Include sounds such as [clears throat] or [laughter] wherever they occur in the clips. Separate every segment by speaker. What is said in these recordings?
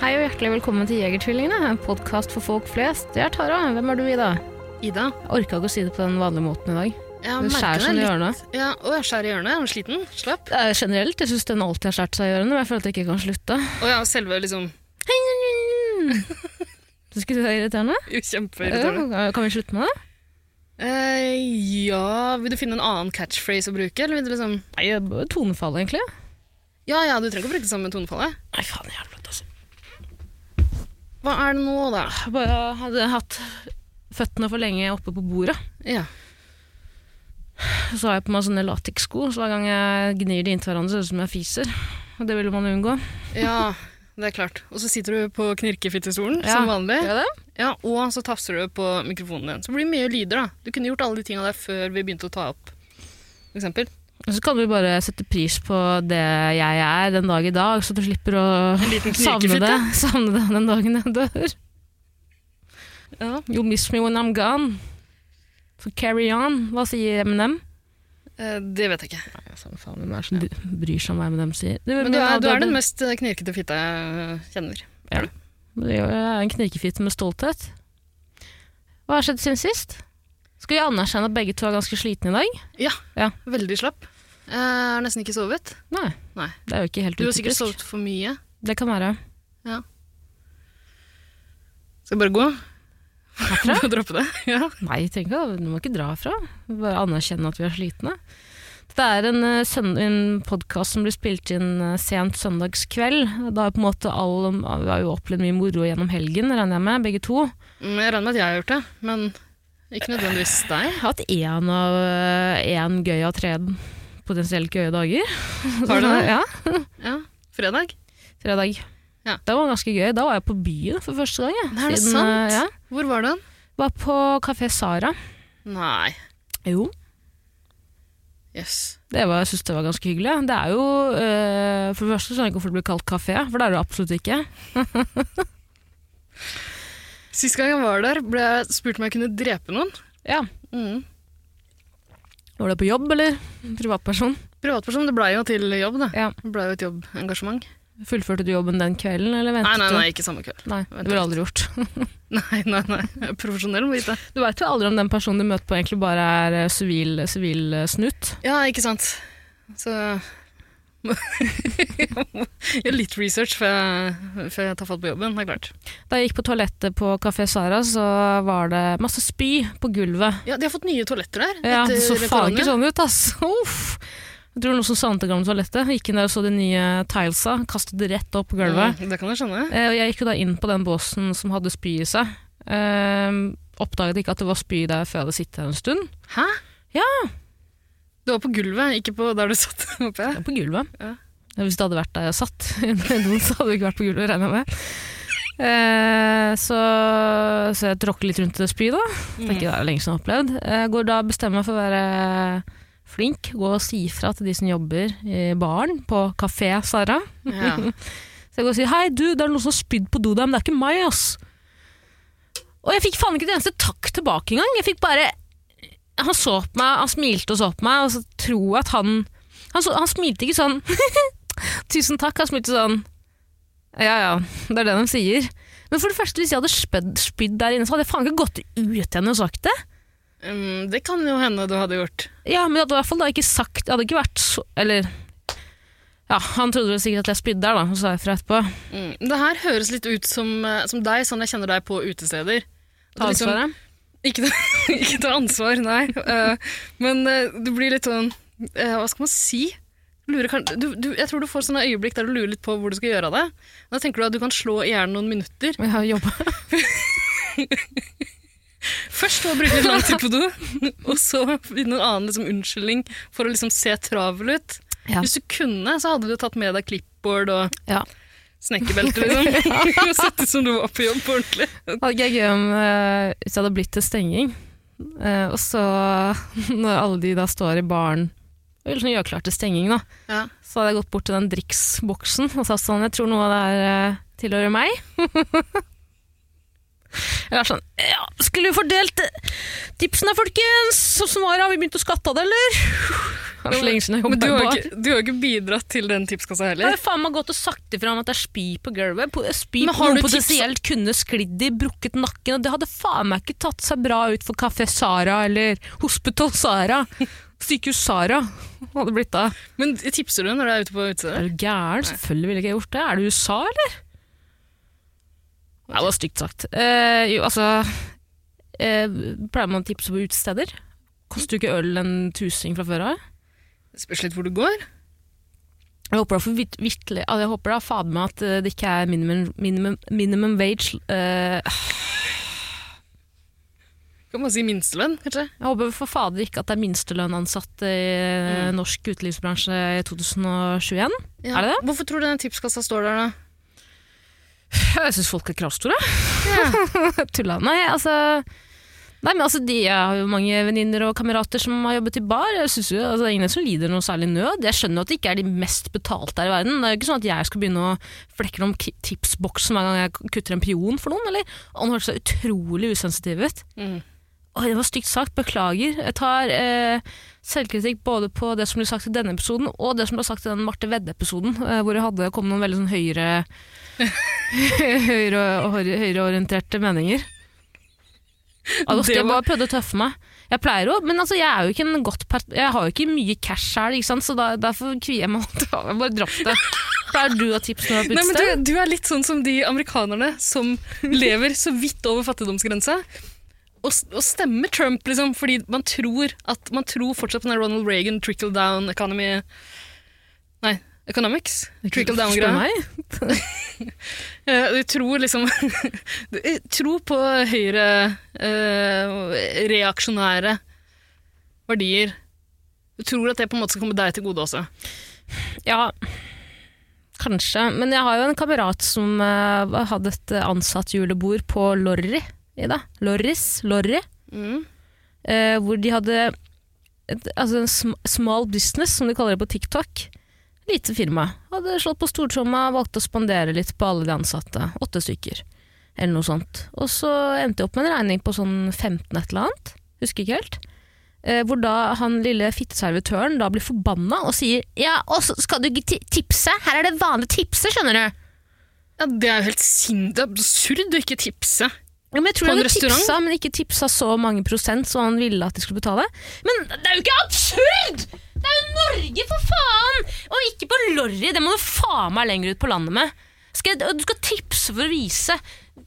Speaker 1: Hei og hjertelig velkommen til Jegertvillingene, en podkast for folk flest. Jeg er Tara. Hvem er du, Ida?
Speaker 2: Ida,
Speaker 1: Jeg orka ikke å si det på den vanlige måten i dag.
Speaker 2: jeg
Speaker 1: Du
Speaker 2: merker
Speaker 1: skjærer
Speaker 2: det
Speaker 1: seg i
Speaker 2: litt-
Speaker 1: hjørnet.
Speaker 2: Ja, å, jeg skjærer i hjørnet. Jeg er sliten. Slapp.
Speaker 1: Det er generelt, jeg syns den alltid har skåret seg i ørene, men jeg føler at jeg ikke kan slutte.
Speaker 2: Og jeg har selve liksom
Speaker 1: [laughs] Syns ikke du det er irriterende?
Speaker 2: jo, kjempeirriterende.
Speaker 1: Ja, Kan vi slutte med det?
Speaker 2: Eh, ja, vil du finne en annen catchphrase å bruke? Eller vil du liksom
Speaker 1: Nei, det er tonefall, egentlig.
Speaker 2: Ja ja, du trenger ikke å bruke det samme tonefallet.
Speaker 1: Nei, faen i helvete, altså.
Speaker 2: Hva er det nå, da?
Speaker 1: Jeg bare hadde hatt føttene for lenge oppe på bordet.
Speaker 2: Ja.
Speaker 1: Så har jeg på meg sånne latekssko, så hver gang jeg gnir de inntil hverandre, ser det ut som jeg fiser. Og det ville man unngå.
Speaker 2: ja, det er klart. Og så sitter du på knirkefittestolen
Speaker 1: Ja.
Speaker 2: som vanlig.
Speaker 1: Gjør det?
Speaker 2: Ja, Og så tafser du på mikrofonen din. Så det blir mye lyder, da. Du kunne gjort alle de tinga der før vi begynte å ta opp, for eksempel.
Speaker 1: Og Så kan du bare sette pris på det jeg er den dag i dag, så du slipper å
Speaker 2: liten
Speaker 1: savne
Speaker 2: [laughs] knirkefitte.
Speaker 1: det, savne det den dagen jeg dør.
Speaker 2: Ja.
Speaker 1: You'll miss me when I'm gone. So carry on. Hva sier Eminem?
Speaker 2: Eh, det vet jeg ikke.
Speaker 1: Du bryr seg om hva Eminem sier.
Speaker 2: Men du er, du er den mest eh, knirkete fitta jeg kjenner.
Speaker 1: Jeg er en knirkefitte med stolthet. Hva har skjedd siden sist? Skal vi anerkjenne at begge to er ganske slitne i dag?
Speaker 2: Ja,
Speaker 1: Ja.
Speaker 2: veldig slapp. Jeg har nesten ikke sovet.
Speaker 1: Nei.
Speaker 2: Nei.
Speaker 1: Det er jo ikke helt
Speaker 2: Du har sikkert
Speaker 1: utypisk.
Speaker 2: sovet for mye.
Speaker 1: Det kan være.
Speaker 2: Skal jeg bare gå? [laughs]
Speaker 1: Herfra?
Speaker 2: Bare Droppe det? Ja.
Speaker 1: Nei, tenk deg, du må ikke dra herfra. Bare anerkjenne at vi er slitne. Det er en, eh, søn- en podkast som blir spilt inn eh, sent søndagskveld. Da er på en måte all, Vi har jo opplevd mye moro gjennom helgen, regner jeg med, begge to.
Speaker 2: Mm, Jeg regner med at jeg har gjort det, men ikke nødvendigvis
Speaker 1: [laughs]
Speaker 2: deg.
Speaker 1: Jeg har hatt én av eh, én gøy av tre potensielt gøye dager.
Speaker 2: [laughs] Har du det?
Speaker 1: Ja,
Speaker 2: Ja. Fredag?
Speaker 1: Fredag.
Speaker 2: Ja.
Speaker 1: Det var ganske gøy. Da var jeg på byen for første gang. jeg.
Speaker 2: Nei, er det
Speaker 1: Siden,
Speaker 2: sant?
Speaker 1: eh, Ja,
Speaker 2: Hvor var den?
Speaker 1: var på Kafé Sara.
Speaker 2: Nei.
Speaker 1: Jo.
Speaker 2: Jøss.
Speaker 1: Det var, jeg synes det var ganske hyggelig. Det er jo, eh, For det første skjønner jeg ikke hvorfor det blir kalt kafé, for det er det jo absolutt ikke.
Speaker 2: Yes. Sist gang jeg var der, ble jeg spurt om jeg kunne drepe noen.
Speaker 1: Ja,
Speaker 2: Mm.
Speaker 1: Var det på jobb eller privatperson?
Speaker 2: Privatperson, det blei jo til jobb, da.
Speaker 1: Ja.
Speaker 2: Det blei jo et jobbengasjement.
Speaker 1: Fullførte du jobben den kvelden, eller
Speaker 2: Nei,
Speaker 1: ventet
Speaker 2: nei, nei, ikke samme kveld. [laughs]
Speaker 1: du? Nei, det ville du aldri gjort.
Speaker 2: Nei, nei, nei. Jeg er Profesjonell må vite.
Speaker 1: Du veit jo aldri om den personen du møter på egentlig bare er eh, sivil, sivil eh, snutt.
Speaker 2: Ja, ikke sant. Så [laughs] Gjør litt research før jeg, før jeg tar fatt på jobben, det er klart.
Speaker 1: Da jeg gikk på toalettet på Kafé Sara, så var det masse spy på gulvet.
Speaker 2: Ja, De har fått nye toaletter der.
Speaker 1: Ja, Det så
Speaker 2: etter
Speaker 1: faen
Speaker 2: korona.
Speaker 1: ikke sånn ut, ass! [laughs] Uff. Jeg tror noen som savnet det gamle toalettet, gikk inn der og så de nye tilesa, kastet det rett opp på gulvet.
Speaker 2: Mm, det kan jeg skjønne.
Speaker 1: Eh, og Jeg gikk jo da inn på den båsen som hadde spy i seg. Eh, oppdaget ikke at det var spy der før jeg hadde sittet her en stund.
Speaker 2: Hæ?
Speaker 1: Ja.
Speaker 2: Du var på gulvet, ikke på der du satt, [laughs] håper jeg.
Speaker 1: Jeg er på gulvet.
Speaker 2: Ja.
Speaker 1: Hvis det hadde vært der jeg satt, [laughs] i doen, så hadde jeg ikke vært på gulvet, regner jeg med. Eh, så, så jeg tråkker litt rundt i det spyet, da. Det er ikke det er lenge siden jeg har opplevd. Jeg går da bestemmer meg for å være flink, gå og si ifra til de som jobber i baren på Kafé Sara.
Speaker 2: Ja.
Speaker 1: Så jeg går og sier 'hei, du, det er noen som har spydd på do der, men det er ikke meg', ass. Og jeg fikk faen ikke et eneste takk tilbake engang. Jeg fikk bare Han så på meg, han smilte og så på meg, og så tror jeg at han Han, så, han smilte ikke sånn [laughs] 'tusen takk', han smilte sånn Ja ja, det er det de sier. Men for det første, hvis jeg hadde spedd- spydd der inne, så hadde jeg faen ikke gått ut igjen og sagt det.
Speaker 2: Um, det kan jo hende du hadde gjort.
Speaker 1: Ja, men jeg hadde i hvert fall da ikke sagt Jeg hadde ikke vært så Eller Ja, han trodde vel sikkert at jeg spydde der, da, og så sa jeg fra etterpå.
Speaker 2: Mm. Det her høres litt ut som, eh, som deg, sånn jeg kjenner deg på utesteder. At
Speaker 1: Ta
Speaker 2: du liksom-
Speaker 1: ansvaret.
Speaker 2: Ikke ta, [laughs] ikke ta ansvar, nei. Eh, men eh, du blir litt sånn eh, Hva skal man si? Lurer, kan, du, du, jeg tror du får sånne øyeblikk der du lurer litt på hvor du skal gjøre av det. Da tenker du at du kan slå i hjernen noen minutter.
Speaker 1: Jeg har jobba
Speaker 2: Først å bruke litt lang tid på do, [laughs] og så finne en annen liksom, unnskyldning for å liksom, se travel ut.
Speaker 1: Ja.
Speaker 2: Hvis du kunne, så hadde du tatt med deg clipboard og
Speaker 1: Ja. [laughs]
Speaker 2: snekkerbelte, liksom. [laughs] Det må sett ut som du var på jobb på ordentlig.
Speaker 1: Hadde ikke vært gøy om eh, hvis det hadde blitt til stenging. Eh, og så, [laughs] når alle de da står i baren og liksom gjør klart til stenging, da,
Speaker 2: Ja.
Speaker 1: så hadde jeg gått bort til den driksboksen og sagt sånn Jeg tror noe av det her eh, tilhører meg. [laughs] Jeg var sånn Ja, skulle vi fordelt eh, tipsene, folkens? Og svaret har vi begynt å skatte av det, eller? [laughs] Det er så lenge siden jeg
Speaker 2: Men du
Speaker 1: jobba i
Speaker 2: har, jo
Speaker 1: bar.
Speaker 2: ikke, du har jo ikke bidratt til den tipskassa
Speaker 1: Jeg
Speaker 2: heller.
Speaker 1: har jo faen meg gått og sagt ifra om at det er spy på gulvet. Po- Spy
Speaker 2: Men
Speaker 1: på
Speaker 2: har
Speaker 1: noe
Speaker 2: du tips-
Speaker 1: potensielt kunne sklidd i, brukket nakken. Og det hadde faen meg ikke tatt seg bra ut for Kafé Sara eller Hospital Sara. [laughs] Sykehus Sara hadde det blitt da.
Speaker 2: Men tipser du når du er ute på utestedet?
Speaker 1: Er du gæren? Selvfølgelig ville ikke jeg gjort det. Er du i USA, eller? Nei, det var stygt sagt. Eh, jo, altså eh, Pleier man å tipse på utesteder? Koster jo ikke øl en tusing fra før av.
Speaker 2: Spørs litt hvor du går.
Speaker 1: Jeg håper da for vitt- vitterlig altså, Jeg håper da fader meg at eh, det ikke er minimum, minimum, minimum wage eh,
Speaker 2: Kan man si minstelønn, kanskje?
Speaker 1: Jeg håper for fader ikke at det er minstelønnansatte i eh, norsk utelivsbransje i 2021. Er det
Speaker 2: Hvorfor tror du den tipskassa står der, da?
Speaker 1: [laughs] Jeg syns folk er kravstore. [laughs] Tulla. Nei, altså Nei, men altså, de, Jeg har jo mange venninner og kamerater som har jobbet i bar. Jeg synes jo, altså, Det er ingen som lider noe særlig nød. Jeg skjønner jo at det ikke er de mest betalte her i verden. Det er jo ikke sånn at jeg skal begynne å flekke om tipsboksen hver gang jeg kutter en pion for noen. eller? Og han hørtes så utrolig usensitiv ut.
Speaker 2: Mm.
Speaker 1: Oi, det var stygt sagt. Beklager. Jeg tar eh, selvkritikk både på det som ble sagt i denne episoden, og det som ble sagt i den Marte Vedde-episoden, eh, hvor jeg hadde kom noen veldig sånn høyre [laughs] høyre, høyre, høyreorienterte meninger. Altså,
Speaker 2: Det
Speaker 1: jeg
Speaker 2: var-
Speaker 1: bare prøvde å tøffe meg. Jeg pleier jo, men altså, jeg er jo ikke en godt per- Jeg har jo ikke mye cash sjøl, ikke sant, så da, derfor kvier jeg meg. alltid. Jeg bare dropp det. Pleier du å ha tips når du er på
Speaker 2: Nei, men
Speaker 1: utested?
Speaker 2: du, du er litt sånn som de amerikanerne [laughs] som lever så vidt over fattigdomsgrensa. Og, s- og stemmer Trump, liksom, fordi man tror, at, man tror fortsatt på den der Ronald Reagan trickle down economy Nei, economics. Trickle down-greia. Eh, Du tror liksom [laughs] du- eh, Tro på høyre eh, reaksjonære verdier. Du tror at det på en måte skal komme deg til gode også.
Speaker 1: Ja, kanskje. Men jeg har jo en kamerat som eh, hadde et ansatt julebord på Lorry. Ida. Lorris, Lorry. eh, hvor de hadde et, altså en sm small business, som de kaller det på TikTok. Lite firma. Hadde slått på stortromma, valgte å spandere litt på alle de ansatte. Åtte stykker, eller noe sånt. Og så endte jeg opp med en regning på sånn 15 et eller annet. Husker ikke helt. Eh, hvor da han lille fitteservitøren da blir forbanna og sier Ja, og så skal du ikke ti- tipse? Her er det vanlig å tipse, skjønner du.
Speaker 2: Ja, det er jo helt sin- det er absurd å ikke tipse.
Speaker 1: Ja, men jeg tror
Speaker 2: På en
Speaker 1: han
Speaker 2: restaurant?
Speaker 1: tipsa, men ikke tipsa så mange prosent som han ville at de skulle betale. Men det er jo ikke absurd! Det er jo Norge, for faen! Og ikke på Lorry. Det må du faen meg lenger ut på landet med. Skal jeg, og du skal tipse for å vise.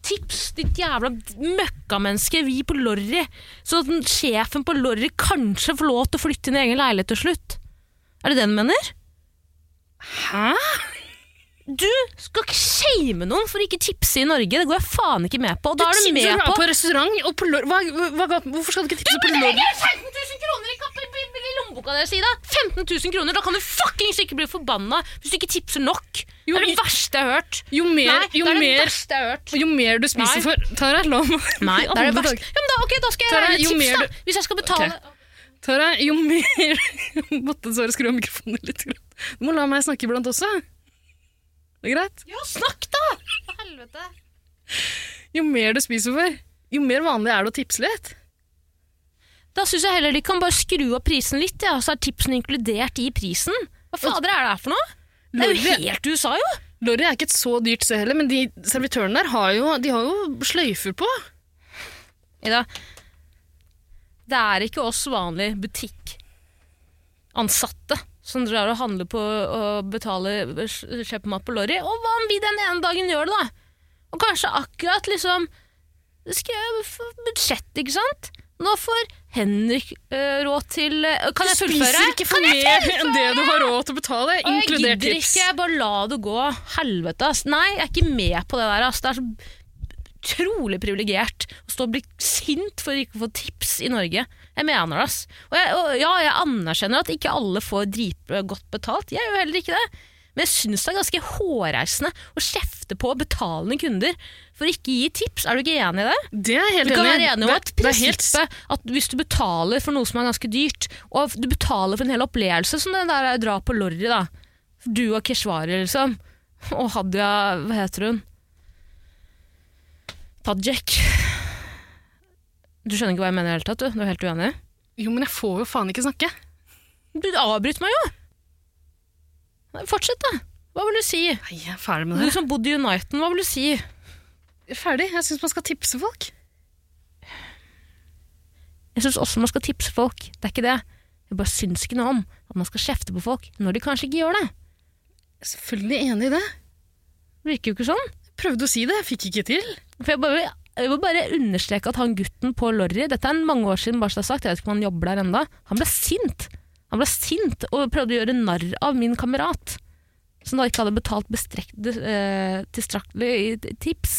Speaker 1: Tips, ditt jævla møkkamenneske. Vi på Lorry. Så at den- sjefen på Lorry kanskje får lov til å flytte inn i egen leilighet til slutt. Er det det du mener?
Speaker 2: Hæ?
Speaker 1: Du skal ikke shame noen for å ikke tipse i Norge. Det går jeg faen ikke med på. Og da er du
Speaker 2: tipser
Speaker 1: med
Speaker 2: dere
Speaker 1: på
Speaker 2: på restaurant og på lor... Hva, hva, ga- hvorfor skal du ikke tipse på
Speaker 1: [laughs]
Speaker 2: lor...
Speaker 1: 15 000 kroner i, kapp- i, i lommeboka deres, Ida! 15 000 kroner, Da kan du fuckings ikke bli forbanna hvis du ikke tipser nok!
Speaker 2: Jo,
Speaker 1: det er det
Speaker 2: i-
Speaker 1: verste jeg har hørt.
Speaker 2: Jo mer,
Speaker 1: Nei, det
Speaker 2: jo,
Speaker 1: er det
Speaker 2: mer,
Speaker 1: verste jeg har hørt.
Speaker 2: jo mer du
Speaker 1: Nei.
Speaker 2: spiser for Tara, la meg [laughs]
Speaker 1: Nei, det er det
Speaker 2: Andre
Speaker 1: verste.
Speaker 2: dag.
Speaker 1: Ja, men da, ok, da skal jeg
Speaker 2: Tara,
Speaker 1: regne
Speaker 2: jo
Speaker 1: tips,
Speaker 2: mer
Speaker 1: da. Hvis jeg skal betale
Speaker 2: Tara, jo mer [laughs] Jeg Måtte dessverre skru av mikrofonen litt. grann. Du må la meg snakke iblant også. Det er greit.
Speaker 1: Ja, snakk, da! For helvete.
Speaker 2: Jo mer du spiser for, jo mer vanlig er det å tipse litt.
Speaker 1: Da syns jeg heller de kan bare skru opp prisen litt, ja, så er tipsene inkludert i prisen. Hva
Speaker 2: Altså-
Speaker 1: fader er det her for noe? Det er jo
Speaker 2: Lorry-
Speaker 1: helt USA, jo!
Speaker 2: Lorry er ikke et så dyrt sted heller, men de servitørene der har jo, de har jo sløyfer på.
Speaker 1: Ida, det er ikke oss vanlige butikkansatte som drar og handler på og betaler kjøper mat på lorry. Og hva om vi den ene dagen gjør det, da? Og kanskje akkurat liksom Det skal jeg for budsjett, ikke sant? Nå får Henrik øh, råd til øh, Kan jeg fullføre?
Speaker 2: Spiser ikke for
Speaker 1: Kan jeg
Speaker 2: mer enn det du har råd til å betale,
Speaker 1: Å,
Speaker 2: inkludert
Speaker 1: Jeg
Speaker 2: tips.
Speaker 1: gidder ikke, bare la det gå. Helvete, ass. Nei, jeg er ikke med på det der, ass. Det er så utrolig privilegert å stå og bli sint for ikke å få tips i Norge. Jeg mener det, ass. Og, jeg, og ja, jeg anerkjenner at ikke alle får dritgodt betalt. Jeg gjør jo heller ikke det. Men jeg syns det er ganske hårreisende å kjefte på betalende kunder for å ikke gi tips. Er du ikke enig i det?
Speaker 2: Det er jeg helt
Speaker 1: Vi kan være
Speaker 2: enig i.
Speaker 1: enige om
Speaker 2: Det-
Speaker 1: at
Speaker 2: det er helt-
Speaker 1: prinsippet at hvis du betaler for noe som er ganske dyrt, og du betaler for en hel opplevelse, som det der er å dra på Lorry, da. Du og Keshvari, liksom. Og Hadia, hva heter hun? Tajik. Du skjønner ikke hva jeg mener i det hele tatt, du. Du er helt uenig.
Speaker 2: Jo, men jeg får jo faen ikke snakke.
Speaker 1: Du avbryter meg jo! Nei, Fortsett, da. Hva vil du si?
Speaker 2: Nei, jeg er ferdig med
Speaker 1: Du
Speaker 2: det.
Speaker 1: som bodde i Uniten, hva vil du si?
Speaker 2: Jeg er Ferdig. Jeg syns man skal tipse folk.
Speaker 1: Jeg syns også man skal tipse folk. Det er ikke det. Jeg bare syns ikke noe om at man skal kjefte på folk når de kanskje ikke gjør det.
Speaker 2: Jeg er selvfølgelig enig i det.
Speaker 1: Det virker jo ikke sånn.
Speaker 2: Jeg prøvde å si det, jeg fikk ikke til.
Speaker 1: For jeg, bare, jeg vil bare understreke at han gutten på Lorry Dette er mange år siden, bare så det er sagt. Jeg vet ikke om han jobber der enda Han ble sint. Han ble sint og prøvde å gjøre narr av min kamerat. Som da ikke hadde betalt bestrek- eh, tilstrekkelig i tips.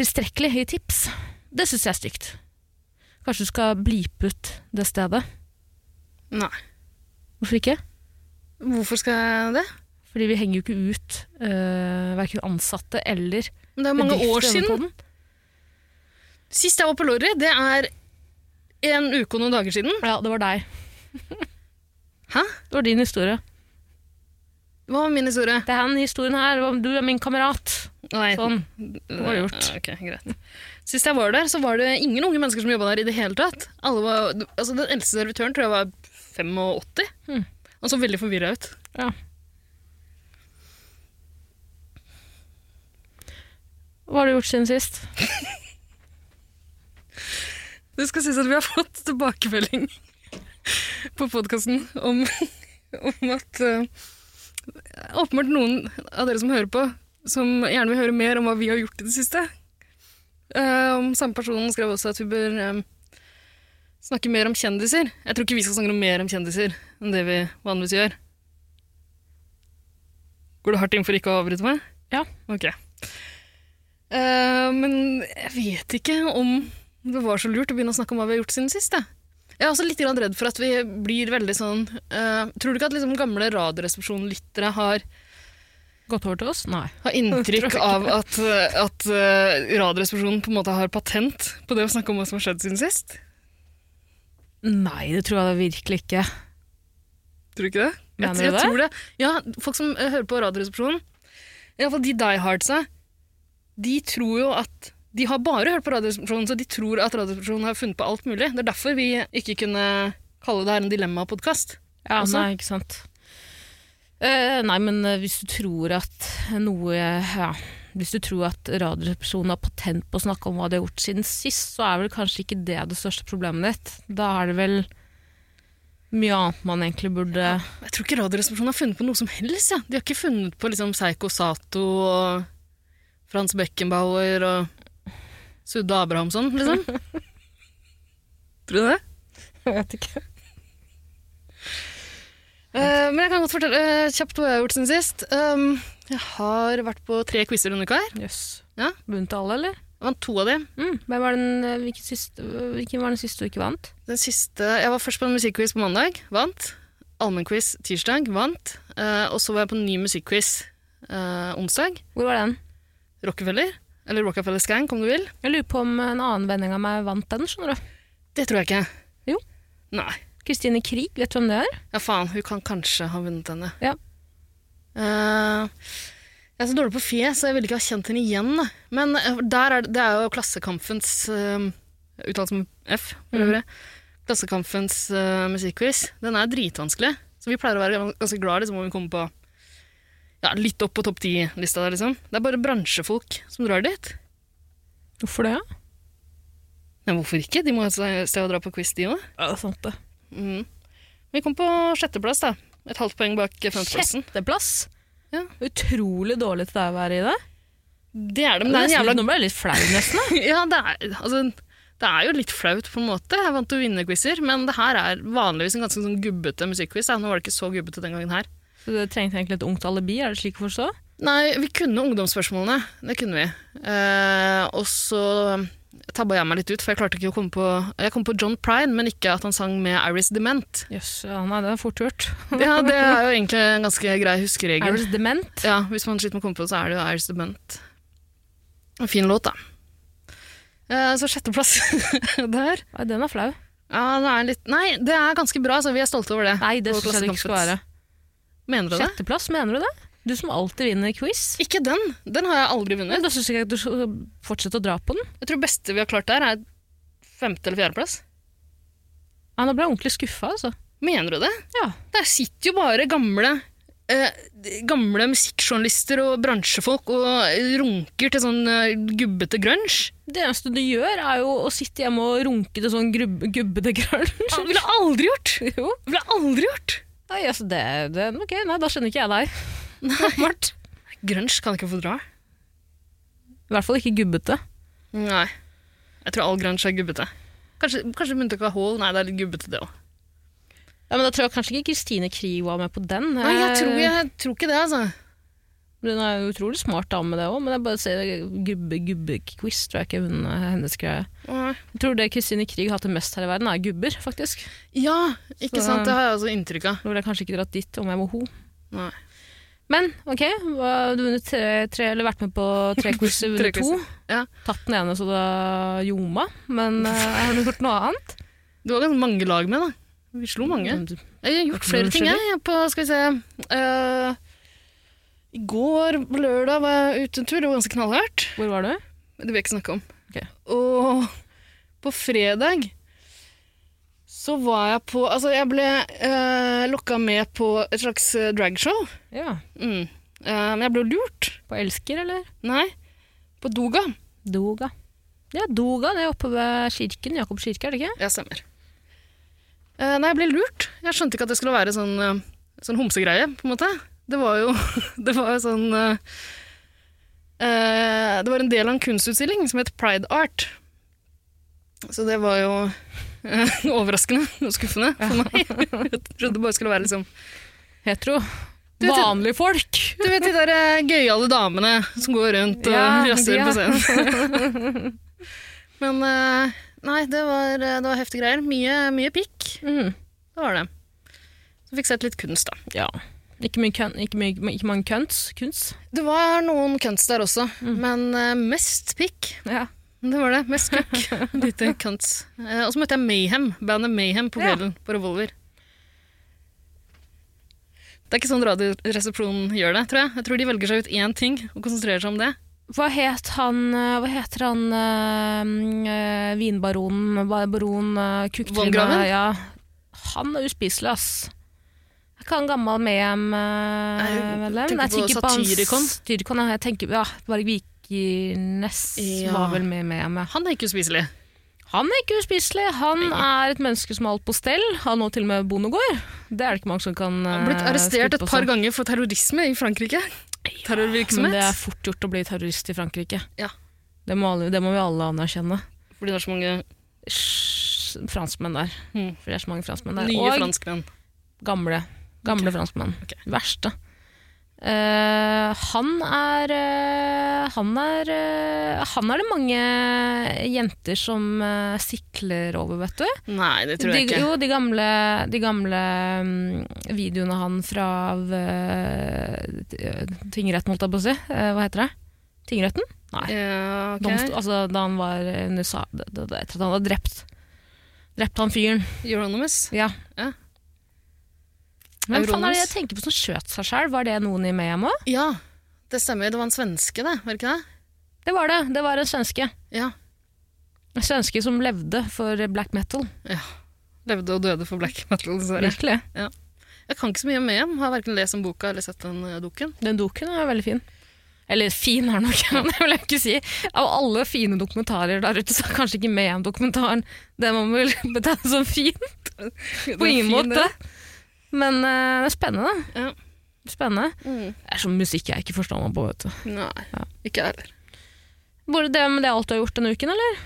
Speaker 1: Tilstrekkelig i tips. Det syns jeg er stygt. Kanskje du skal blipe ut det stedet.
Speaker 2: Nei.
Speaker 1: Hvorfor ikke?
Speaker 2: Hvorfor skal jeg det?
Speaker 1: Fordi vi henger jo ikke ut øh, verken ansatte eller
Speaker 2: Men det er jo mange
Speaker 1: bedrifter
Speaker 2: år
Speaker 1: i denne
Speaker 2: siden.
Speaker 1: podden.
Speaker 2: Sist jeg var på Lorry, det er en uke og noen dager siden.
Speaker 1: Ja, det var deg.
Speaker 2: Hæ?
Speaker 1: Det var din historie.
Speaker 2: Hva var min historie?
Speaker 1: Det er han historien her. og Du er min kamerat.
Speaker 2: Nei,
Speaker 1: Sånn.
Speaker 2: det
Speaker 1: var gjort.
Speaker 2: Eh, Ok, greit. Sist jeg var der, så var det ingen unge mennesker som jobba der i det hele tatt. Alle var, altså, den eldste servitøren tror jeg var 85.
Speaker 1: Hmm.
Speaker 2: Han så veldig forvirra ut.
Speaker 1: Hva har du gjort siden sist?
Speaker 2: Det skal sies at vi har fått tilbakemelding på podkasten om, om at eh, åpenbart noen av dere som hører på, som gjerne vil høre mer om hva vi har gjort i det siste. Eh, om samme personen skrev også at vi bør eh, snakke mer om kjendiser. Jeg tror ikke vi skal snakke noe mer om kjendiser enn det vi vanligvis gjør. Går det hardt inn for ikke å avbryte meg?
Speaker 1: Ja.
Speaker 2: Ok. Eh, men jeg vet ikke om det var så lurt å begynne å snakke om hva vi har gjort siden sist. Jeg, jeg er også litt grann redd for at vi blir veldig sånn eh, Tror du ikke at liksom gamle Radioresepsjonen-lyttere har,
Speaker 1: Gått over til oss? Nei.
Speaker 2: har
Speaker 1: [laughs]
Speaker 2: inntrykk av at, eh, at eh, Radioresepsjonen på en måte har patent på det å snakke om hva som har skjedd siden sist?
Speaker 1: Nei, det tror jeg da virkelig ikke.
Speaker 2: Tror du ikke det?
Speaker 1: Mener du
Speaker 2: jeg,
Speaker 1: det?
Speaker 2: jeg tror det. Ja, folk som eh, hører på Radioresepsjonen, iallfall de Die Hardsa, de tror jo at De har bare hørt på Radioresepsjonen, så de tror at Radioresepsjonen har funnet på alt mulig. Det er derfor vi ikke kunne kalle det her en dilemma-podkast.
Speaker 1: Ja,
Speaker 2: Også?
Speaker 1: nei, ikke sant. Eh, nei, men eh, hvis du tror at noe ja, Hvis du tror at radioresepsjonen har patent på å snakke om hva de har gjort siden sist, så er vel kanskje ikke det det største problemet ditt. Da er det vel mye annet man egentlig burde
Speaker 2: Jeg tror ikke Radioresepsjonen har funnet på noe som helst. Ja. De har ikke funnet på liksom Seiko Sato og Frans Beckenbauer og Sudde Abrahamsson, liksom. [laughs] tror du det?
Speaker 1: Jeg vet ikke.
Speaker 2: Eh, men jeg kan godt fortelle eh, kjapt hva jeg har gjort siden sist. Um, jeg har vært på tre quizer denne uka her.
Speaker 1: Jøss.
Speaker 2: Ja.
Speaker 1: Vunnet alle, eller?
Speaker 2: Jeg vant to av dem.
Speaker 1: Mm. Hvem var den, eh, hvilken, siste, hvilken var den siste du ikke vant?
Speaker 2: Den siste, jeg var først på en musikkquiz på mandag, vant. Allmennquiz tirsdag, vant. Eh, og så var jeg på en ny musikkquiz eh, onsdag.
Speaker 1: Hvor var den?
Speaker 2: Rockefeller, eller Rockefeller Skank om du vil.
Speaker 1: Jeg lurer på om en annen vending av meg vant den, skjønner du.
Speaker 2: Det tror jeg ikke.
Speaker 1: Jo.
Speaker 2: Nei.
Speaker 1: Kristine Krig, vet du hvem det er?
Speaker 2: Ja, faen. Hun kan kanskje ha vunnet henne.
Speaker 1: Ja.
Speaker 2: Eh, jeg er så dårlig på fjes, så jeg ville ikke ha kjent henne igjen. Da. Men eh, der er det, det er jo Klassekampens eh, Uttalt som F, for øvrig.
Speaker 1: Mm.
Speaker 2: Klassekampens eh, musikkquiz. Den er dritvanskelig, så vi pleier å være gans- ganske glad liksom, om vi kommer på ja, litt opp på topp ti-lista der, liksom. Det er bare bransjefolk som drar dit.
Speaker 1: Hvorfor det?
Speaker 2: Men hvorfor ikke? De må ha et sted å dra på quiz, de òg.
Speaker 1: Ja, det er sant det.
Speaker 2: Mm. Vi kom på sjetteplass, da. Et halvt poeng bak femteplassen.
Speaker 1: Sjetteplass?
Speaker 2: Ja.
Speaker 1: Utrolig dårlig til deg å være i det.
Speaker 2: Det er det, men det er en
Speaker 1: Nesten-
Speaker 2: jævla
Speaker 1: Nå ble jeg litt flau, nesten.
Speaker 2: [laughs] ja, det, er, altså, det er jo litt flaut, på en måte. Jeg er vant til å vinne quizer, men det her er vanligvis en ganske sånn gubbete musikkquiz. da. Nå var det ikke så gubbete den gangen her.
Speaker 1: Så du trengte egentlig et ungt alibi, er det slik å forstå?
Speaker 2: Nei, vi kunne ungdomsspørsmålene. Det kunne vi. Eh, og så tabba jeg meg litt ut, for jeg klarte ikke å komme på Jeg kom på John Prine, men ikke at han sang med Iris Dement.
Speaker 1: Jøss, ja, nei, det er fort [laughs] gjort.
Speaker 2: Ja, det er jo egentlig en ganske grei huskeregel.
Speaker 1: Iris dement?
Speaker 2: Ja, hvis man sliter med å komme på det, så er det jo Iris Dement. En fin låt, da. Eh, så sjetteplass [laughs] der.
Speaker 1: Nei, den er flau.
Speaker 2: Ja, det er litt Nei, det er ganske bra, så vi er stolte over det.
Speaker 1: Nei, det
Speaker 2: På
Speaker 1: syns jeg det ikke skal
Speaker 2: Klassekampen.
Speaker 1: være.
Speaker 2: Mener du det?
Speaker 1: Sjetteplass, mener du det? Du som alltid vinner quiz.
Speaker 2: Ikke den. Den har jeg aldri
Speaker 1: Nei,
Speaker 2: vunnet.
Speaker 1: da syns jeg ikke at du skal fortsette å dra på den.
Speaker 2: Jeg tror beste vi har klart der, er femte- eller fjerdeplass.
Speaker 1: Nei, nå ble jeg ordentlig skuffa, altså.
Speaker 2: Mener du det?
Speaker 1: Ja.
Speaker 2: Der sitter jo bare gamle eh, Gamle musikkjournalister og bransjefolk og runker til sånn eh, gubbete grunge.
Speaker 1: Det eneste du gjør, er jo å sitte hjemme og runke til sånn grubb- gubbete
Speaker 2: Det
Speaker 1: grunge.
Speaker 2: ville jeg aldri gjort!
Speaker 1: jo.
Speaker 2: Det ville jeg aldri gjort!
Speaker 1: Nei, altså, det, det Ok, nei, da skjønner ikke jeg deg. Åpenbart.
Speaker 2: Grunge kan ikke få dra.
Speaker 1: I hvert fall ikke gubbete.
Speaker 2: Nei. Jeg tror all grunge er gubbete. Kanskje, kanskje med unntak av Hall. Nei, det er litt gubbete, det òg.
Speaker 1: Ja, men Da tror jeg kanskje ikke Kristine Krig var med på den.
Speaker 2: Nei, jeg tror,
Speaker 1: Eh,
Speaker 2: jeg tror ikke det, altså.
Speaker 1: Hun er jo utrolig smart dame, det òg, men jeg bare ser gubbe-gubbe-quiz tror jeg ikke hun er hennes greie.
Speaker 2: Nei.
Speaker 1: Jeg tror det Kristine Krig har til mest her i verden, er gubber, faktisk.
Speaker 2: Ja, ikke
Speaker 1: Så-
Speaker 2: sant? Det har jeg også inntrykk av.
Speaker 1: Nå ville jeg kanskje ikke dratt dit om jeg var ho.
Speaker 2: Nei.
Speaker 1: Men ok, hva- du har vunnet tre, tre, eller vært med på [laughs] tre quizer,
Speaker 2: Tre
Speaker 1: vunnet to.
Speaker 2: Ja.
Speaker 1: Tatt den ene så det ljoma, men eh, har du gjort noe annet?
Speaker 2: Du har ganske mange lag med, da. Vi slo mange. Mm. Jeg har gjort
Speaker 1: Hva
Speaker 2: flere
Speaker 1: skjer
Speaker 2: ting, jeg. På, skal vi se eh, I går, på lørdag, var jeg ute en tur. Det var ganske knallhardt.
Speaker 1: Hvor var du?
Speaker 2: Det vil jeg ikke snakke om.
Speaker 1: Ok.
Speaker 2: Og på fredag så var jeg på Altså, jeg ble eh, lokka med på et slags eh, dragshow.
Speaker 1: Ja,
Speaker 2: Mm. Eh, men jeg ble lurt.
Speaker 1: På Elsker, eller?
Speaker 2: Nei. På Doga.
Speaker 1: Doga. Ja, Doga, det er oppe ved kirken. Jakobs kirke, er det ikke?
Speaker 2: Ja, stemmer. Eh, nei, jeg ble lurt. Jeg skjønte ikke at det skulle være sånn, eh, sånn homsegreie, på en måte. Det var jo [laughs] det var jo sånn eh, eh, Det var en del av en kunstutstilling som het Pride Art. Så det var jo eh, [laughs] overraskende og skuffende [laughs] for meg. Jeg trodde det bare skulle være liksom
Speaker 1: Hetero.
Speaker 2: Du vet-
Speaker 1: Vanlige folk.
Speaker 2: Du vet de der eh, gøyale damene som går rundt og [laughs]
Speaker 1: Ja, de,
Speaker 2: jazzer
Speaker 1: ja.
Speaker 2: på scenen. [laughs] Men eh, nei, det var, eh, det var heftige greier. Mye, mye pikk.
Speaker 1: Mm.
Speaker 2: Det var det. Så fikk jeg sett litt kunst, da.
Speaker 1: Ja. Ikke mye kønn- ikke mye- ikke mange kønts. Kunst.
Speaker 2: Det var noen kunst der også,
Speaker 1: Mm.
Speaker 2: men eh, mest pikk.
Speaker 1: Ja.
Speaker 2: Det var det. Mest kukk.
Speaker 1: [laughs]
Speaker 2: Lite kunst. Eh, og så møtte jeg Mayhem, bandet Mayhem på
Speaker 1: Ja.
Speaker 2: kvelden, på Revolver. Det er ikke sånn Radioresepsjonen gjør det, tror jeg. Jeg tror de velger seg ut én ting og konsentrerer seg om det.
Speaker 1: Hva het han eh, Hva heter han eh, eh, vinbaronen ba- Baron eh, Kukktryne?
Speaker 2: Von Graven?
Speaker 1: Ja. Han er uspiselig, ass. Er ikke han gammel eh,
Speaker 2: Nei, jeg
Speaker 1: Mehem-medlem?
Speaker 2: tenker på Satyricon.
Speaker 1: Satyricon, ja. Jeg tenker, ja, Varg Vikernes
Speaker 2: Ja.
Speaker 1: var vel med Mehem, ja.
Speaker 2: Han er ikke uspiselig.
Speaker 1: Han er ikke uspiselig. Han er et menneske som har alt på stell. Han og til og med bondegård. Det er det ikke mange som kan eh,
Speaker 2: Han har blitt arrestert et par ganger for terrorisme i Frankrike.
Speaker 1: Men det er
Speaker 2: Terrorvirksomhet.
Speaker 1: fort gjort å bli terrorist i Frankrike.
Speaker 2: Ja.
Speaker 1: Det, må alle, det må vi alle anerkjenne.
Speaker 2: Fordi det er så mange
Speaker 1: Sj- Franskmenn der.
Speaker 2: Mm.
Speaker 1: For det er så mange franskmenn der.
Speaker 2: nye
Speaker 1: og
Speaker 2: franskmenn.
Speaker 1: gamle. Gamle franskmenn.
Speaker 2: Ok.
Speaker 1: Verste. Eh, han er eh, Han er eh, Han er det mange jenter som eh, sikler over, vet du.
Speaker 2: Nei, det tror jeg
Speaker 1: de,
Speaker 2: ikke.
Speaker 1: Jo, de gamle, de gamle mm, videoene han fra av, eh, t- eh, tingretten, holdt jeg på å si. Eh, hva heter det? Tingretten? Nei.
Speaker 2: Ja, ok.
Speaker 1: Domstol, altså, da han var under sa, da, da, da, Etter at han hadde drept Drept han fyren.
Speaker 2: Euronymous.
Speaker 1: Ja.
Speaker 2: Ja.
Speaker 1: Men faen er det
Speaker 2: Euronas.
Speaker 1: jeg tenker på som skjøt seg sjøl? Var det noen i Mayhem òg?
Speaker 2: Ja, det stemmer. Det var en svenske, det. Var det ikke det?
Speaker 1: Det var det. Det var en svenske.
Speaker 2: Ja.
Speaker 1: En svenske som levde for black metal.
Speaker 2: Levde og døde for black metal, dessverre.
Speaker 1: Virkelig.
Speaker 2: Jeg kan ikke så mye om EM. Har verken lest om boka eller sett den eh, [laughs] doken.
Speaker 1: Den doken er veldig fin. Eller fin er den nok, [laughs] det vil jeg ikke si. Av alle fine dokumentarer der ute, så er kanskje ikke med dokumentaren det man vil [laughs] betegne som fin. På ingen måte. Men eh, det er spennende.
Speaker 2: Ja.
Speaker 1: Spennende.
Speaker 2: Mm.
Speaker 1: Det er sånn musikk jeg ikke forstår meg på, vet du.
Speaker 2: Nei, ikke jeg heller.
Speaker 1: Bare det med det alt du har gjort denne uken, eller?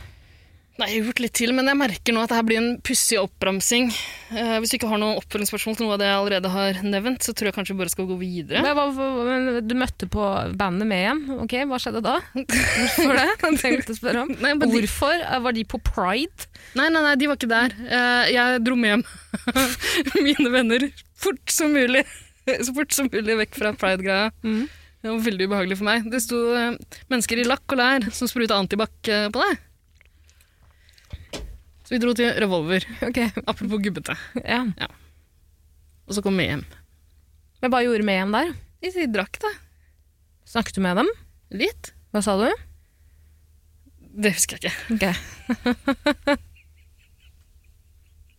Speaker 2: Nei, jeg har gjort litt til, men jeg merker nå at dette blir en pussig oppramsing. Eh, hvis du ikke har noen oppfølgingsspørsmål til noe av det jeg allerede har nevnt, så tror jeg kanskje vi bare skal gå videre.
Speaker 1: Men, hva, hva- men du møtte på bandet med igjen. Ok, Hva skjedde da? Hvorfor det? Tenkte å spørre om.
Speaker 2: Nei, men de,
Speaker 1: Hvorfor eh, var de på pride?
Speaker 2: nei, nei, nei, de var ikke der. Eh, jeg dro med hjem [laughs] mine venner fort som mulig. [laughs] Så fort som mulig vekk fra pride-greia.
Speaker 1: Mhm.
Speaker 2: Det var veldig ubehagelig for meg. Det sto eh, mennesker i lakk og lær som spruta antibac eh, på deg. Så vi dro til Revolver, [laughs]
Speaker 1: Ok,
Speaker 2: apropos gubbete.
Speaker 1: ja.
Speaker 2: Og så kom vi hjem.
Speaker 1: Men hva gjorde med hjem der?
Speaker 2: De, de drakk, da.
Speaker 1: Snakket du med dem?
Speaker 2: Litt.
Speaker 1: Hva sa du?
Speaker 2: Det husker jeg ikke.
Speaker 1: Ok. [laughs]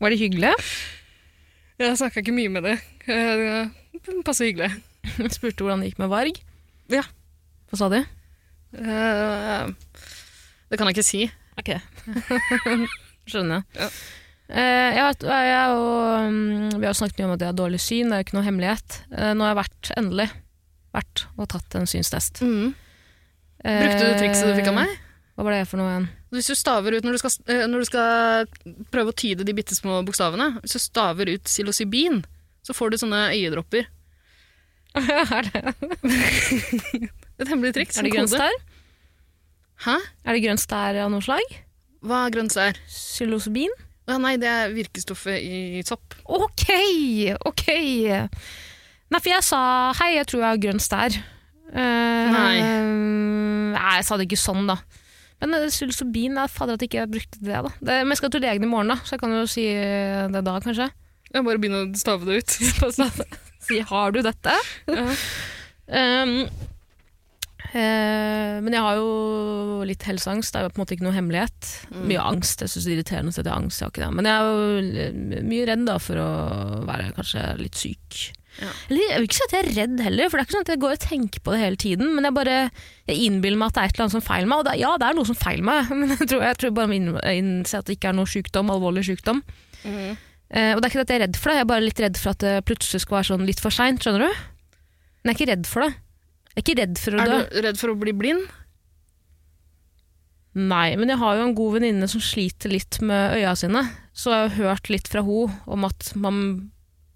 Speaker 1: Var de hyggelige?
Speaker 2: Jeg snakka ikke mye med det. Eh, Det passer hyggelig.
Speaker 1: Spurte hvordan det gikk med Varg.
Speaker 2: Ja.
Speaker 1: Hva sa de?
Speaker 2: Eh, Det kan jeg ikke si. [laughs]
Speaker 1: Ok. Skjønner.
Speaker 2: Ja.
Speaker 1: Eh, jeg, har- jeg og, mm, vi har jo snakket mye om at jeg har dårlig syn, det er jo ikke noe hemmelighet. Eh, nå har jeg vært, endelig vært og tatt en synstest.
Speaker 2: Brukte du
Speaker 1: Eh,
Speaker 2: trikset du fikk av meg?
Speaker 1: Hva var det for noe
Speaker 2: [laughs]
Speaker 1: igjen?
Speaker 2: Hvis du staver ut når du skal, eh, når du skal prøve å tyde de bitte små bokstavene, hvis du staver ut psilocybin, så får du sånne øyedropper.
Speaker 1: er det,
Speaker 2: Et hemmelig triks.
Speaker 1: er det
Speaker 2: en
Speaker 1: grønn
Speaker 2: kode.
Speaker 1: stær?
Speaker 2: Hæ?
Speaker 1: Er det grønn stær av noe slag?
Speaker 2: Hva er grønn stær?
Speaker 1: Psilocybin?
Speaker 2: Å, nei, det er virkestoffet i sopp.
Speaker 1: Ok, ok. Nei, for jeg sa hei, jeg tror jeg har grønn stær. Eh,
Speaker 2: Nei.
Speaker 1: Nei, jeg sa det ikke sånn, da. Men eh, psilocybin er fader at jeg ikke brukte det, da. Det, men jeg skal til legen i morgen, da, så jeg kan jo si eh, det da, kanskje.
Speaker 2: Jeg bare begynner å stave det ut.
Speaker 1: [laughs]
Speaker 2: sånn.
Speaker 1: si 'har du dette'?
Speaker 2: Ja.
Speaker 1: Um, eh, men jeg har jo litt helseangst. Det er jo på en måte ikke noe hemmelighet.
Speaker 2: Mm.
Speaker 1: Mye angst. Jeg syns det er irriterende at jeg har angst. Jeg har ikke det. Men jeg er jo l- mye redd da for å være kanskje litt syk.
Speaker 2: Ja.
Speaker 1: Eller jeg vil ikke si at jeg er redd heller, for det er ikke sånn at jeg går og tenker på det hele tiden. Men jeg bare jeg innbiller meg at det er et eller annet som feiler meg. Og det, er- ja, det er noe som feiler meg, [laughs] men jeg tror jeg, tror jeg bare må inn- innse at det ikke er noe sykdom, alvorlig sykdom.
Speaker 2: Mhm.
Speaker 1: Eh, og det er ikke det at jeg er redd for det, jeg er bare litt redd for at det plutselig skal være sånn litt for seint, skjønner du? Men jeg er ikke redd for det. Jeg er ikke redd for å dø.
Speaker 2: Er du redd for å bli blind?
Speaker 1: Nei, men jeg har jo en god venninne som sliter litt med øya sine, så jeg har hørt litt fra ho om at man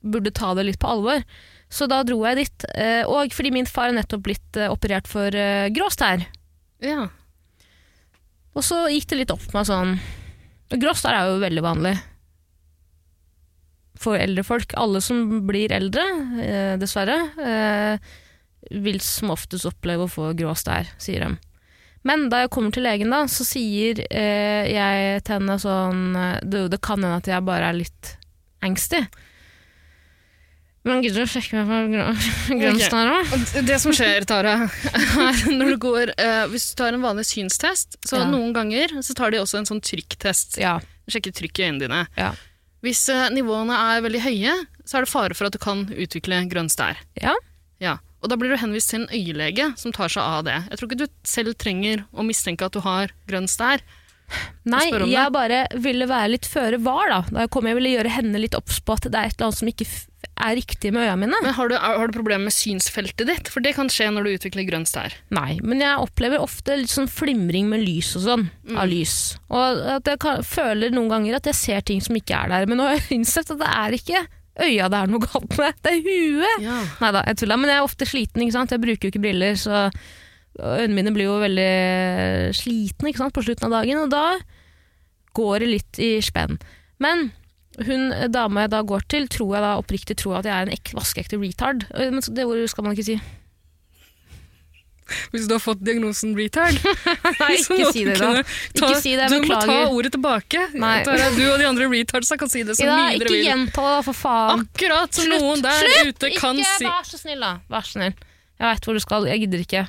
Speaker 1: burde ta det litt på alvor. Så da dro jeg dit, eh, og fordi min far er nettopp blitt eh, operert for eh, grå stær.
Speaker 2: Ja.
Speaker 1: Og så gikk det litt opp for meg sånn Grå stær er jo veldig vanlig for eldre folk. Alle som blir eldre, eh, dessverre, eh, vil som oftest oppleve å få grå stær, sier de. Men da jeg kommer til legen, da, så sier eh, jeg til henne sånn Du, det kan hende at jeg bare er litt angstig. Men gidder du å sjekke meg for grå- grønn
Speaker 2: Ok.
Speaker 1: stær òg?
Speaker 2: Og Det som skjer, Tara, [laughs] er når du går eh, Hvis du tar en vanlig synstest, så
Speaker 1: Ja.
Speaker 2: noen ganger så tar de også en sånn trykktest.
Speaker 1: Ja.
Speaker 2: Sjekker trykk i øynene dine.
Speaker 1: Ja.
Speaker 2: Hvis eh, nivåene er veldig høye, så er det fare for at du kan utvikle grønn stær.
Speaker 1: ja.
Speaker 2: Ja. Og da blir du henvist til en øyelege som tar seg av det. Jeg tror ikke du selv trenger å mistenke at du har grønn stær.
Speaker 1: Nei,
Speaker 2: spør om
Speaker 1: jeg bare ville være litt føre var da. Da jeg kom, jeg ville gjøre henne litt obs på at det er et eller annet som ikke f- er riktig med øya mine.
Speaker 2: Men har du, har du problemer med synsfeltet ditt? For det kan skje når du utvikler grønn stær.
Speaker 1: Nei, men jeg opplever ofte litt sånn flimring med lys og sånn, av lys. Og at jeg kan, føler noen ganger at jeg ser ting som ikke er der. Men nå har jeg innsett at det er ikke øya det er noe galt med, det er huet.
Speaker 2: Ja.
Speaker 1: Neida, jeg tuller, men jeg er ofte sliten, ikke sant? Jeg bruker jo ikke briller, så øynene mine blir jo veldig slitne ikke sant? på slutten av dagen, og da går det litt i spenn. Men hun eh, dama jeg da går til, tror jeg da oppriktig tror at jeg er en ek vaskeekte retard. Eh, Men så- det ordet skal man ikke si.
Speaker 2: Hvis du har fått diagnosen retard,
Speaker 1: [laughs] Nei, ikke si det da. Ikke si det,
Speaker 2: du må ta
Speaker 1: beklager.
Speaker 2: ordet tilbake.
Speaker 1: Nei.
Speaker 2: Tara, du og de andre retards kan si det
Speaker 1: [laughs]
Speaker 2: så
Speaker 1: Ja,
Speaker 2: mye dere
Speaker 1: ikke
Speaker 2: vil.
Speaker 1: gjenta det, da, for faen.
Speaker 2: Akkurat som
Speaker 1: Slutt,
Speaker 2: noen der
Speaker 1: slutt,
Speaker 2: ute kan
Speaker 1: ikke,
Speaker 2: si.
Speaker 1: vær så snill, da. Vær så snill. Jeg veit hvor du skal, jeg gidder ikke.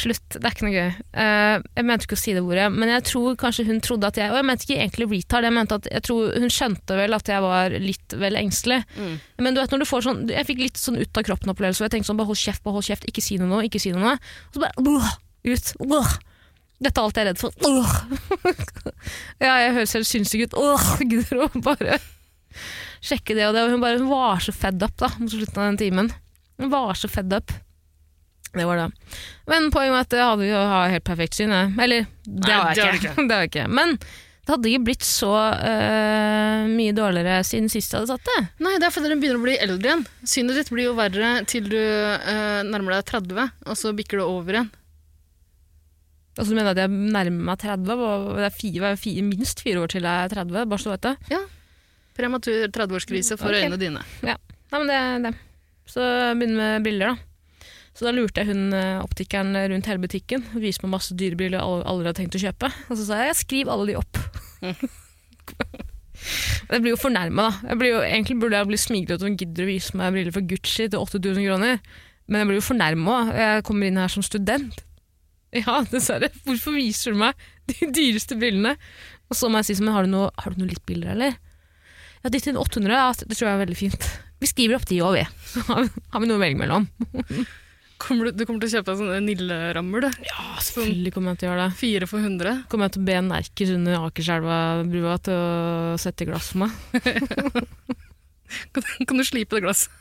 Speaker 1: Slutt, det er ikke noe gøy. Eh, jeg mente ikke å si det ordet, men jeg tror kanskje hun trodde at jeg Og jeg mente ikke egentlig retard, jeg mente at jeg tror hun skjønte vel at jeg var litt vel engstelig.
Speaker 2: Mm.
Speaker 1: Men du vet når du får sånn Jeg fikk litt sånn ut av kroppen-opplevelse, og jeg tenkte sånn bare hold kjeft, bare hold kjeft, ikke si noe nå, ikke si noe nå. Og så bare «Åh, ut. Åh. Dette er alt jeg er redd for. Åh. [laughs] ja, jeg høres helt sinnssyk ut. Åh, gidder å bare sjekke det og det. Og hun bare hun var så fed up da, mot slutten av den timen. Hun var så fed up. Det var det. Men poenget var at jeg hadde jo har helt perfekt syn. jeg. Eller, det
Speaker 2: Nei,
Speaker 1: har
Speaker 2: det
Speaker 1: jeg
Speaker 2: har du
Speaker 1: ikke. [laughs] det har jeg ikke. Men det hadde ikke blitt så øh, mye dårligere siden sist jeg hadde satt det.
Speaker 2: Nei, det er fordi dere begynner å bli eldre igjen. Synet ditt blir jo verre til du eh, nærmer deg 30, og så bikker det over igjen.
Speaker 1: Altså, du mener at jeg nærmer meg 30? og Det er fire, fire, minst fire år til jeg er 30, bare så du vet det.
Speaker 2: Prematur 30-årskrise for
Speaker 1: Ok.
Speaker 2: øynene dine.
Speaker 1: Nei, men det er det. Så jeg begynner med briller, da. Så da lurte jeg hun eh, optikeren rundt hele butikken og viste meg masse dyre briller jeg al- aldri hadde tenkt å kjøpe. Og så sa jeg 'skriv alle de opp'. jeg blir jo fornærma, da. Jeg blir jo, egentlig burde jeg bli smigrete og gidder å vise meg briller for Gucci til 8000 kroner. Men jeg blir jo fornærma òg. Jeg kommer inn her som student. Ja, dessverre. Hvorfor viser du meg de dyreste brillene? Og så må jeg si som, men har du noe, har du noe litt billigere, eller? Ja, ditt til 800, ja, det tror jeg er veldig fint. Vi skriver opp de òg, vi. [laughs] Så har vi- har vi noe å velge mellom.
Speaker 2: Kommer du, du kommer til å kjøpe deg sånne Nille-rammer, du.
Speaker 1: Ja, selvfølgelig kommer jeg til å gjøre det.
Speaker 2: Fire for 100.
Speaker 1: Kommer jeg til å be Nerkis under Akerselva-brua til å sette glass for meg?
Speaker 2: Kan, kan du slipe det glasset?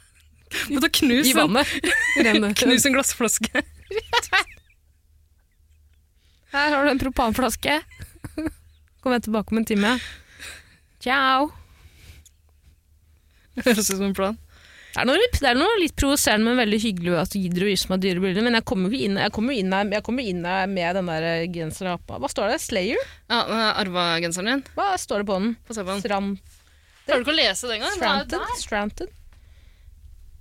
Speaker 2: Men da knus
Speaker 1: [laughs] I
Speaker 2: en,
Speaker 1: vannet. Renne.
Speaker 2: knus en [laughs] glassflaske.
Speaker 1: Her har du en propanflaske. Kommer jeg tilbake om en time. Ciao.
Speaker 2: Høres ut som en plan.
Speaker 1: Det er noe litt, det er noe litt provoserende, men veldig hyggelig at du gidder å vise meg dyre bilder. Men jeg kommer jo ikke inn, jeg kommer jo inn, her- jeg kommer jo inn her med den der eh, genseren oppe. Hva står det? Slayer?
Speaker 2: Ja, eh, Arva-genseren din.
Speaker 1: Hva står det på den?
Speaker 2: Få se på den.
Speaker 1: Stram,
Speaker 2: Klarer du ikke å lese den engang? Den er jo
Speaker 1: Stranted?
Speaker 2: der.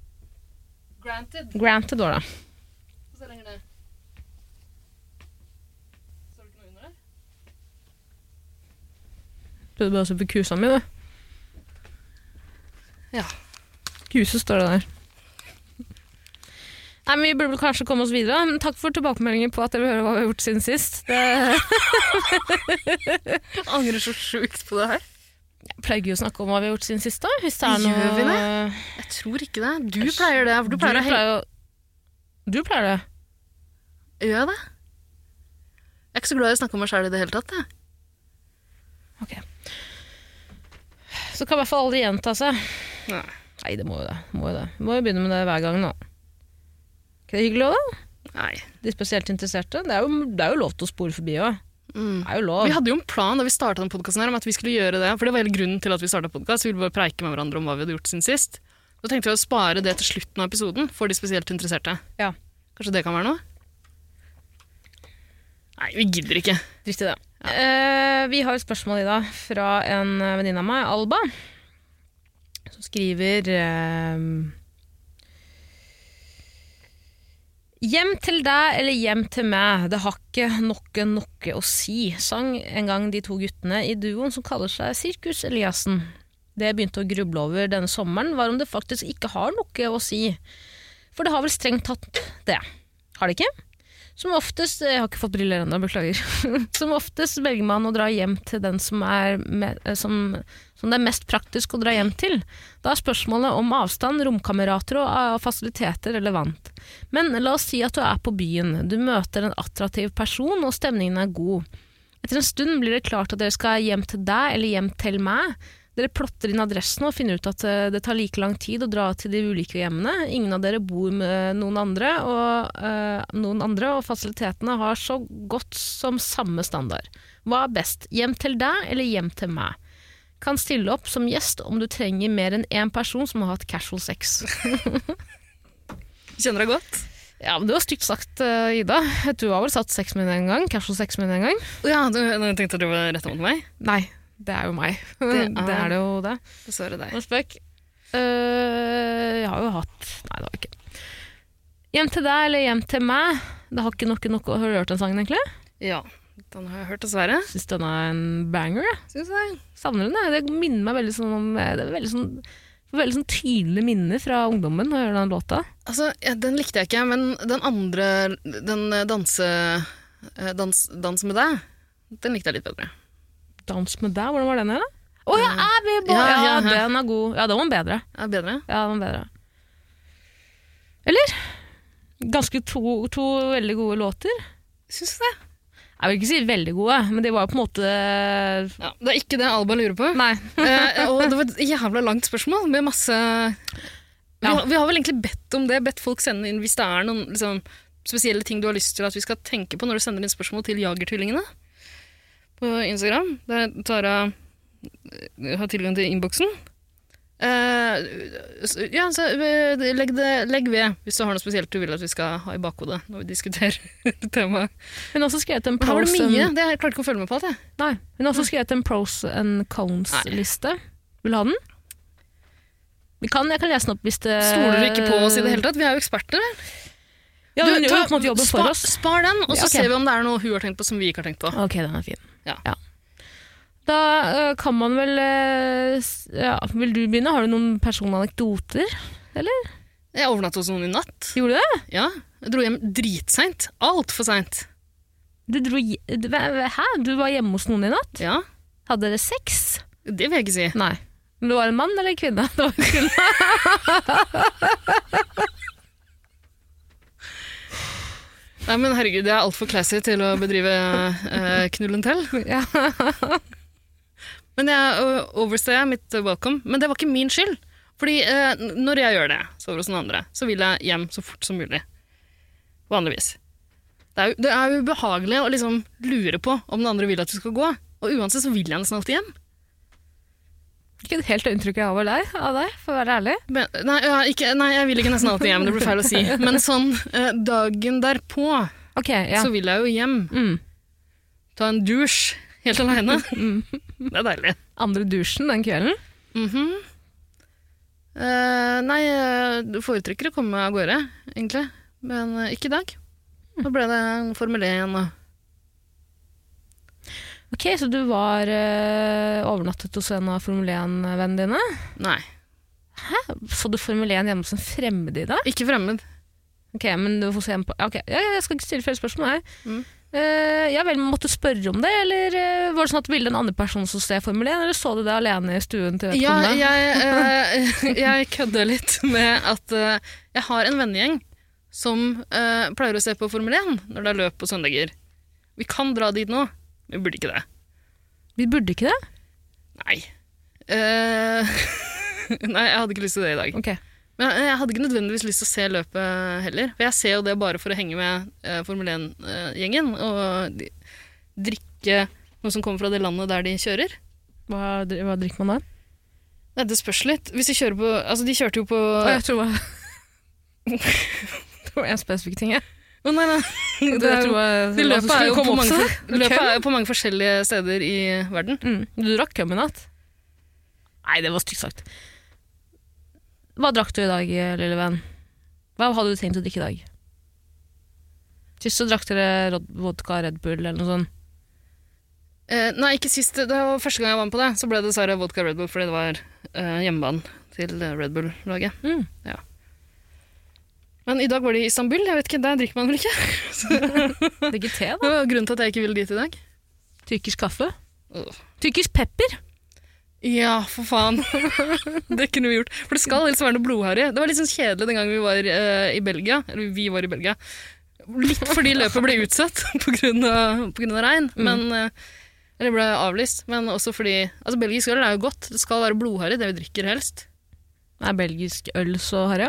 Speaker 1: Stranted?
Speaker 2: Granted.
Speaker 1: Granted, var det.
Speaker 2: Få se lenger ned. Står det ikke noe under der?
Speaker 1: Prøvde bare å se på kusa mi, du.
Speaker 2: Ja.
Speaker 1: Kuse står det der. Nei, men Vi burde vel kanskje komme oss videre. Men takk for tilbakemeldinger på at dere vil høre hva vi har gjort siden sist. [laughs] Det jeg
Speaker 2: Jeg angrer så sjukt på det her.
Speaker 1: pleier jo å snakke om hva vi har gjort siden sist. da. Hvis det er noe...
Speaker 2: Gjør vi Jeg tror ikke det. Du pleier det. For du
Speaker 1: Du
Speaker 2: pleier å henge
Speaker 1: pleier jo... Du pleier det.
Speaker 2: Gjør jeg det? Jeg er ikke så glad i å snakke om meg sjæl i det hele tatt. Jeg.
Speaker 1: Så kan i hvert fall aldri gjenta seg.
Speaker 2: Nei.
Speaker 1: Nei, det må jo det. Må jo det. Må jo begynne med det hver gang nå. Ikke det hyggelig òg, da?
Speaker 2: Nei.
Speaker 1: De spesielt interesserte. Det er jo, det er jo lov til å spore forbi òg.
Speaker 2: Mm.
Speaker 1: Det er jo lov.
Speaker 2: Vi hadde jo en plan da vi starta podkasten her om at vi skulle gjøre det. For det var hele grunnen til at vi starta podkast. Vi ville bare preike med hverandre om hva vi hadde gjort siden sist. Da tenkte vi å spare det til slutten av episoden for de spesielt interesserte.
Speaker 1: Ja.
Speaker 2: Kanskje det kan være noe? Nei, vi gidder ikke.
Speaker 1: Drit i det. Eh, vi har et spørsmål i dag fra en eh, venninne av meg, Alba, som skriver eh, Hjem til deg eller hjem til meg, det har ikke noe noe å si, sang en gang de to guttene i duoen som kaller seg Sirkus Eliassen. Det jeg begynte å gruble over denne sommeren, var om det faktisk ikke har noe å si. For det har vel strengt tatt det. Har det ikke? Som oftest Jeg har ikke fått briller ennå, beklager. [laughs] Som oftest velger man å dra hjem til den som, er me- eh, som, som det er mest praktisk å dra hjem til. Da er spørsmålet om avstand, romkamerater og eh, fasiliteter relevant. Men la oss si at du er på byen. Du møter en attraktiv person, og stemningen er god. Etter en stund blir det klart at dere skal hjem til deg eller hjem til meg. Dere plotter inn adressen og finner ut at eh, det tar like lang tid å dra til de ulike hjemmene. Ingen av dere bor med noen andre, og, eh, noen andre, og fasilitetene har så godt som samme standard. Hva er best, hjem til deg eller hjem til meg? Kan stille opp som gjest om du trenger mer enn én person som har hatt casual sex.
Speaker 2: Kjenner deg godt?
Speaker 1: Ja, men Det var stygt sagt, eh, Ida. Du har vel satt sex med henne en gang? Casual sex med henne en gang?
Speaker 2: Å Ja, du, jeg tenkte at du var retta mot meg.
Speaker 1: Nei, det er jo meg. [laughs] Det
Speaker 2: Det
Speaker 1: er
Speaker 2: er-
Speaker 1: det, jo det.
Speaker 2: Dessverre deg.
Speaker 1: Nå spøk. Eh, jeg har jo hatt Nei, det var ikke Hjem til deg eller hjem til meg. Det har ikke noe, noe Har du hørt den sangen, egentlig?
Speaker 2: Ja, den har jeg hørt, dessverre.
Speaker 1: Syns den er en banger. jeg.
Speaker 2: Syns jeg.
Speaker 1: Savner den. jeg. Det minner meg veldig sånn om eh, Det er veldig sånn Veldig sånn tydelige minner fra ungdommen når jeg hører den låta.
Speaker 2: Altså, ja, den likte jeg ikke, men den andre, den eh, danse, eh, dans, dans med deg, den likte jeg litt bedre.
Speaker 1: Dans med deg, hvordan var den igjen? da? Å ja, jeg vil bare
Speaker 2: Ja,
Speaker 1: ja,
Speaker 2: ja, ja.
Speaker 1: den er god. Ja, den var bedre.
Speaker 2: Ja, bedre.
Speaker 1: Ja, den var bedre. Eller? Ganske to, to veldig gode låter.
Speaker 2: Syns du det?
Speaker 1: Jeg vil ikke si veldig gode, men de var jo på en måte
Speaker 2: Ja, det er ikke det Alba lurer på.
Speaker 1: Nei.
Speaker 2: eh, og det var et jævla langt spørsmål med masse vi,
Speaker 1: Ja.
Speaker 2: har, vi har vel egentlig bedt om det, bedt folk sende inn hvis det er noen liksom, spesielle ting du har lyst til at vi skal tenke på når du sender inn spørsmål til Jagertvillingene på Instagram, der Tara eh, har tilgang til innboksen. Eh, så- ja, så eh, legg, det, legg ved hvis du har noe spesielt du vil at vi skal ha i bakhodet når vi diskuterer [laughs] temaet.
Speaker 1: Hun har også skrevet en
Speaker 2: Her var det
Speaker 1: pros
Speaker 2: mye.
Speaker 1: and,
Speaker 2: Det jeg klarte ikke å følge med på alt, jeg.
Speaker 1: nei, hun har også skrevet en pros and cons-liste. Vil du ha den? Vi kan, jeg kan lese den opp hvis det
Speaker 2: Stoler du ikke på oss i det hele tatt? Vi er jo eksperter.
Speaker 1: Ja,
Speaker 2: Du,
Speaker 1: hun gjør jo
Speaker 2: ta-
Speaker 1: på en måte jobben
Speaker 2: spar-
Speaker 1: for oss.
Speaker 2: Spar den, og så
Speaker 1: Ja, ok.
Speaker 2: ser vi om det er noe hun har tenkt på som vi ikke har tenkt på.
Speaker 1: Ok, den er fin.
Speaker 2: Ja.
Speaker 1: Da øh, kan man vel øh, s- ja, Vil du begynne? Har du noen personanekdoter?
Speaker 2: Jeg overnattet hos noen i natt.
Speaker 1: Gjorde du det?
Speaker 2: Ja, jeg dro hjem dritseint. Altfor seint.
Speaker 1: Du dro, hje- du- hva- hva- hæ? Du var hjemme hos noen i natt?
Speaker 2: Ja,
Speaker 1: Hadde dere sex?
Speaker 2: det vil jeg ikke si.
Speaker 1: Nei. Men du var en mann eller en kvinne? [laughs] Det var en kvinne.
Speaker 2: Nei, men herregud, jeg er altfor classy til å bedrive eh, knullen til.
Speaker 1: Ja.
Speaker 2: Men jeg ø, overstay mitt eh, welcome. Men det var ikke min skyld. Fordi eh, n- når jeg gjør det, sover hos noen andre, så vil jeg hjem så fort som mulig. Vanligvis. Det er, jo- det er jo ubehagelig å liksom lure på om den andre vil at du skal gå. Og uansett så vil jeg nesten alltid hjem.
Speaker 1: Ikke helt det inntrykket jeg har av deg, av deg, for å være ærlig.
Speaker 2: Men, nei, ja, ikke, nei, jeg vil ikke nesten alltid hjem. Det blir feil å si. Men sånn eh, dagen derpå,
Speaker 1: Ok, ja.
Speaker 2: så vil jeg jo hjem.
Speaker 1: Mm.
Speaker 2: Ta en dusj helt aleine. Det er deilig.
Speaker 1: Andre dusjen den kvelden.
Speaker 2: Mhm. Eh, nei, eh, du foretrekker å komme av gårde, egentlig. Men eh, ikke i dag. Da ble det en Formel 1 og
Speaker 1: Ok, Så du var øh, overnattet hos en av Formel 1-vennene dine?
Speaker 2: Nei,
Speaker 1: Så du Formel 1 hjemme hos en fremmed i dag?
Speaker 2: ikke fremmed.
Speaker 1: Ok, men du får se en på Ok, ja, Jeg skal ikke stille flere spørsmål her.
Speaker 2: Mm.
Speaker 1: Eh, ja vel, måtte spørre om det, eller eh, var det sånn at du ville en annen person som ser Formel 1, eller så du det alene i stuen til
Speaker 2: Ja,
Speaker 1: vedkommende?
Speaker 2: jeg, eh, jeg kødda litt med at eh, jeg har en vennegjeng som eh, pleier å se på Formel 1 når det er løp på søndager. Vi kan dra dit nå. Vi burde ikke det.
Speaker 1: Vi burde ikke det?
Speaker 2: Nei. Eh, [laughs] nei, jeg hadde ikke lyst til det i dag.
Speaker 1: Ok.
Speaker 2: Men eh, jeg jeg hadde ikke nødvendigvis lyst til å se løpet heller. For jeg ser jo det bare for å henge med eh, Formel 1-gjengen og de- drikke noe som kommer fra det landet der de kjører.
Speaker 1: Hva, dri- hva drikker man da?
Speaker 2: Nei, det spørs litt. Hvis de kjører på Altså, de kjørte jo på
Speaker 1: Å,
Speaker 2: Å
Speaker 1: jeg tror det var [laughs] Det var en spesifikk ting, jeg.
Speaker 2: nei, nei.
Speaker 1: Det,
Speaker 2: Det er
Speaker 1: tror
Speaker 2: jo-
Speaker 1: jeg
Speaker 2: de løpet er jo på mange, for-
Speaker 1: Løpet
Speaker 2: løpet er jo på mange forskjellige steder i verden.
Speaker 1: mm. Du drakk køm i natt? Nei, det var stygt sagt. Hva drakk du i dag, eh, lille venn? Hva hadde du tenkt å drikke i dag? Sist så drakk dere rod- vodka Red Bull eller noe [laughs] sånt.
Speaker 2: Eh, nei, ikke sist. Det var første gang jeg var med på det. Så ble det dessverre vodka Red Bull fordi det var eh, hjemmebanen til eh, Red Bull-laget.
Speaker 1: Mm.
Speaker 2: Ja. Men i dag var det i Istanbul. Jeg vet ikke, Der drikker man vel ikke?
Speaker 1: Det er ikke te, da.
Speaker 2: Det var [laughs] grunnen til at jeg ikke ville dit i dag.
Speaker 1: Tyrkisk kaffe.
Speaker 2: Åh.
Speaker 1: Tyrkisk pepper.
Speaker 2: Ja, for faen. [laughs] det kunne vi gjort. For det skal helst være noe blodharry. Det var litt sånn kjedelig den gangen vi var eh, i Belgia. Eller vi var i Belgia. Litt fordi løpet ble utsatt [laughs] pga. regn. Men, eh, eller ble avlyst. Men også fordi altså Belgisk øl er jo godt. Det skal være blodharry, det vi drikker helst.
Speaker 1: Er belgisk øl så harry?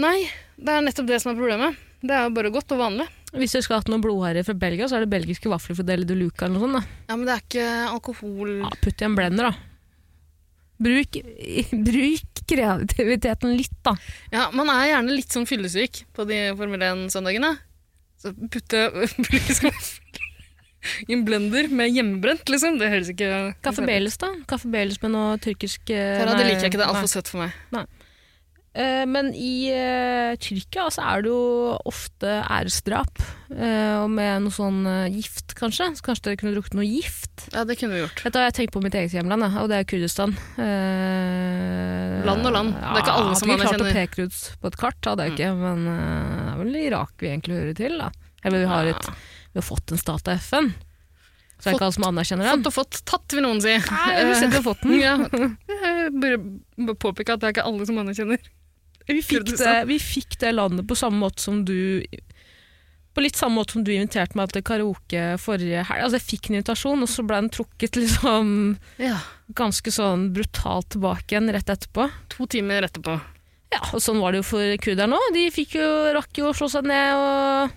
Speaker 2: Nei, det er nettopp det som er problemet. Det er jo bare godt og vanlig.
Speaker 1: Hvis dere skulle hatt noe blodharry fra Belgia, så er det belgiske vafler fra Deli de Luca eller noe sånt. Da.
Speaker 2: Ja, Men det er ikke alkohol
Speaker 1: Ja, putt i en blender, da. Bruk, [laughs] bruk kreativiteten litt, da.
Speaker 2: Ja, Man er gjerne litt sånn fyllesyk på de Formel 1-søndagene. Så putte [laughs] i en blender med hjemmebrent, liksom. Det høres ikke
Speaker 1: Kaffe Baileys, da. Kaffe Baileys med noe tyrkisk eh,
Speaker 2: Tara, det
Speaker 1: nei,
Speaker 2: liker jeg ikke. Det er
Speaker 1: nei.
Speaker 2: altfor søtt for meg.
Speaker 1: Eh, Men i eh, Tyrkia så er det jo ofte æresdrap, eh, og med noe sånn eh, gift, kanskje. Så kanskje dere kunne drukket noe gift?
Speaker 2: Ja, det kunne vi gjort.
Speaker 1: Dette har jeg tenkt på mitt eget hjemland, jeg, og det er Kurdistan. Eh,
Speaker 2: Land og land. Det er Mm. ikke alle som
Speaker 1: Hadde ikke klart
Speaker 2: anerkjenner.
Speaker 1: å peke ut på et kart, hadde jeg ikke, men eh, det er vel Irak vi egentlig hører til. Da. Eller vi har, et, vi har fått en stat av FN, så det er
Speaker 2: Fått-
Speaker 1: ikke alle som anerkjenner den.
Speaker 2: Fått og fått tatt, vil noen si.
Speaker 1: Nei, jeg vil si at vi har fått den.
Speaker 2: [laughs] ja. Jeg Bare bare påpeke at det er ikke alle som anerkjenner.
Speaker 1: Vi fikk, det,
Speaker 2: Kurdistan.
Speaker 1: vi fikk det landet på samme måte som du På litt samme måte som du inviterte meg til karaoke forrige helg. Altså, jeg fikk en invitasjon, og så ble den trukket liksom
Speaker 2: Ja.
Speaker 1: ganske sånn brutalt tilbake igjen rett etterpå.
Speaker 2: To timer etterpå.
Speaker 1: Ja, og sånn var det jo for kurderne òg. De fikk jo, rakk jo å slå seg ned og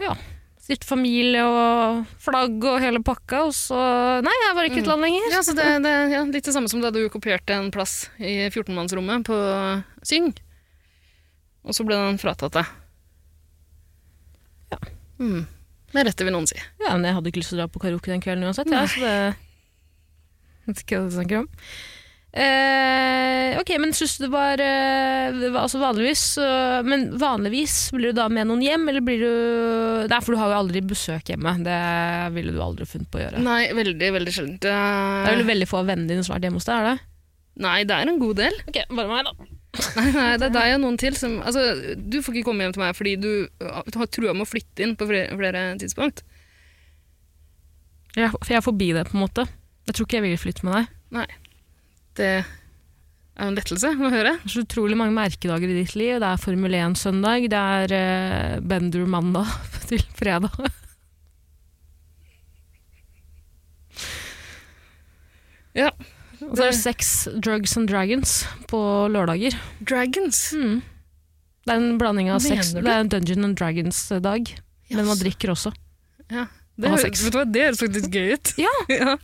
Speaker 1: Ja. Stifte familie og flagg og hele pakka, og så Nei, jeg var ikke i et land lenger.
Speaker 2: Ja, så det, det er ja, litt det samme som da du kopierte en plass i 14-mannsrommet på Syng. Og så ble den fratatt deg.
Speaker 1: Ja.
Speaker 2: Mm. Det retter vi noen si.
Speaker 1: Ja, men jeg hadde ikke lyst til å dra på karaoke den kvelden uansett. Ja, så det [laughs] vet ikke hva du snakker om. Eh, ok, men synes du det var eh, det var- Altså vanligvis så- Men vanligvis blir du da med noen hjem, eller blir du Nei, for du har jo aldri besøk hjemme. Det ville du aldri funnet på å gjøre.
Speaker 2: Nei, veldig, veldig sjeldent.
Speaker 1: Det er vel
Speaker 2: Det-
Speaker 1: veldig få av vennene dine som har vært hjemme hos deg? er det?
Speaker 2: Nei, det er en god del. [laughs]
Speaker 1: Ok, bare meg da
Speaker 2: Nei, nei, det er deg og noen til som Altså, du får ikke komme hjem til meg fordi du uh, har trua med å flytte inn på flere, flere tidspunkt.
Speaker 1: jeg, For jeg er forbi det, på en måte. Jeg tror ikke jeg vil flytte med deg.
Speaker 2: Det er jo en lettelse å høre.
Speaker 1: Det er så utrolig mange merkedager i ditt liv. Det er Formel 1 søndag, det er eh, Bender mandag [laughs] til fredag.
Speaker 2: Ja.
Speaker 1: Og så er det sex, drugs and dragons på lørdager.
Speaker 2: Dragons.
Speaker 1: Mm. Det er en blanding av sex.
Speaker 2: Mener
Speaker 1: Det
Speaker 2: du?
Speaker 1: er en Dungeon and Dragons-dag. Men man drikker også.
Speaker 2: Ja.
Speaker 1: Og
Speaker 2: Det,
Speaker 1: ha
Speaker 2: hø-
Speaker 1: sex.
Speaker 2: vet du hva, det høres faktisk gøy ut.
Speaker 1: Ja.
Speaker 2: [laughs] ja.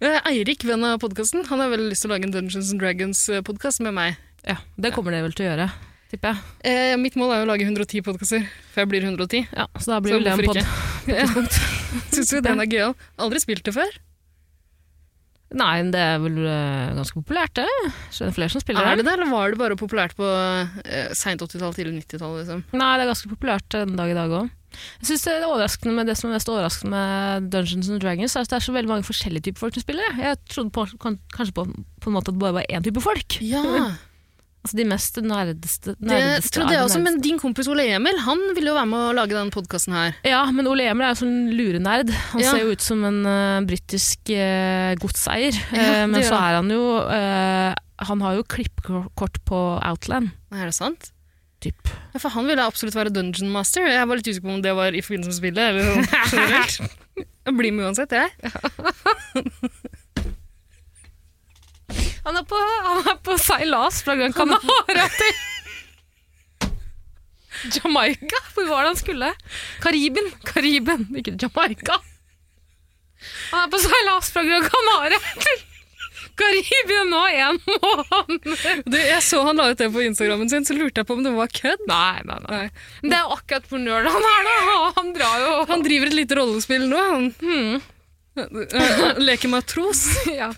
Speaker 2: Eh, Eirik, venn av podkasten, han har veldig lyst til å lage en Dungeons and Dragons-podkast med meg.
Speaker 1: Ja, Det kommer det vel til å gjøre, tipper jeg.
Speaker 2: Eh, mitt mål er jo å lage 110 podkaster, for jeg blir 110.
Speaker 1: Ja, så da
Speaker 2: Så
Speaker 1: blir vel det en
Speaker 2: hvorfor
Speaker 1: [laughs] pod.
Speaker 2: [laughs] Syns du den er gøyal? Aldri spilt det før.
Speaker 1: Nei, men det er vel eh, ganske populært, det. Så det er flere som spiller
Speaker 2: Er
Speaker 1: det.
Speaker 2: det det, eller var det bare populært på eh, seint 80-tall, tidlig 90-tall? Liksom?
Speaker 1: Nei, det er ganske populært den dag i dag òg. Jeg synes det, er overraskende med det som er mest overraskende med Dungeons and Dragons, er at det er så veldig mange forskjellige typer folk som spiller. det. Jeg trodde på, kan, kanskje på, på en måte at det bare var én type folk.
Speaker 2: [laughs] Ja,
Speaker 1: Altså de mest nerdeste,
Speaker 2: det
Speaker 1: nerdeste av
Speaker 2: trodde
Speaker 1: de
Speaker 2: jeg også,
Speaker 1: nerdeste.
Speaker 2: men din kompis Ole Emil han ville jo være med å lage den podkasten her.
Speaker 1: Ja, men Ole Emil er jo sånn lurenerd. Han
Speaker 2: Ja.
Speaker 1: ser jo ut som en uh, britisk eh, godseier. Eh,
Speaker 2: det
Speaker 1: men
Speaker 2: gjør
Speaker 1: så er han jo eh, Han har jo klippekort på Outland,
Speaker 2: Nei, Er det sant?
Speaker 1: typ.
Speaker 2: Ja, for han ville absolutt være dungeon master. Jeg var litt usikker på om det var i forbindelse med spillet. Eller sånn [laughs] generelt. Jeg blir med uansett, jeg.
Speaker 1: Han er på, han er på seilas fra Gran Canaria til Jamaica? Hvor var det han skulle? Kariben. Kariben, ikke Jamaica. Han er på seilas fra Gran Canaria til Karibien nå en måned.
Speaker 2: Du, jeg så han la ut det på Instagrammen sin, så lurte jeg på om det var kødd.
Speaker 1: Nei, nei, nei.
Speaker 2: Nei.
Speaker 1: Men Det er jo akkurat hvor nerd han er, da. Han drar jo
Speaker 2: Han driver et lite rollespill nå, han. Eh, [laughs] Leker matros.
Speaker 1: ja.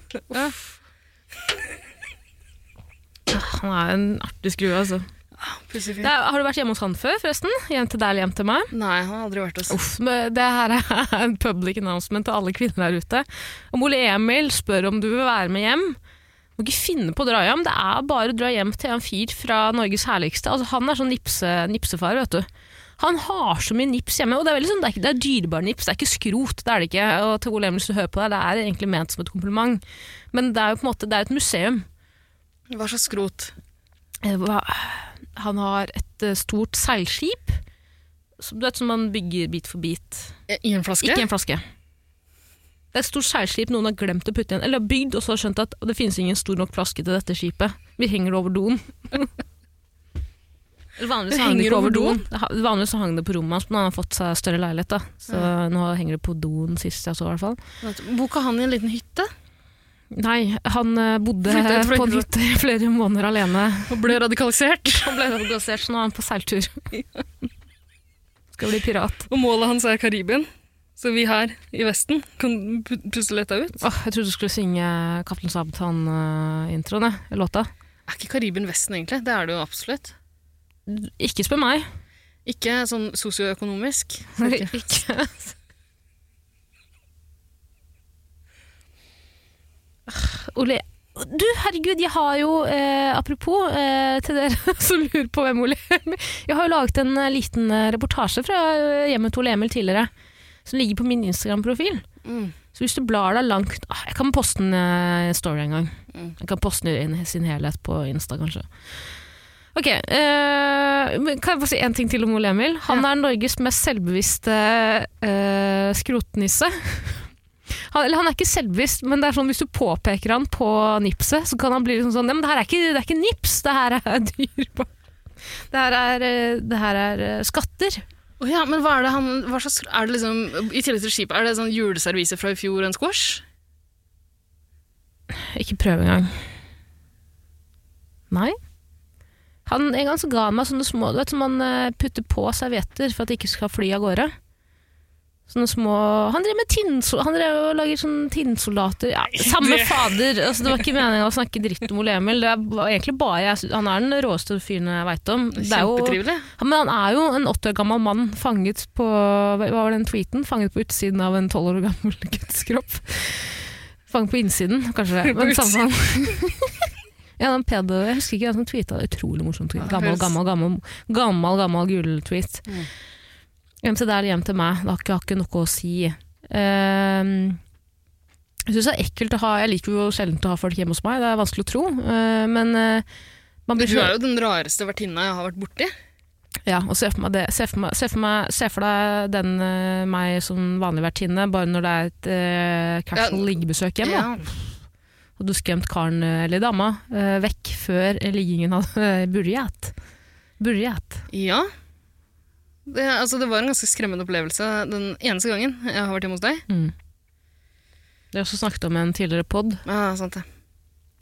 Speaker 1: Han er en artig skrue, altså.
Speaker 2: Pussig
Speaker 1: Det
Speaker 2: fyr.
Speaker 1: er, har du vært hjemme hos han før, forresten? Hjem til deg eller hjem til meg?
Speaker 2: Nei, han har aldri vært hos
Speaker 1: Uff, men det her er en public announcement til alle kvinner der ute. Om Ole Emil spør om du vil være med hjem, må ikke finne på å dra hjem. Det er bare å dra hjem til en fyr fra Norges herligste. Altså, han er sånn nipse, nipsefar, vet du. Han har så mye nips hjemme, og det er, veldig sånn, det er, ikke, det er dyrebar nips, det er ikke skrot. Det er det ikke. Og til Ole Emil, hvis du hører på det, det er egentlig ment som et kompliment. Men det er jo på en måte, det er et museum.
Speaker 2: Hva slags skrot?
Speaker 1: Eh, hva- Han har et eh, stort seilskip, som, du vet, som man bygger bit for bit.
Speaker 2: Eh, I en flaske?
Speaker 1: Ikke en flaske. Det er et stort seilskip noen har glemt å putte igjen, eller har bygd og så har skjønt at det finnes ingen stor nok flaske til dette skipet. Vi henger det over doen. Eller [laughs] vanligvis
Speaker 2: Det
Speaker 1: hang det
Speaker 2: henger
Speaker 1: ikke
Speaker 2: over
Speaker 1: over doen. Det ha- Vanligvis så hang det på rommet hans, men han har fått seg større leilighet. da. Så nå henger det på doen sist jeg så, i hvert fall.
Speaker 2: Bor ikke han i en liten hytte?
Speaker 1: Nei, han eh, [laughs] bodde
Speaker 2: Flyttet fra
Speaker 1: på en
Speaker 2: hytta.
Speaker 1: hytte i flere måneder alene.
Speaker 2: Og ble radikalisert?
Speaker 1: [laughs] Han ble radikalisert, så nå er han på [laughs] seiltur. Skal bli pirat.
Speaker 2: Og målet hans er Karibien. Så vi her i Vesten kan pu- puste letta ut.
Speaker 1: Åh, jeg trodde du skulle synge Kaptein Sabeltann-introen, eh, jeg. Låta.
Speaker 2: Er ikke Karibien Vesten, egentlig? Det er det jo absolutt.
Speaker 1: Ikke spør meg.
Speaker 2: Ikke sånn sosioøkonomisk.
Speaker 1: Ikke. altså. Ah, Ole Du, herregud, jeg har jo eh, Apropos eh, til dere [laughs] som lurer på hvem Ole Emil Jeg har jo laget en eh, liten eh, reportasje fra eh, hjemmet til Ole Emil tidligere. Som ligger på min Instagram-profil.
Speaker 2: Mm.
Speaker 1: Så hvis du blar deg langt ah, Jeg kan poste en eh, story en gang.
Speaker 2: Mm.
Speaker 1: Jeg kan poste den i sin helhet på Insta, kanskje. Ok, eh, men Kan jeg bare si én ting til om Ole Emil? Han er Norges mest selvbevisste eh, skrotnisse. [laughs] han, eller han er ikke selvbevisst, men det er sånn hvis du påpeker han på nipset, så kan han bli liksom sånn Ja, men det her er ikke, det er ikke nips, det her er [laughs] dyr Det her er, eh, det her er eh, skatter.
Speaker 2: Å ja, men hva er det han hva slags, er det liksom, I tillegg til skipet, er det sånn juleservise fra i fjor og en squash?
Speaker 1: Ikke prøv engang. Nei. Han, en gang så ga han meg sånne små du vet, som man eh, putter på servietter for at det ikke skal fly av gårde. Sånne små Han drev med tinnso, han drev og lager sånne tinnsoldater ja, Samme fader! Altså, det var ikke meninga å snakke dritt om Ole Emil. Det var egentlig bare jeg, sy- Han er den råeste fyren jeg veit om. Det er jo,
Speaker 2: Kjempetrivelig.
Speaker 1: Ja, men han er jo en åtte år gammel mann fanget på Hva var den tweeten? Fanget på utsiden av en tolv år gammel [laughs] gutts kropp. Fanget på innsiden, kanskje. det, Men
Speaker 2: [laughs] På
Speaker 1: samme [laughs] Ja, den pedo, jeg husker ikke hvem som tweeta. Utrolig morsom tweet.
Speaker 2: Ja,
Speaker 1: Gammel,
Speaker 2: høres-
Speaker 1: gammel, gammel, gammel, gammel gul-tweet.
Speaker 2: Mm.
Speaker 1: Hjem til deg, hjem til meg. Det har ikke, har ikke noe å si. Ehm, jeg synes det er ekkelt å ha Jeg liker jo sjelden å ha folk hjemme hos meg, det er vanskelig å tro. eh, men eh, man
Speaker 2: Du
Speaker 1: blir
Speaker 2: er jo den rareste vertinna jeg har vært borti.
Speaker 1: Ja, og se for, meg det, se, for meg, se, for meg, se for deg den eh, meg som vanlig vertinne, bare når det er et eh, casual
Speaker 2: Ja.
Speaker 1: liggebesøk hjemme.
Speaker 2: Ja.
Speaker 1: Da. Og du skremt karen eh, eller dama eh, vekk før liggingen hadde eh, burjet. Burjet.
Speaker 2: Ja. Det, altså, det var en ganske skremmende opplevelse den eneste gangen jeg har vært hjemme hos deg.
Speaker 1: Mm. Det har jeg også snakket om i en tidligere pod.
Speaker 2: Ja, sant det.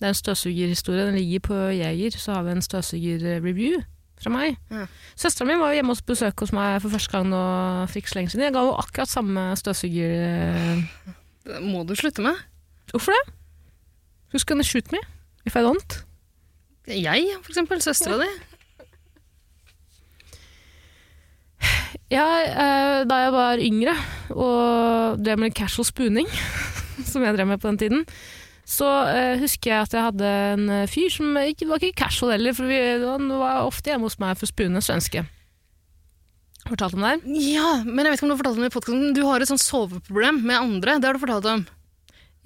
Speaker 1: Det er en støvsugerhistorie. Den ligger på Jeger. Så har vi en støvsugerreview fra meg.
Speaker 2: Ja.
Speaker 1: Søstera mi var jo hjemme hos besøk hos meg for første gang nå for ikke så lenge siden. Jeg ga henne akkurat samme støvsuger... eh,
Speaker 2: Det må du slutte med.
Speaker 1: Hvorfor det? Who's gonna shoot me if I don't?
Speaker 2: Jeg, for eksempel. Søstera di.
Speaker 1: Ja, eh, da jeg var yngre og drev med casual spooning, [laughs] som jeg drev med på den tiden, så eh, husker jeg at jeg hadde en eh, fyr som ikke, var ikke casual heller, for vi, han var ofte hjemme hos meg for å spune svenske. Fortalte om det her?
Speaker 2: Ja, men jeg vet ikke om du har fortalt om det i podcasten. Du har et sånn soveproblem med andre. Det har du fortalt om.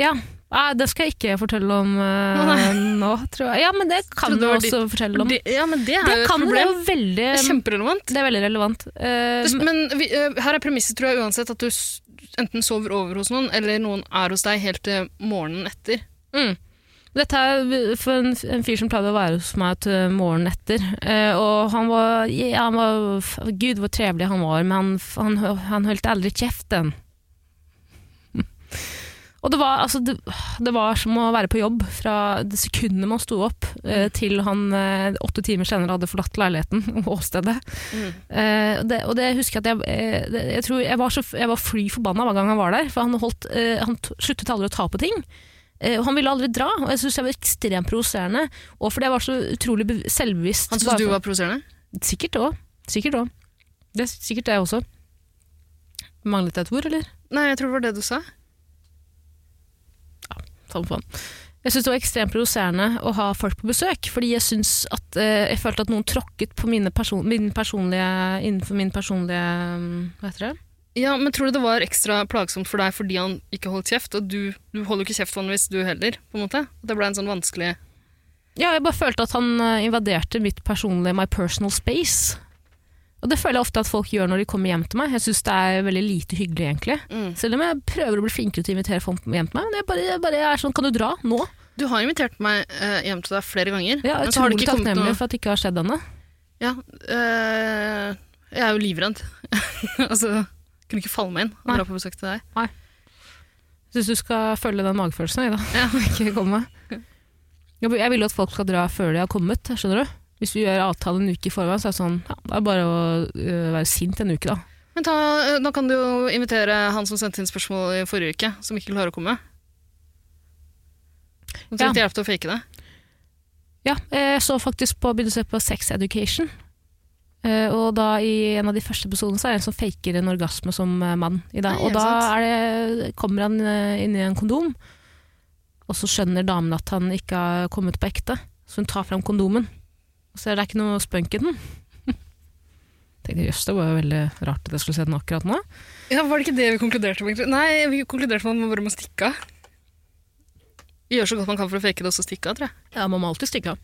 Speaker 1: Ja. Nei, Ah, det skal jeg ikke fortelle om eh,
Speaker 2: [laughs] Nei.
Speaker 1: nå, tror jeg. Ja, men det kan
Speaker 2: Trodde
Speaker 1: du
Speaker 2: det var
Speaker 1: også fortelle om.
Speaker 2: Det, ja, men det er
Speaker 1: Det
Speaker 2: jo et
Speaker 1: kan du, det er
Speaker 2: problem.
Speaker 1: jo veldig,
Speaker 2: Det er kjemperelevant.
Speaker 1: det er veldig relevant. Eh,
Speaker 2: Men vi, eh, her er premisset, tror jeg, uansett at du s- enten sover over hos noen, eller noen er hos deg helt til morgenen etter.
Speaker 1: Mm. Dette er for en, en fyr som pleide å være hos meg til morgenen etter. Eh, og han var, ja, han var f- Gud, hvor trevlig han var, men han, han, han holdt aldri kjeften. [laughs] og det var, altså, det, det var som å være på jobb fra det sekundet man sto opp, eh, til han eh, åtte timer senere hadde forlatt leiligheten og åstedet.
Speaker 2: Mm.
Speaker 1: Eh, det, og det husker jeg at jeg eh, det, Jeg tror jeg var, så, jeg var fly forbanna hver gang han var der, for han, holdt, eh, han t sluttet aldri å ta på ting. Eh, og han ville aldri dra, og jeg syntes jeg var ekstremt provoserende. Og fordi jeg var så utrolig bev- selvbevisst. bare
Speaker 2: Han syns du
Speaker 1: for-
Speaker 2: var provoserende?
Speaker 1: Sikkert òg. Sikkert òg. Det er sikkert det også. Manglet jeg et ord, eller?
Speaker 2: Nei, jeg tror det var det du sa.
Speaker 1: Samme faen. Jeg syntes det var ekstremt provoserende å ha folk på besøk, fordi jeg synes at eh, jeg følte at noen tråkket på mine person, min personlige Innenfor min personlige mm, Hva heter det?
Speaker 2: Ja, men tror du det var ekstra plagsomt for deg fordi han ikke holdt kjeft, og du, du holder jo ikke kjeft vanligvis, du heller, på en måte? At det ble en sånn vanskelig
Speaker 1: Ja, jeg bare følte at han eh, invaderte mitt personlige my personal space. Og det føler jeg ofte at folk gjør når de kommer hjem til meg. Jeg syns det er veldig lite hyggelig, egentlig.
Speaker 2: Mm.
Speaker 1: Selv om jeg prøver å bli flinkere til å invitere folk hjem til meg. Men jeg bare, jeg bare er sånn, kan du dra nå?
Speaker 2: Du har invitert meg eh, hjem til deg flere ganger,
Speaker 1: Jeg er
Speaker 2: men så har
Speaker 1: utrolig
Speaker 2: det ikke kommet noe
Speaker 1: takknemlig for at det ikke har skjedd ennå.
Speaker 2: Ja, eh, jeg er jo livredd. [laughs] altså, kunne ikke falle meg inn og
Speaker 1: Nei.
Speaker 2: dra på besøk til deg.
Speaker 1: Syns du skal følge den magefølelsen, jeg, da.
Speaker 2: Ja.
Speaker 1: [laughs] ikke komme. Jeg jeg vil jo at folk skal dra før de har kommet, skjønner du. Hvis vi gjør avtale en uke i forveien, så er det sånn ja, Det er bare å øh, være sint en uke, da.
Speaker 2: Men ta, eh, da kan du jo invitere han som sendte inn spørsmål i forrige uke, som ikke klarer å komme. Du
Speaker 1: Ja.
Speaker 2: trengte hjelp til å fake det.
Speaker 1: Ja, eh, jeg så faktisk på begynte å se på Sex Education. Eh, og da I en av de første episodene så er det en som faker en orgasme som eh, mann. I dag.
Speaker 2: Nei,
Speaker 1: og
Speaker 2: er det
Speaker 1: da er det, kommer han eh, inn i en kondom, og så skjønner damen at han ikke har kommet på ekte. Så hun tar fram kondomen, og så er det ikke noe spunk i den. [laughs] Tenkte, Jøss, det var jo veldig rart at jeg skulle se den akkurat nå.
Speaker 2: Ja, Var det ikke det vi konkluderte med? egentlig? Nei, vi konkluderte med at man bare må stikke av. Gjøre så godt man kan for å fake det, og så stikke av, tror jeg.
Speaker 1: Ja, Man må alltid stikke av.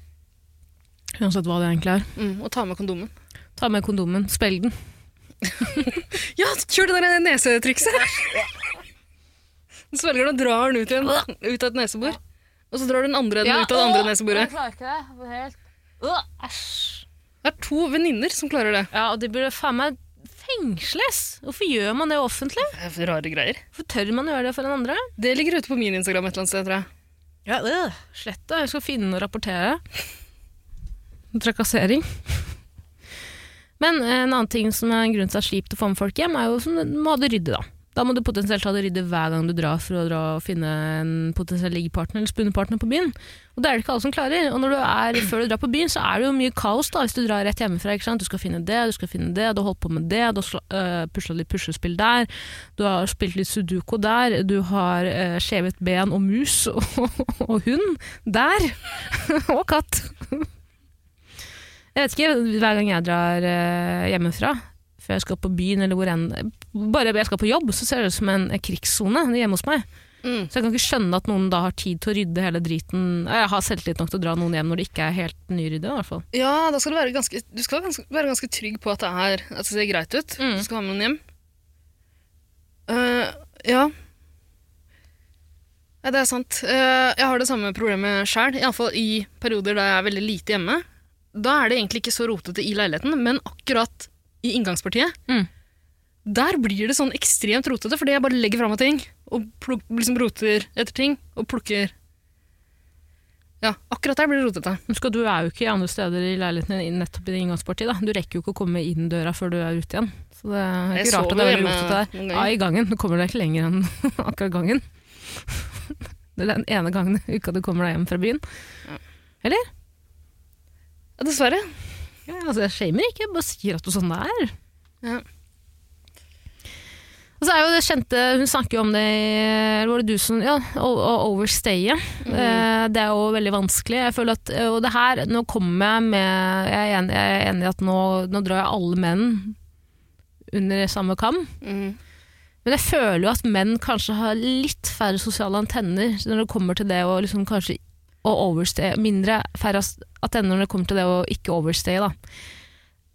Speaker 1: Uansett hva det egentlig er.
Speaker 2: Mm, og ta med kondomen.
Speaker 1: Ta med kondomen, spell den.
Speaker 2: Ja, kjør det der nesetrykset! Du svelger den og drar den ut igjen, ut av et nesebor. Og så drar du den andre enden ut av det andre neseboret.
Speaker 1: klarer ikke det helt. Æsj.
Speaker 2: Det er to venninner som klarer det.
Speaker 1: Ja, og de burde faen meg fengsles. Hvorfor gjør man det offentlig?
Speaker 2: det er rare greier.
Speaker 1: Hvorfor tør man å gjøre det for en andre?
Speaker 2: Det ligger ute på min Instagram et eller annet sted, tror jeg.
Speaker 1: Ja, øh. Slett det. Jeg skal finne og rapportere. Trakassering. Men eh, en annen ting som er en grunn til at det er kjipt å få med folk hjem, er jo som du må ha det ryddig, da. Da må du potensielt ha det ryddig hver gang du drar for å dra og finne en potensiell liggepartner eller spunnepartner på byen. Og det er det ikke alle som klarer. Og når du er, før du drar på byen, så er det jo mye kaos da, hvis du drar rett hjemmefra. ikke sant? Du skal finne det, du skal finne det, du har holdt på med det, du har uh, pusla litt puslespill der, du har spilt litt sudoku der, du har eh, skjevet ben og mus og, [laughs] og hund der. [laughs] og katt. Jeg vet ikke, hver gang jeg drar eh, hjemmefra, før jeg skal på byen eller hvor enn Bare jeg skal på jobb, så ser det ut som en eh, krigssone hjemme hos meg.
Speaker 2: Mm.
Speaker 1: Så jeg kan ikke skjønne at noen da har tid til å rydde hele driten Jeg har selvtillit nok til å dra noen hjem når det ikke er helt nyrydda, i hvert fall.
Speaker 2: Ja, da skal du være ganske, du skal ganske, være ganske trygg på at det, er, at det ser greit ut.
Speaker 1: Mm.
Speaker 2: Du skal ha med noen hjem. Eh, ja. Nei, det er sant. Eh, jeg har det samme problemet sjøl, iallfall i perioder da jeg er veldig lite hjemme. Da er det egentlig ikke så rotete i leiligheten, men akkurat i inngangspartiet
Speaker 1: Mm.
Speaker 2: Der blir det sånn ekstremt rotete, fordi jeg bare legger fra meg ting og pluk, liksom roter etter ting og plukker Ja, akkurat der blir det rotete.
Speaker 1: Men skal du er jo ikke andre steder i leiligheten din nettopp i det inngangspartiet, da. Du rekker jo ikke å komme inn døra før du er ute igjen. Så det er
Speaker 2: Jeg
Speaker 1: ikke rart
Speaker 2: sover
Speaker 1: at det er
Speaker 2: hjemme
Speaker 1: veldig rotete der.
Speaker 2: noen ganger.
Speaker 1: Ja, i gangen. Du kommer deg ikke lenger enn [laughs] akkurat gangen. Det er den ene gangen i uka du kommer deg hjem fra byen.
Speaker 2: Ja, Dessverre.
Speaker 1: Ja, altså, jeg shamer ikke, jeg bare sier at du sånn det er.
Speaker 2: Ja.
Speaker 1: Og så er jo det kjente, Hun snakker jo om det i- eller var det du som, ja, å, å overstaye. Eh, Det er jo veldig vanskelig. Jeg føler at, eh, Og det her, nå kommer jeg med Jeg er enig, jeg er enig i at nå, nå drar jeg alle menn under samme kam.
Speaker 2: Mm.
Speaker 1: Men jeg føler jo at menn kanskje har litt færre sosiale antenner når det kommer til det å liksom kanskje å overstay, mindre færre as- antenner når det kommer til det å ikke overstaye, da.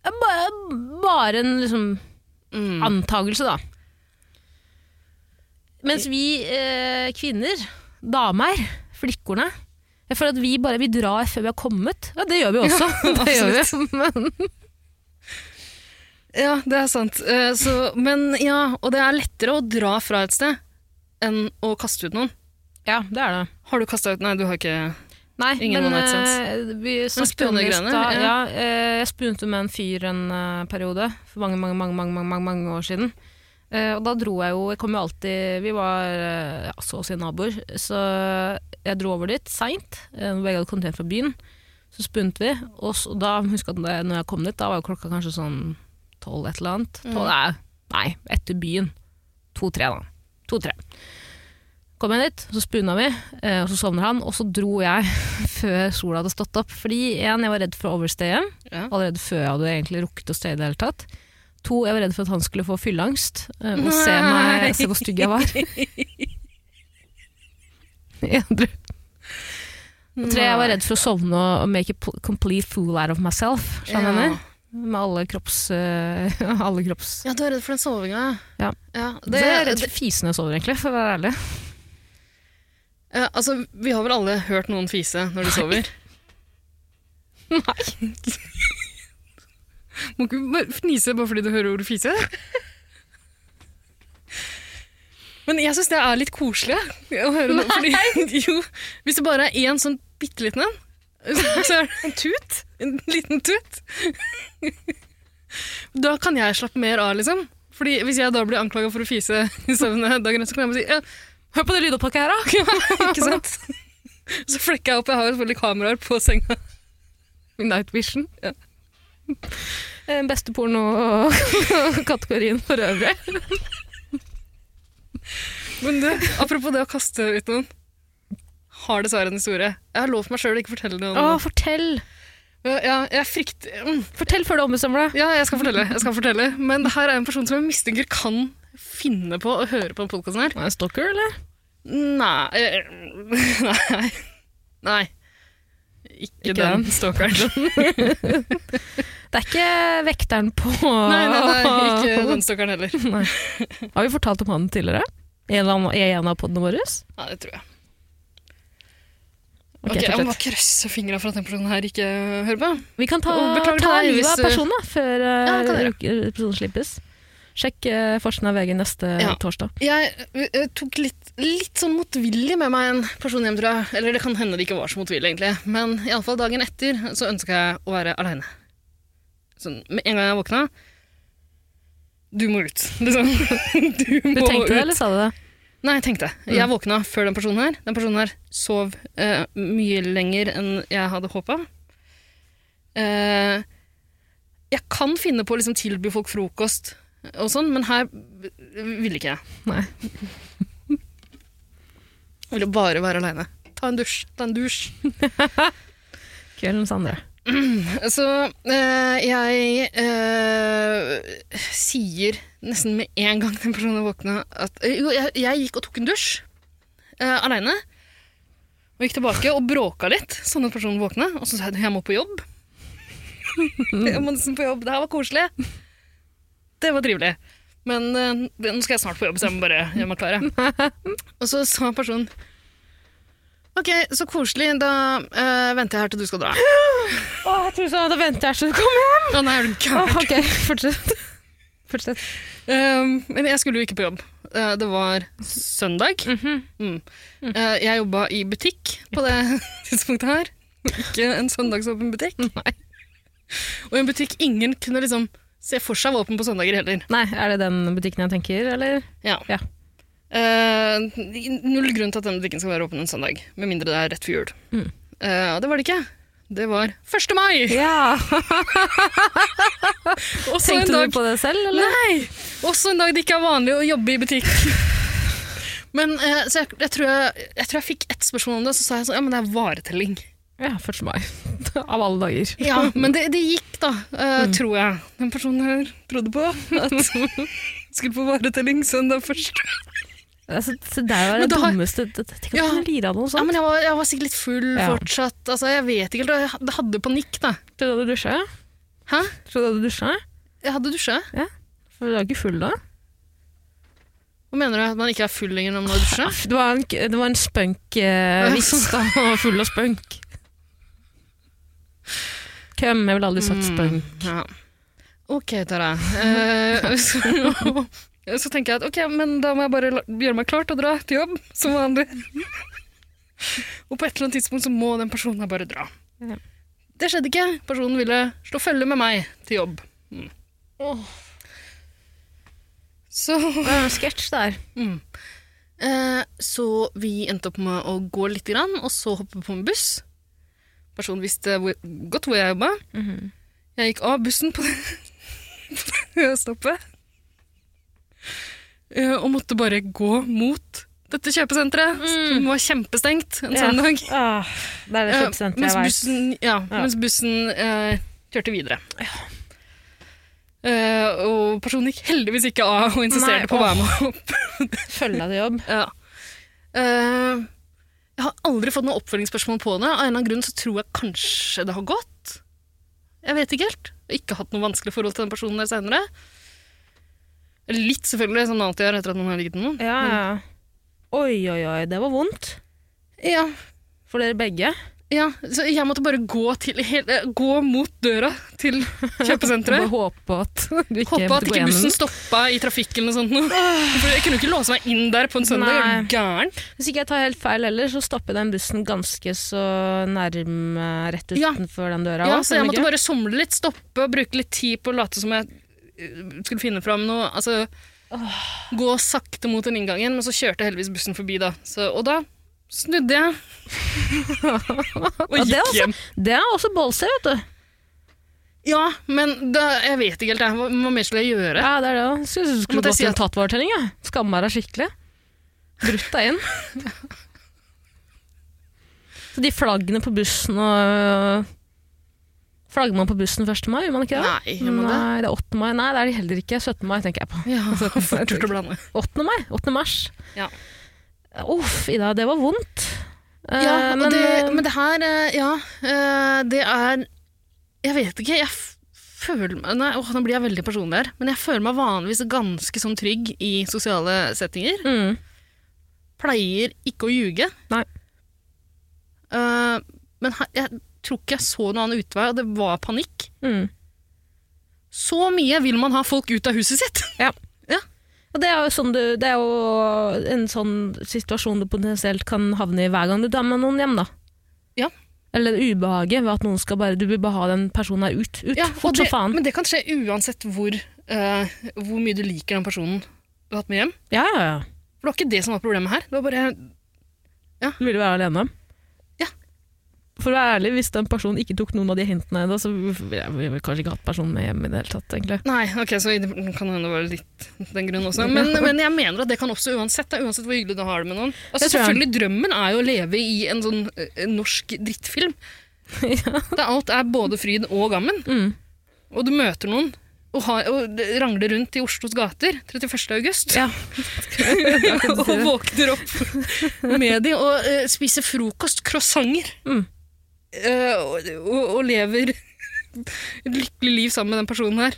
Speaker 1: Eh, Bare, bare en liksom
Speaker 2: Mm.
Speaker 1: antagelse, da. Mens vi eh, kvinner, damer, flikkorne Jeg føler at vi bare vi drar før vi har kommet. Ja, det gjør vi også. det gjør vi. [laughs] Men,
Speaker 2: Ja, det er sant. Eh, Så, men ja, og det er lettere å dra fra et sted enn å kaste ut noen.
Speaker 1: ja, det er det.
Speaker 2: Har du kasta ut Nei, du har ikke
Speaker 1: Nei,
Speaker 2: Ingen
Speaker 1: men
Speaker 2: one night
Speaker 1: eh, vi snakket om det i
Speaker 2: spunegreiene,
Speaker 1: stad.
Speaker 2: ja.
Speaker 1: Ja, eh, jeg spunte med en fyr en eh, periode for mange, mange, mange, mange, mange, mange, mange år siden. Eh, og da dro jeg jo Jeg kom jo alltid Vi var eh, ja, så å si naboer, så jeg dro over dit seint. Uh, begge hadde kommet hjem fra byen. Så spunte vi, og så, da husker jeg at da- når jeg kom dit, da var jo klokka kanskje sånn tolv et eller annet.
Speaker 2: Mm.
Speaker 1: Tolv, nei, nei, etter byen. To-tre, da. To-tre. Kom jeg dit, så spuna vi, eh, og så sovner han, og så dro jeg [laughs] før sola hadde stått opp. Fordi en, jeg var redd for å overstaye,
Speaker 2: Ja.
Speaker 1: allerede før jeg hadde egentlig rukket å staye i det hele tatt. To, jeg var redd for at han skulle få fylleangst eh, og se, meg, se hvor stygg jeg var. [laughs] Edru. Og Tre, jeg var redd for å sovne og- og make a pl- complete fool out of myself. skjønner du hva jeg
Speaker 2: Ja.
Speaker 1: mener? Med alle kropps... eh, [laughs] alle kropps...
Speaker 2: Ja, du er redd for den sovinga.
Speaker 1: Ja.
Speaker 2: det,
Speaker 1: så jeg er redd
Speaker 2: det,
Speaker 1: for fisen jeg sover, egentlig, for å være ærlig.
Speaker 2: eh, altså, vi har vel alle hørt noen fise når de sover?
Speaker 1: Nei.
Speaker 2: [laughs] Må ikke bare fnise bare fordi du hører ordet fise. Men jeg syns det er litt koselig jeg, å høre noe. Fordi, [laughs] jo, hvis det bare er én sånn bitte liten en, [laughs] så så er det en tut. En liten tut. Da kan jeg slappe mer av, liksom. Fordi Hvis jeg da blir anklaga for å fise i søvne dagen etter, så kan jeg bare si ja,
Speaker 1: Hør på det lydopptaket her, da!
Speaker 2: [laughs] ikke sant? Så flekker jeg opp. Jeg har jo selvfølgelig kameraer på senga.
Speaker 1: Night Vision. Eh, Beste [laughs] porno-kategorien for øvrig.
Speaker 2: Men du, apropos det å kaste ut noen. Har dessverre en historie. Jeg har lovt meg sjøl å ikke fortelle noe om
Speaker 1: Å,
Speaker 2: det.
Speaker 1: fortell!
Speaker 2: Ja, ja, jeg frykter mm.
Speaker 1: Fortell før du ombestemmer deg.
Speaker 2: Ja, jeg skal fortelle. Jeg skal fortelle. Men det her er en person som jeg mistenker kan finne på å høre på en podkast her.
Speaker 1: Er det stalker, eller?
Speaker 2: Nei eh, [laughs] Nei. Nei. Ikke,
Speaker 1: Ikke
Speaker 2: den
Speaker 1: den.
Speaker 2: stalkeren.
Speaker 1: Det er ikke vekteren på [laughs]
Speaker 2: Nei, nei, nei, ikke den stalkeren heller.
Speaker 1: Har vi fortalt om han tidligere? i en eller annen- i en av podene våre?
Speaker 2: Ja, det tror jeg.
Speaker 1: Ok,
Speaker 2: Ok, Jeg må
Speaker 1: fortsett.
Speaker 2: krysse fingra for at den personen her ikke hører på.
Speaker 1: Vi kan ta,
Speaker 2: Og beklager til
Speaker 1: ta
Speaker 2: deg
Speaker 1: livet
Speaker 2: hvis,
Speaker 1: av
Speaker 2: eh,
Speaker 1: personen da, før eh,
Speaker 2: Ja, kan dere.
Speaker 1: uke- episoden slippes. Sjekk uh, forsiden av VG neste
Speaker 2: Ja.
Speaker 1: torsdag.
Speaker 2: Jeg eh, tok litt, litt sånn motvillig med meg en person hjem, tror jeg. Eller det kan hende det ikke var så motvillig, egentlig. Men iallfall dagen etter så ønska jeg å være aleine. Sånn med en gang jeg våkna Du må ut, [laughs] liksom. Du må
Speaker 1: Du tenkte
Speaker 2: ut.
Speaker 1: det, eller Mm. sa du det?
Speaker 2: Nei, jeg tenkte. Jeg våkna før den personen her. Den personen her sov eh, mye lenger enn jeg hadde håpa. Eh, jeg kan finne på å liksom, tilby folk frokost og sånn, men her ville ikke jeg.
Speaker 1: Nei.
Speaker 2: Jeg ville bare være aleine. Ta en dusj. Ta en dusj.
Speaker 1: Kveldens andre.
Speaker 2: Så eh, jeg eh, sier nesten med en gang den personen våkna at eh, Jo, jeg, jeg gikk og tok en dusj uh, aleine. Og gikk tilbake og bråka litt, sånn at personen våkna. Og så sa jeg jeg må på jobb. [laughs] jeg må nesten på jobb. Det her var koselig. Det var trivelig. Men eh, det- nå skal jeg snart på jobb, så jeg må bare gjøre meg klare. [laughs] Og så sa personen Ok, så koselig. Da eh, venter jeg her til du skal dra.
Speaker 1: Å, jeg tror sånn, da venter jeg så du kommer.
Speaker 2: Å nei, er du gæren?
Speaker 1: Å, ok, fortsett. fortsett.
Speaker 2: Um, men jeg skulle jo ikke på jobb. Eh, det var søndag.
Speaker 1: Mhm.
Speaker 2: Mm. Eh, jeg jobba i butikk på det [laughs] tidspunktet her. Ikke en søndagsåpen
Speaker 1: [laughs]
Speaker 2: butikk. Og en butikk ingen kunne liksom se for seg var åpen på søndager heller.
Speaker 1: Nei, er det den butikken jeg tenker, eller?
Speaker 2: Ja.
Speaker 1: Ja.
Speaker 2: Eh, null grunn til at denne butikken skal være åpen en søndag, med mindre det er rett før jul.
Speaker 1: Mm.
Speaker 2: Eh, og det var det ikke. Det var 1. mai!
Speaker 1: [laughs] Ja,
Speaker 2: Også en
Speaker 1: Tenkte
Speaker 2: dag
Speaker 1: du på det selv, eller?
Speaker 2: Nei! Også en dag det ikke er vanlig å jobbe i butikk. [laughs] Men eh, så jeg, jeg, tror jeg, jeg tror jeg fikk ett spørsmål om det, og så sa jeg sånn Ja, men det er varetelling.
Speaker 1: Ja, 1. mai. [laughs] Av alle dager.
Speaker 2: Ja, [laughs] Men det, det gikk, da. eh, Tror jeg. Den personen her trodde på [laughs] at jeg skulle på varetelling søndag først.
Speaker 1: Altså, så der var
Speaker 2: Men
Speaker 1: det
Speaker 2: da har-
Speaker 1: dummeste det- det- Tenk at
Speaker 2: Ja.
Speaker 1: du kunne lide av noe
Speaker 2: Ja,
Speaker 1: sånt.
Speaker 2: men jeg var, jeg var sikkert litt full
Speaker 1: Ja.
Speaker 2: fortsatt. Altså, jeg vet ikke helt. og Jeg had- hadde panikk, da.
Speaker 1: Tror du du hadde dusja?
Speaker 2: Hæ?
Speaker 1: Tror du du hadde dusja?
Speaker 2: Jeg hadde dusja.
Speaker 1: For du var ikke full da?
Speaker 2: Hva mener du? At man ikke er full lenger når man har dusja?
Speaker 1: Det var en, det var en spunk eh, visk, da. [laughs] Han var full av spunk. Køm, jeg ville aldri sagt spunk.
Speaker 2: Mm, Ja. Ok, Tara. Eh, [laughs] så, så tenker jeg at ok, men da må jeg bare la- gjøre meg klart og dra til jobb, som vanlig. og på et eller annet tidspunkt så må den personen her bare dra.
Speaker 1: Ja.
Speaker 2: Det skjedde ikke. Personen ville slå følge med meg til jobb. Mm.
Speaker 1: Åh.
Speaker 2: Så,
Speaker 1: Det var en sketsj der.
Speaker 2: mm. eh, så vi endte opp med å gå litt, grann, og så hoppe på en buss. Personen visste hvor, godt hvor jeg jobba.
Speaker 1: Mhm.
Speaker 2: Jeg gikk av bussen på det stoppet. Eh, Og måtte bare gå mot dette kjøpesenteret, som var kjempestengt en søndag.
Speaker 1: Ah, Mm. det er det
Speaker 2: Eh,
Speaker 1: kjøpesenteret
Speaker 2: mens
Speaker 1: jeg vet.
Speaker 2: bussen, ja, mens bussen eh, kjørte videre. Eh, og personen gikk heldigvis ikke av og
Speaker 1: Nei,
Speaker 2: insisterte på å være med opp.
Speaker 1: Følge deg til jobb.
Speaker 2: Ja. Eh, jeg har aldri fått noe oppfølgingsspørsmål på det. Av en eller annen grunn så tror jeg kanskje det har gått. Jeg vet ikke helt. Jeg har ikke hatt noe vanskelig forhold til den personen der senere. Litt selvfølgelig, som det alltid gjør etter at man har ligget med noen.
Speaker 1: Ja, ja. Oi, oi, oi, det var vondt.
Speaker 2: Ja,
Speaker 1: For dere begge.
Speaker 2: ja. Så jeg måtte bare gå, til, hel- eh, gå mot døra til
Speaker 1: Bare
Speaker 2: kjøpesenteret.
Speaker 1: håpe at du ikke
Speaker 2: Håpe at
Speaker 1: måtte gå
Speaker 2: ikke
Speaker 1: gjennom
Speaker 2: bussen
Speaker 1: den.
Speaker 2: stoppa i trafikken eller sånt. noe. For jeg kunne jo ikke låse meg inn der på en søndag. Jeg er du gæren.
Speaker 1: [laughs] Hvis ikke jeg tar helt feil heller, så stopper den bussen ganske så nærme rett
Speaker 2: Ja.
Speaker 1: utenfor den døra.
Speaker 2: Ja,
Speaker 1: også,
Speaker 2: så jeg
Speaker 1: gjør
Speaker 2: måtte
Speaker 1: den ikke?
Speaker 2: bare somle litt, stoppe og bruke litt tid på å late som jeg eh, skulle finne fram noe. Altså, gå sakte mot den inngangen, men så kjørte heldigvis bussen forbi da. Så, og da snudde jeg.
Speaker 1: [laughs]
Speaker 2: og
Speaker 1: Ja, det er
Speaker 2: gikk
Speaker 1: også-
Speaker 2: hjem.
Speaker 1: Det er også bolse, vet du.
Speaker 2: Ja, men da, jeg vet ikke helt, jeg. Hva, hva mer skulle jeg gjøre?
Speaker 1: Ja, det er det òg. Skulle, skulle
Speaker 2: Måtte jeg
Speaker 1: gått
Speaker 2: si
Speaker 1: til
Speaker 2: at-
Speaker 1: en tattvaretelling, jeg. Skammer deg skikkelig. Brutt deg
Speaker 2: [laughs]
Speaker 1: inn. Så de flaggene på bussen og øh, Flagger man på bussen 1. mai, gjør man ikke det?
Speaker 2: Nei, gjør man det?
Speaker 1: Nei, det er 8. mai. Nei, det er de heller ikke. 17. mai tenker jeg på. [laughs]
Speaker 2: Ja, for jeg turte å blande.
Speaker 1: 8. mai? 8. mars.
Speaker 2: Ja.
Speaker 1: Uff, Ida, det var vondt. Eh,
Speaker 2: Ja, og
Speaker 1: men,
Speaker 2: det,
Speaker 1: eh,
Speaker 2: men det her, eh, ja, eh, det er Jeg vet ikke, jeg f- føler meg nei, åh, Nå blir jeg veldig personlig her, men jeg føler meg vanligvis ganske sånn trygg i sosiale settinger.
Speaker 1: mm,
Speaker 2: pleier ikke å ljuge.
Speaker 1: Nei.
Speaker 2: Eh, men her, jeg tror ikke jeg så noen annen utvei, og det var panikk.
Speaker 1: Mm.
Speaker 2: Så mye vil man ha folk ut av huset sitt!
Speaker 1: Og det er, jo sånn du, det er jo en sånn situasjon du potensielt kan havne i hver gang du drar med noen hjem, da.
Speaker 2: Ja.
Speaker 1: Eller ubehaget ved at noen skal bare Du vil bare ha den personen her ut. ut
Speaker 2: [laughs] Ja, og
Speaker 1: fort
Speaker 2: det,
Speaker 1: som faen.
Speaker 2: Men det kan skje uansett hvor, eh, hvor mye du liker den personen du har hatt med hjem.
Speaker 1: Ja, ja, ja.
Speaker 2: For det var ikke det som var problemet her. Det var bare
Speaker 1: Du ville være alene?
Speaker 2: Ja.
Speaker 1: For å være ærlig, hvis den personen ikke tok noen av de hintene, da, så ville jeg ville jeg kanskje ikke hatt personen med hjem i det hele tatt, egentlig.
Speaker 2: Nei, ok, så det kan hende det var litt den grunnen også. Men, men jeg mener at det kan oppstå uansett, da, uansett hvor hyggelig du har det med noen.
Speaker 1: Jeg
Speaker 2: Altså,
Speaker 1: tror jeg-
Speaker 2: selvfølgelig, drømmen er jo å leve i en sånn eh, norsk
Speaker 1: [laughs]
Speaker 2: drittfilm. Der alt er både fryd og gammen.
Speaker 1: Mm.
Speaker 2: Og du møter noen og, har, og rangler rundt i Oslos gater 31. august.
Speaker 1: Ja.
Speaker 2: [laughs] og våkner opp [laughs] med de og eh, spiser frokost, croissanter.
Speaker 1: Mm.
Speaker 2: Eh, og, og, og lever et lykkelig liv sammen med den personen her.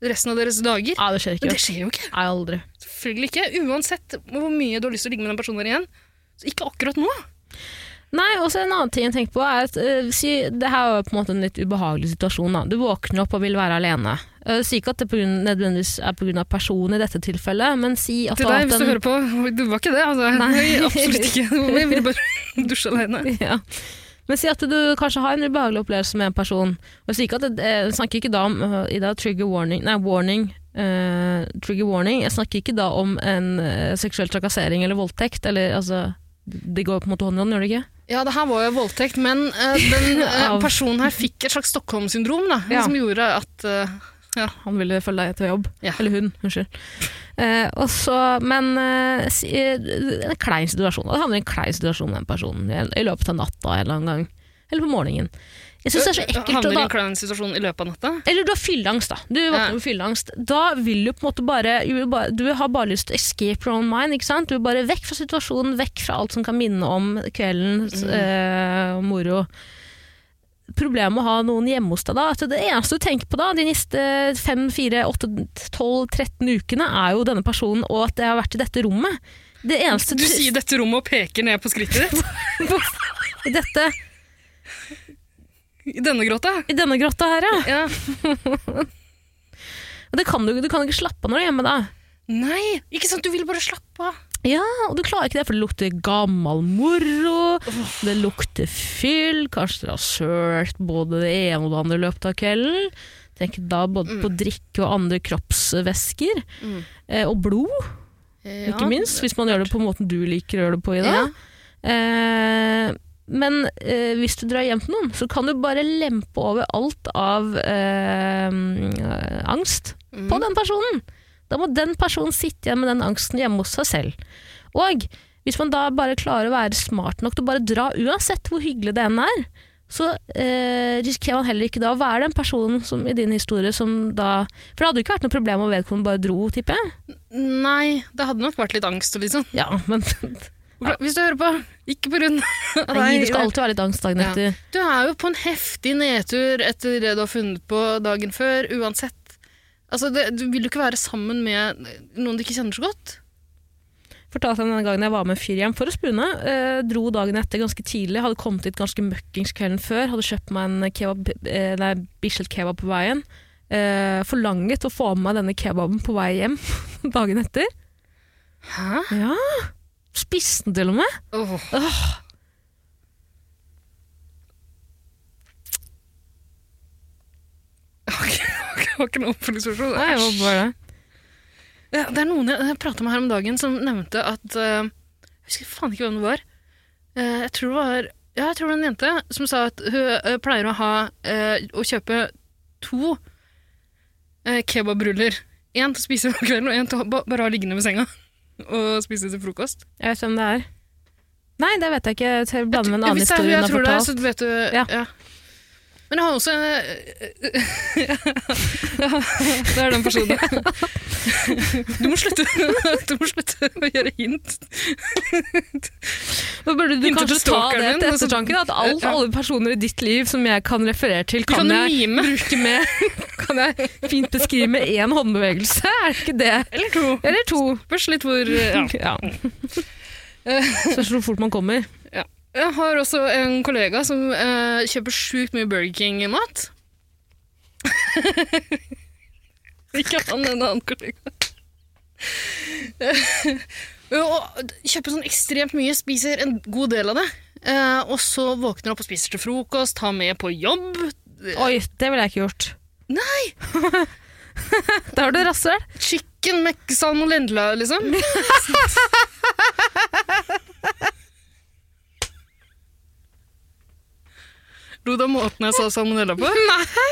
Speaker 2: Resten av deres dager.
Speaker 1: Nei, det skjer ikke.
Speaker 2: Men det
Speaker 1: ass.
Speaker 2: skjer jo ikke.
Speaker 1: Nei, aldri.
Speaker 2: Selvfølgelig ikke. Uansett hvor mye du har lyst til å ligge med den personen her igjen. Så ikke akkurat nå.
Speaker 1: Nei, og så en annen ting jeg tenker på er at eh, si, det her er jo på en måte en litt ubehagelig situasjon. Da. Du våkner opp og vil være alene. Uh, si ikke at det på grunn, nødvendigvis er pga. personen i dette tilfellet, men si at du
Speaker 2: Til
Speaker 1: har
Speaker 2: deg,
Speaker 1: hatt
Speaker 2: hvis du
Speaker 1: en-
Speaker 2: hører på. Det var ikke [laughs] det, altså. Nei,
Speaker 1: [laughs]
Speaker 2: absolutt ikke. Jeg ville bare [laughs] dusje alene.
Speaker 1: ja. Men si at du kanskje har en ubehagelig opplevelse med en person. Og si ikke at det, jeg snakker ikke da om øh, i dag trigger warning Nei, warning. øh, trigger warning. Jeg snakker ikke da om en øh, seksuell trakassering eller voldtekt. Eller altså Det går på en måte hånd i hånd, gjør det ikke?
Speaker 2: Ja, det her var jo voldtekt, men eh, [laughs] den eh,
Speaker 1: Av-
Speaker 2: personen her fikk et slags Stockholm-syndrom, da,
Speaker 1: Ja.
Speaker 2: som gjorde at eh,
Speaker 1: Han ville følge deg til jobb.
Speaker 2: Ja.
Speaker 1: Eller hun, unnskyld. Eh, og så, men eh, si, eh, en klein situasjon. Det handler om en klein situasjon med en person i, i løpet av natta en eller annen gang. Eller på morgenen. Jeg syns det er så ekkelt å
Speaker 2: havner i
Speaker 1: da
Speaker 2: en klein situasjon i løpet av natta.
Speaker 1: Eller du har fylleangst, da. Du våkner
Speaker 2: Ja.
Speaker 1: med fylleangst. Da vil du på en måte bare Du, vil bare, du har bare lyst til escape your own mind. ikke sant? Du vil bare vekk fra situasjonen, vekk fra alt som kan minne om kveldens
Speaker 2: Mm.
Speaker 1: eh, moro. Problemet med å ha noen hjemme hos deg da, at det eneste du tenker på da, de neste 5, 4, 8, 12, 13 ukene, er jo denne personen og at jeg har vært i dette rommet. Det eneste
Speaker 2: Du sier dette rommet og peker ned på skrittet ditt. [laughs]
Speaker 1: i, dette,
Speaker 2: I denne gråta.
Speaker 1: I denne grotta her, ja.
Speaker 2: Ja.
Speaker 1: Og Det kan du, du kan ikke slappe av når du er hjemme da.
Speaker 2: Nei, ikke sant, du vil bare slappe av.
Speaker 1: Ja, og du klarer ikke det, for det lukter gammel moro, det lukter fyll, kanskje dere har sølt både det ene og det andre i løpet av kvelden. Tenk da både på drikke og andre kroppsvæsker,
Speaker 2: Mm.
Speaker 1: eh, og blod, ikke minst, hvis man gjør det på måten du liker å gjøre det på i dag.
Speaker 2: Ja.
Speaker 1: Eh, men eh, hvis du drar hjem til noen, så kan du bare lempe over alt av eh, eh, angst
Speaker 2: Mm.
Speaker 1: på den personen. Da må den personen sitte igjen med den angsten hjemme hos seg selv. Og hvis man da bare klarer å være smart nok til å bare dra, uansett hvor hyggelig det enn er, så eh, risikerer man heller ikke da å være den personen som, i din historie som da For det hadde jo ikke vært noe problem om vedkommende bare dro, tipper jeg.
Speaker 2: Nei, det hadde nok vært litt angst og litt sånn.
Speaker 1: Ja, men
Speaker 2: Hvis du hører på, ikke på grunn av
Speaker 1: nei,
Speaker 2: deg.
Speaker 1: det skal alltid være litt angst dagen
Speaker 2: Ja.
Speaker 1: etter.
Speaker 2: Du er jo på en heftig nedtur etter det du har funnet på dagen før, uansett. Altså, det, du vil jo ikke være sammen med noen du ikke kjenner så godt.
Speaker 1: fortalte han denne gangen jeg var med en fyr hjem for å spune. Eh, dro dagen etter ganske tidlig, hadde kommet dit ganske møkkings kvelden før. Hadde kjøpt meg en kebab, eh, nei, Bislett kebab på veien. Eh, forlanget å få med meg denne kebaben på vei hjem [laughs] dagen etter.
Speaker 2: Hæ?
Speaker 1: Ja, Spiste den til og med.
Speaker 2: Åh. Ok, ok, Det var ikke noe oppfølgingsspørsmål. Æsj.
Speaker 1: bare
Speaker 2: Ja, Det er noen jeg, jeg prata med her om dagen, som nevnte at eh, Jeg husker faen ikke hvem det var. Eh, jeg tror det var Ja, jeg tror det var en jente som sa at hun eh, pleier å ha eh, Å kjøpe to uh, kebabruller. Én til å spise om kvelden, og én til å ba, bare ha liggende ved senga. [laughs] Og spise til frokost.
Speaker 1: Jeg vet hvem det er. Nei, det vet jeg ikke. Jeg blander med en annen
Speaker 2: Hvis det er hun
Speaker 1: historie hun
Speaker 2: jeg
Speaker 1: har
Speaker 2: tror det er,
Speaker 1: fortalt.
Speaker 2: så vet du
Speaker 1: Ja.
Speaker 2: ja. Men jeg har også eh, Det er den
Speaker 1: [laughs]
Speaker 2: personen. Du må slutte, [laughs] du må slutte å gjøre hint
Speaker 1: Men burde du
Speaker 2: Hintet
Speaker 1: kanskje ta
Speaker 2: til stalkeren
Speaker 1: det
Speaker 2: min,
Speaker 1: til
Speaker 2: altså-
Speaker 1: ettertanke? da, At alt,
Speaker 2: Ja.
Speaker 1: alle personer i ditt liv som jeg kan referere til,
Speaker 2: Du
Speaker 1: kan,
Speaker 2: kan jo
Speaker 1: jeg
Speaker 2: mime.
Speaker 1: bruke med Kan jeg fint beskrive med én håndbevegelse? Er det ikke det?
Speaker 2: Eller to.
Speaker 1: Eller to.
Speaker 2: Spørs litt hvor eh, ja.
Speaker 1: Ja. Spørs hvor fort man kommer.
Speaker 2: Jeg har også en kollega som eh, kjøper sjukt mye Burger King-mat. [laughs] Ikke han, en annen kollega. Eh, og kjøper sånn ekstremt mye, spiser en god del av det. eh, og så våkner opp og spiser til frokost, har med på jobb.
Speaker 1: Oi, det ville jeg ikke gjort. Nei! [laughs] da har du rasshøl.
Speaker 2: Chicken McSalmonella, liksom. Lo du av måten jeg sa salmonella på?
Speaker 1: Nei!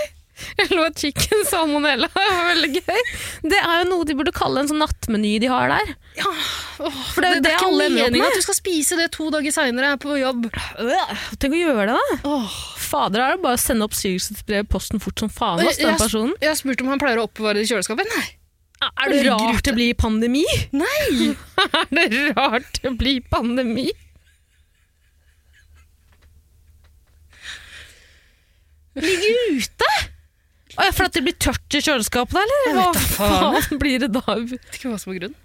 Speaker 1: Jeg lå chicken salmonella. Det var veldig gøy. Det er jo noe de burde kalle en sånn nattmeny de har der.
Speaker 2: Ja, åh,
Speaker 1: For det er jo det alle ender opp
Speaker 2: meningen
Speaker 1: med.
Speaker 2: at du skal spise det to dager seinere på jobb.
Speaker 1: Tenk å gjøre det, da.
Speaker 2: Åh,
Speaker 1: Fader, er det bare å sende oppsigelsesbrev i posten fort som faen ass,
Speaker 2: jeg,
Speaker 1: den personen.
Speaker 2: jeg har spurt om han pleier å oppbevare det i kjøleskapet. Nei!
Speaker 1: Er det rart det blir pandemi?
Speaker 2: Nei!
Speaker 1: [laughs] Er det rart det blir pandemi? Ligger ute? Å ja, for at det blir tørt i kjøleskapet, da, eller?
Speaker 2: Jeg vet da
Speaker 1: Hva
Speaker 2: faen.
Speaker 1: faen blir det da?
Speaker 2: Vet ikke hva som er grunnen.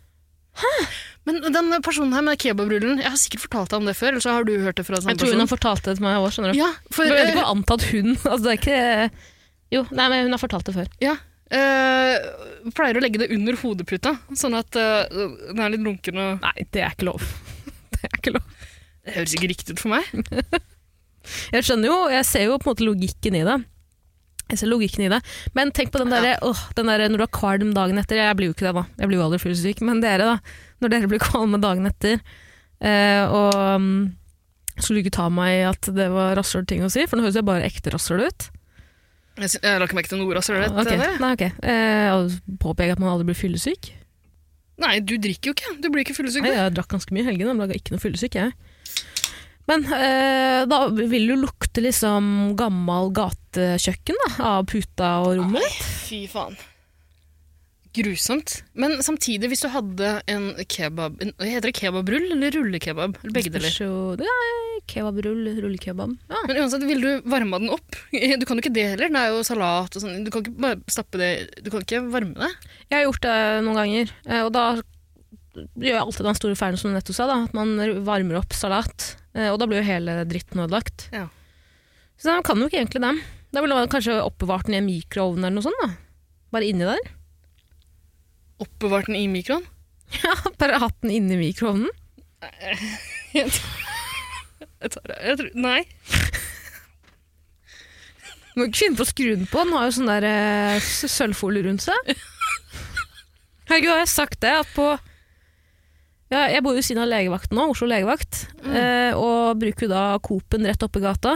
Speaker 2: Men den personen her med kebabrullen, jeg har sikkert fortalt deg om det før. eller så har du hørt det fra en
Speaker 1: Jeg
Speaker 2: sånn
Speaker 1: tror hun
Speaker 2: person.
Speaker 1: har fortalt det til meg òg, skjønner du.
Speaker 2: Ja, for,
Speaker 1: Men jeg vet
Speaker 2: eh,
Speaker 1: ikke hva antatt hun altså, det er ikke... Jo, nei, men hun har fortalt det før.
Speaker 2: Ja. eh, pleier å legge det under hodeputa, sånn at eh, den er litt lunken og
Speaker 1: Nei, det er ikke lov. [laughs] Det er ikke lov.
Speaker 2: Det høres ikke riktig ut for meg.
Speaker 1: Jeg skjønner jo, jeg ser jo på en måte logikken i det. Jeg ser logikken i det. Men tenk på den derre åh, den derre når du har kvalm dagen etter. Jeg blir jo ikke det, da. Jeg blir jo aldri fyllesyk. Men dere, da. Når dere blir kvalme dagen etter. Eh, og mm, så skulle du ikke ta meg i at det var rasshøl ting å si, for nå høres jeg bare ekte rasshøl ut.
Speaker 2: Jeg, sy- jeg la ikke merke til altså, noe rasshøl.
Speaker 1: Ah, Ok, Nei, ok. Eh, og Påpeke at man aldri blir fyllesyk.
Speaker 2: Nei, du drikker jo ikke. Du blir ikke fyllesyk.
Speaker 1: Nei,
Speaker 2: du.
Speaker 1: jeg drakk ganske mye i helgen, men laga ikke noe fyllesyk, jeg. Men eh, da vil du lukte liksom gammel gatekjøkken da, av puta og rommet.
Speaker 2: Nei, Fy faen. Grusomt. Men samtidig, hvis du hadde en kebab en, Heter det kebabrull eller rullekebab? Eller begge deler.
Speaker 1: Spørs jo- det er Kebabrull, rullekebab. Ja.
Speaker 2: Men uansett, ville du varma den opp? [laughs] Du kan jo ikke det heller. Det er jo salat og sånn. Du kan ikke bare stappe det Du kan ikke varme det.
Speaker 1: Jeg har gjort det noen ganger, eh, og da gjør jeg alltid den store feilen som du nettopp sa, da, at man varmer opp salat, eh, og da blir jo hele dritten ødelagt.
Speaker 2: Ja.
Speaker 1: Så da kan jo ikke egentlig dem. Da ville man kanskje oppbevart den i en mikroovn eller noe sånt. da. Bare inni der.
Speaker 2: Oppbevart den i mikroen.
Speaker 1: [laughs] Ja, Bare hatt den inni mikroovnen.
Speaker 2: Jeg tar det. Jeg tror, nei.
Speaker 1: Må ikke finne på å skru den på, den har jo sånn der eh, s- sølvfolie rundt seg. Herregud, har jeg sagt det? At på ja, Jeg bor jo ved siden av legevakten nå, Oslo legevakt, eh, og bruker jo da Coop-en rett oppe i gata.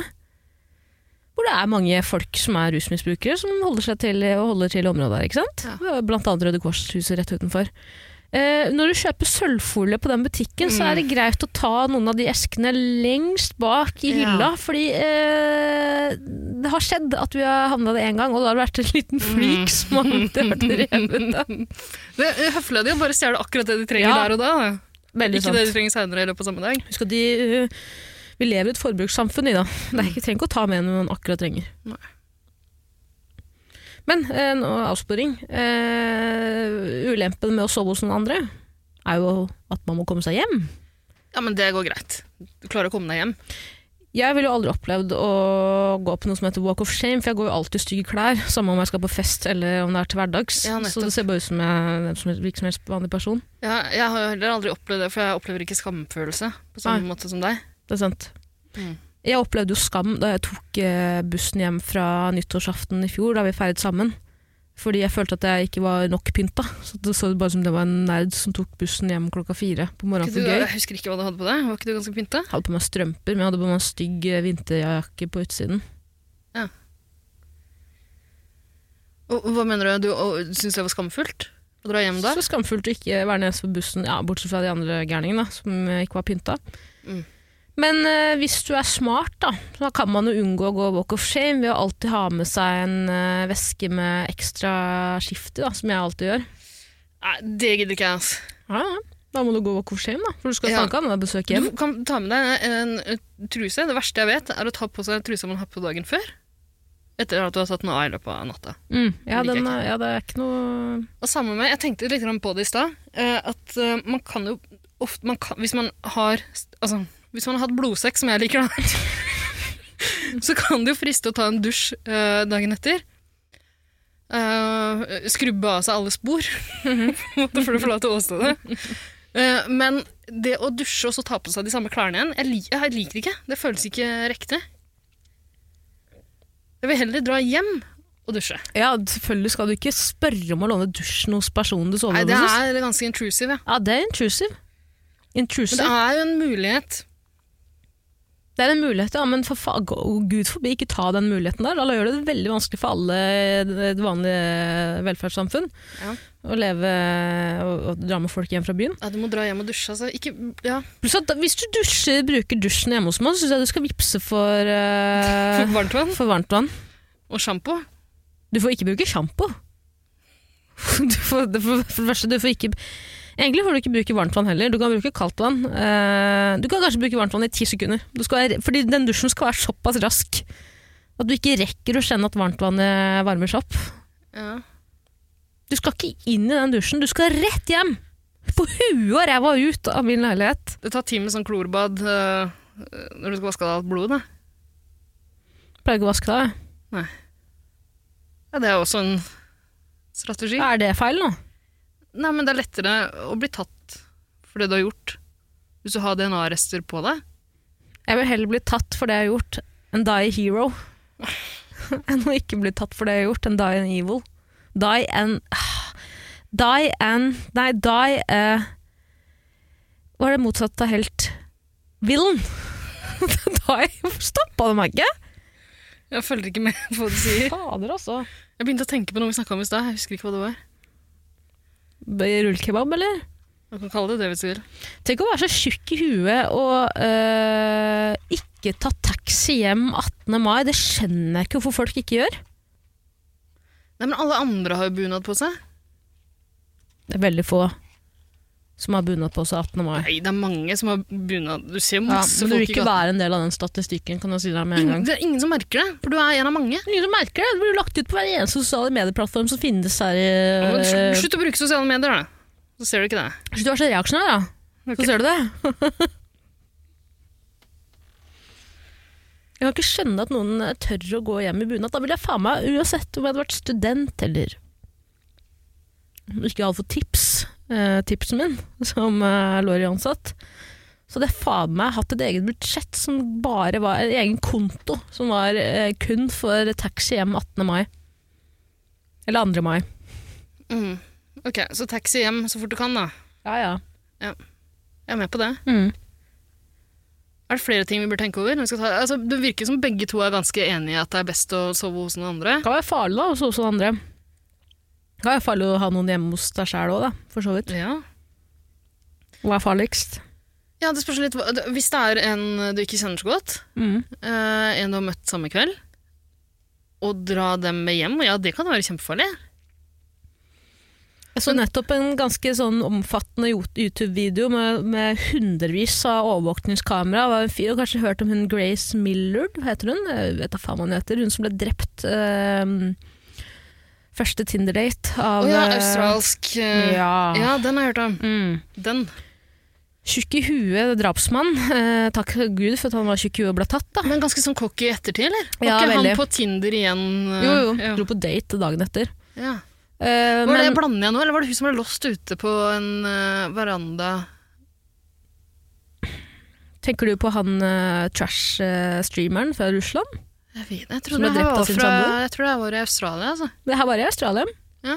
Speaker 1: Hvor det er mange folk som er rusmisbrukere, som holder seg til og holder til i området der. ikke sant? Blant annet Røde Kors-huset rett utenfor. Eh, når du kjøper sølvfolie på den butikken, så er det greit å ta noen av de eskene lengst bak i
Speaker 2: Ja.
Speaker 1: hylla, fordi eh, det har skjedd at vi har havna det én gang, og da har det vært en liten flik som har vært revet av.
Speaker 2: Det er Høflødig å bare stjele akkurat det de trenger
Speaker 1: Ja.
Speaker 2: der og da. da.
Speaker 1: Veldig
Speaker 2: Ikke
Speaker 1: sant.
Speaker 2: det de trenger senere i løpet av samme dag.
Speaker 1: Husk at de, øh, vi lever i et forbrukssamfunn, Ida. Det er ikke trenger ikke å ta med noe man akkurat trenger.
Speaker 2: Nei.
Speaker 1: Men eh, nå avsporing. Eh, ulempen med å sove hos noen andre er jo at man må komme seg hjem.
Speaker 2: Ja, men det går greit. Du klarer å komme deg hjem.
Speaker 1: Jeg ville jo aldri opplevd å gå på noe som heter walk of shame, for jeg går jo alltid i stygge klær, [laughs] samme om jeg skal på fest eller om det er til hverdags.
Speaker 2: Ja, nettopp.
Speaker 1: så det ser bare ut som jeg er hvem som helst, hvilken som helst vanlig person.
Speaker 2: Ja, jeg har jo heller aldri opplevd det, for jeg opplever ikke skamfølelse på samme måte som deg.
Speaker 1: Det er sant.
Speaker 2: Mm.
Speaker 1: Jeg opplevde jo skam da jeg tok eh, bussen hjem fra nyttårsaften i fjor, da vi feiret sammen. Fordi jeg følte at jeg ikke var nok pynta. Så det så bare som det var en nerd som tok bussen hjem klokka fire på morgenen
Speaker 2: Ikke
Speaker 1: for
Speaker 2: du,
Speaker 1: gøy.
Speaker 2: jeg husker ikke hva du hadde på deg. Var ikke du ganske pynta?
Speaker 1: Jeg hadde på meg strømper, men jeg hadde på meg en stygg eh, vinterjakke på utsiden.
Speaker 2: Og, og hva mener du? Du og- syns det var skamfullt å dra hjem da?
Speaker 1: Så skamfullt å ikke være nede på bussen, ja, bortsett fra de andre gærningene da, som eh, ikke var pynta.
Speaker 2: Mm.
Speaker 1: Men eh, hvis du er smart, da, så kan man jo unngå å gå walk of shame ved å alltid ha med seg en eh, veske med ekstra skifte, da, som jeg alltid gjør.
Speaker 2: Nei, det gidder ikke jeg, altså.
Speaker 1: Ja, ja. Da må du gå walk of shame, da, for du skal
Speaker 2: Ja.
Speaker 1: snakke om det besøket hjem.
Speaker 2: [laughs] Du kan ta med deg en, en truse. Det verste jeg vet, er å ta på seg trusa man har på dagen før. Etter at du har tatt den av i løpet av natta.
Speaker 1: Mm. Ja,
Speaker 2: Det liker jeg
Speaker 1: den, er- ja, det er ikke noe
Speaker 2: Og samme med, jeg tenkte litt grann på det i stad, eh, at eh, man kan jo ofte man kan, Hvis man har Altså, hvis man har hatt blodsekk, som jeg liker, da, [laughs] så kan det jo friste å ta en dusj eh, dagen etter. Eh, skrubbe av seg alle spor, [laughs] på en måte, for å forlate åstedet. Eh, men det å dusje og så ta på seg de samme klærne igjen, jeg, lik, jeg liker det ikke. Det føles ikke riktig. Jeg vil heller dra hjem og dusje.
Speaker 1: Ja, selvfølgelig skal du ikke spørre om å låne dusjen hos personen du sover
Speaker 2: Nei, det
Speaker 1: hos.
Speaker 2: er ganske intrusive. Ja.
Speaker 1: Ja, det er intrusive.
Speaker 2: Men det
Speaker 1: Intrusive.
Speaker 2: er jo en mulighet.
Speaker 1: Det er en mulighet, ja, men for fa gå- gud forbi, ikke ta den muligheten der. Da gjør det det veldig vanskelig for alle i det vanlige velferdssamfunn
Speaker 2: Ja.
Speaker 1: å leve og, og dra med folk hjem fra byen.
Speaker 2: Ja, du må dra hjem og dusje, altså. Ikke, ja.
Speaker 1: Pluss at da- hvis du dusjer, bruker dusjen hjemme hos meg, så syns jeg du skal vippse for, eh,
Speaker 2: [laughs] For varmtvann
Speaker 1: for varmt vann.
Speaker 2: og sjampo.
Speaker 1: Du får ikke bruke sjampo. [laughs] Du får, du får, for det første, du får ikke Egentlig får du ikke bruke varmt vann heller. Du kan bruke kaldt vann. Eh, du kan kanskje bruke varmt vann i ti sekunder. Du skal, fordi den dusjen skal være såpass rask at du ikke rekker å kjenne at varmtvannet varmer seg opp.
Speaker 2: Ja.
Speaker 1: Du skal ikke inn i den dusjen. Du skal rett hjem! På huet og ræva ut av min leilighet.
Speaker 2: Det tar ti med sånn klorbad eh, når du skal vaske av alt blodet. da.
Speaker 1: Pleier ikke å vaske deg.
Speaker 2: Ja, det er også en strategi.
Speaker 1: Er det feil nå?
Speaker 2: Nei, men det er lettere å bli tatt for det du har gjort. Hvis du har DNA-rester på deg.
Speaker 1: Jeg vil heller bli tatt for det jeg har gjort, enn die a [laughs] hero. enn å ikke bli tatt for det jeg har gjort, enn die an evil. Die an ah, Die an Nei, die eh, Hva er det motsatte av helt? Villain. [laughs] die Stoppa du meg ikke?
Speaker 2: Jeg følger ikke med på hva du sier.
Speaker 1: Fader, altså.
Speaker 2: Jeg begynte å tenke på noe vi snakka om i stad. Jeg husker ikke hva det var.
Speaker 1: Rullkebab, eller?
Speaker 2: Man kan kalle det det hvis du vil.
Speaker 1: Tenk å være så tjukk i huet og eh, ikke ta taxi hjem 18. mai. Det skjønner jeg ikke hvorfor folk ikke gjør.
Speaker 2: Nei, men alle andre har jo bunad på seg.
Speaker 1: Det er veldig få som har bunad på seg 18. mai.
Speaker 2: Nei, det er mange som har bunad. Du ser
Speaker 1: Ja,
Speaker 2: masse
Speaker 1: men du vil
Speaker 2: folk i Mm.
Speaker 1: ikke
Speaker 2: gata.
Speaker 1: være en del av den statistikken, kan jeg si deg med en
Speaker 2: Ingen,
Speaker 1: gang.
Speaker 2: det er ingen som merker det, for du er en av mange.
Speaker 1: Ingen som merker det. Det blir jo lagt ut på hver eneste sosiale medieplattform som finnes her.
Speaker 2: Ja, men
Speaker 1: i-
Speaker 2: sl- Slutt å bruke sosiale medier, da. Så ser du ikke det.
Speaker 1: Slutt å være så reaksjonær, da.
Speaker 2: Ok.
Speaker 1: Så ser du det. [laughs] jeg kan ikke skjønne at noen eh, tør å gå hjem i bunad. Da ville jeg faen meg, uansett om jeg hadde vært student eller om ikke hadde fått tips, eh, tipsen min [laughs] som eh, Lorry-ansatt, så hadde jeg faen meg hatt et eget budsjett som bare var en egen konto, som var eh, kun for taxi hjem 18. mai. Eller 2. mai.
Speaker 2: Mm. Ok, så taxi hjem så fort du kan, da.
Speaker 1: Ja, ja.
Speaker 2: Jeg er med på det.
Speaker 1: Mm.
Speaker 2: Er det flere ting vi bør tenke over? når vi skal ta, altså, det virker som begge to er ganske enige i at det er best å sove hos noen andre.
Speaker 1: Det kan være farlig da, hos hos noen andre. Det kan være farlig å ha noen hjemme hos deg sjæl òg, for så vidt.
Speaker 2: Ja.
Speaker 1: Hva er farligst?
Speaker 2: ja, det spørs litt hva- det- Hvis det er en du ikke kjenner så godt,
Speaker 1: Mm.
Speaker 2: eh, en du har møtt samme kveld, og dra dem med hjem, ja, det kan være kjempefarlig.
Speaker 1: Jeg så nettopp en ganske sånn omfattende jo- YouTube-video med, med hundrevis av overvåkningskamera. Det var en fyr, og kanskje hørt om hun Grace Millard, heter hun? Jeg vet da faen hva hun heter. Hun som ble drept eh, første Tinder-date
Speaker 2: Å
Speaker 1: av
Speaker 2: ja,
Speaker 1: eh,
Speaker 2: australsk eh,
Speaker 1: Ja.
Speaker 2: ja, den har jeg hørt om.
Speaker 1: Mm.
Speaker 2: Den.
Speaker 1: Tjukk i huet drapsmann. Eh, takk Gud for at han var tjukk i huet og ble tatt, da.
Speaker 2: Men ganske sånn cocky ettertid, eller? Var
Speaker 1: Ja,
Speaker 2: ikke
Speaker 1: veldig.
Speaker 2: han på Tinder igjen? eh,
Speaker 1: Jo, jo.
Speaker 2: Ja.
Speaker 1: Dro på date dagen etter.
Speaker 2: Ja.
Speaker 1: Eh,
Speaker 2: Var
Speaker 1: men-
Speaker 2: det blander jeg nå, eller var det hun som ble låst ute på en eh, veranda?
Speaker 1: Tenker du på han eh, trash-streameren fra Russland?
Speaker 2: Jeg vet jeg
Speaker 1: Som
Speaker 2: trodde
Speaker 1: ble
Speaker 2: det her
Speaker 1: drept av
Speaker 2: var
Speaker 1: sin
Speaker 2: fra,
Speaker 1: samboer?
Speaker 2: jeg tror det her var i Australia, altså.
Speaker 1: Det her var i Australia.
Speaker 2: Ja.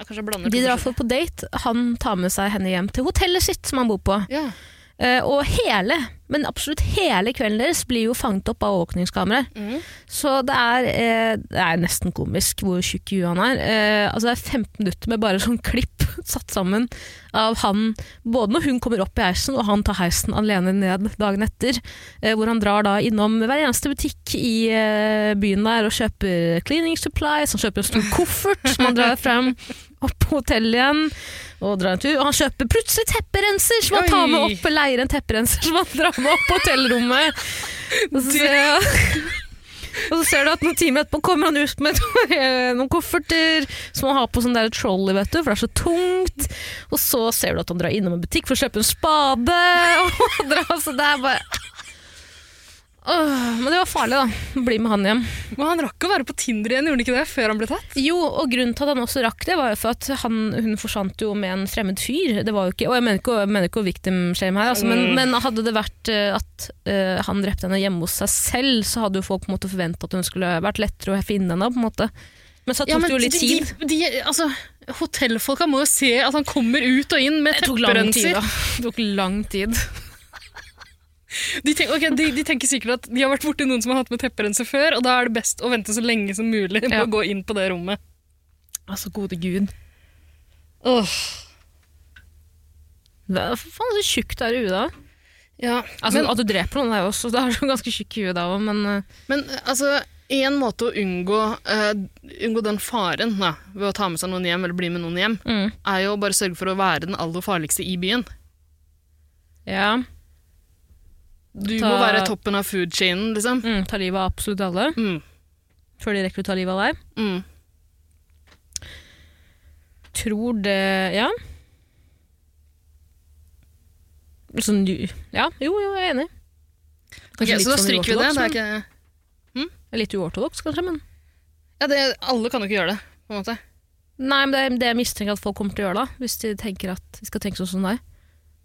Speaker 2: Jeg kanskje jeg blander
Speaker 1: De
Speaker 2: to
Speaker 1: drar
Speaker 2: forskjellige-
Speaker 1: for på date. Han tar med seg henne hjem til hotellet sitt som han bor på.
Speaker 2: Ja.
Speaker 1: Eh, og hele, men absolutt hele kvelden deres blir jo fanget opp av overvåkningskameraer.
Speaker 2: Mhm.
Speaker 1: Så det er, eh, det er nesten komisk hvor tjukk i huet han er. Eh, altså det er 15 minutter med bare sånn klipp [laughs] satt sammen av han, både når hun kommer opp i heisen og han tar heisen alene ned dagen etter, eh, hvor han drar da innom hver eneste butikk i eh, byen der og kjøper cleaning supplies, han kjøper en stor koffert som han drar frem opp på hotellet igjen og drar en tur. Og han kjøper plutselig tepperenser som han tar med
Speaker 2: Oi.
Speaker 1: opp og leier en tepperenser som han drar med opp på hotellrommet. Og så ser jeg- [laughs] Og så ser du at noen timer etterpå kommer han ut med [laughs] eh, noen kofferter som han har på sånn der trolley, vet du, for det er så tungt. Og så ser du at han drar innom en butikk for å kjøpe en spade. [laughs] Og drar, så det er bare Åh, men det var farlig, da. Bli med han hjem.
Speaker 2: Men han rakk å være på Tinder igjen, gjorde han ikke det, før han ble tatt?
Speaker 1: Jo, og grunnen til at han også rakk det, var jo for at han, hun forsvant jo med en fremmed fyr. Det var jo ikke, og jeg mener ikke, jeg mener ikke å victim shame her, altså, men,
Speaker 2: Mm.
Speaker 1: men hadde det vært eh, at eh, han drepte henne hjemme hos seg selv, så hadde jo folk på en måte forventa at hun skulle vært lettere å finne henne. på en måte. Men så tok det jo litt
Speaker 2: de,
Speaker 1: tid.
Speaker 2: De, de, altså, hotellfolka må jo se at han kommer ut og inn med
Speaker 1: Det tok lang tid,
Speaker 2: tepperenser.
Speaker 1: da. Det tok lang tid.
Speaker 2: De, tenk, ok, de, de tenker sikkert at de har vært borti noen som har hatt med tepperenser før, og da er det best å vente så lenge som mulig med
Speaker 1: Ja.
Speaker 2: å gå inn på det rommet.
Speaker 1: Altså, gode gud.
Speaker 2: Åh,
Speaker 1: Hva faen så tjukt er i huet da?
Speaker 2: ja.
Speaker 1: Altså,
Speaker 2: men,
Speaker 1: at du dreper noen er jo også, [laughs] det er jo ganske tjukk i huet da òg, men eh,
Speaker 2: men altså, en måte å unngå, eh, unngå den faren da, ved å ta med seg noen hjem eller bli med noen hjem,
Speaker 1: mm,
Speaker 2: er jo å bare sørge for å være den aller farligste i byen.
Speaker 1: ja.
Speaker 2: Du
Speaker 1: Ta-
Speaker 2: må være toppen av food chainen, liksom.
Speaker 1: Mm, ta livet av absolutt alle
Speaker 2: Mm.
Speaker 1: før de rekker å ta livet av deg.
Speaker 2: Mm.
Speaker 1: tror det Ja. Sånn du Ja, jo, jo, jeg er enig.
Speaker 2: Ok,
Speaker 1: Kanskje litt
Speaker 2: så da
Speaker 1: sånn
Speaker 2: stryker vi det.
Speaker 1: uortodoks,
Speaker 2: det
Speaker 1: men-
Speaker 2: er ikke...
Speaker 1: Litt uortodoks, kanskje, men
Speaker 2: ja, det, alle kan jo ikke gjøre det, på en måte.
Speaker 1: Nei, men det er det jeg mistenker at folk kommer til å gjøre, da. Hvis de tenker at de skal tenke sånn som deg.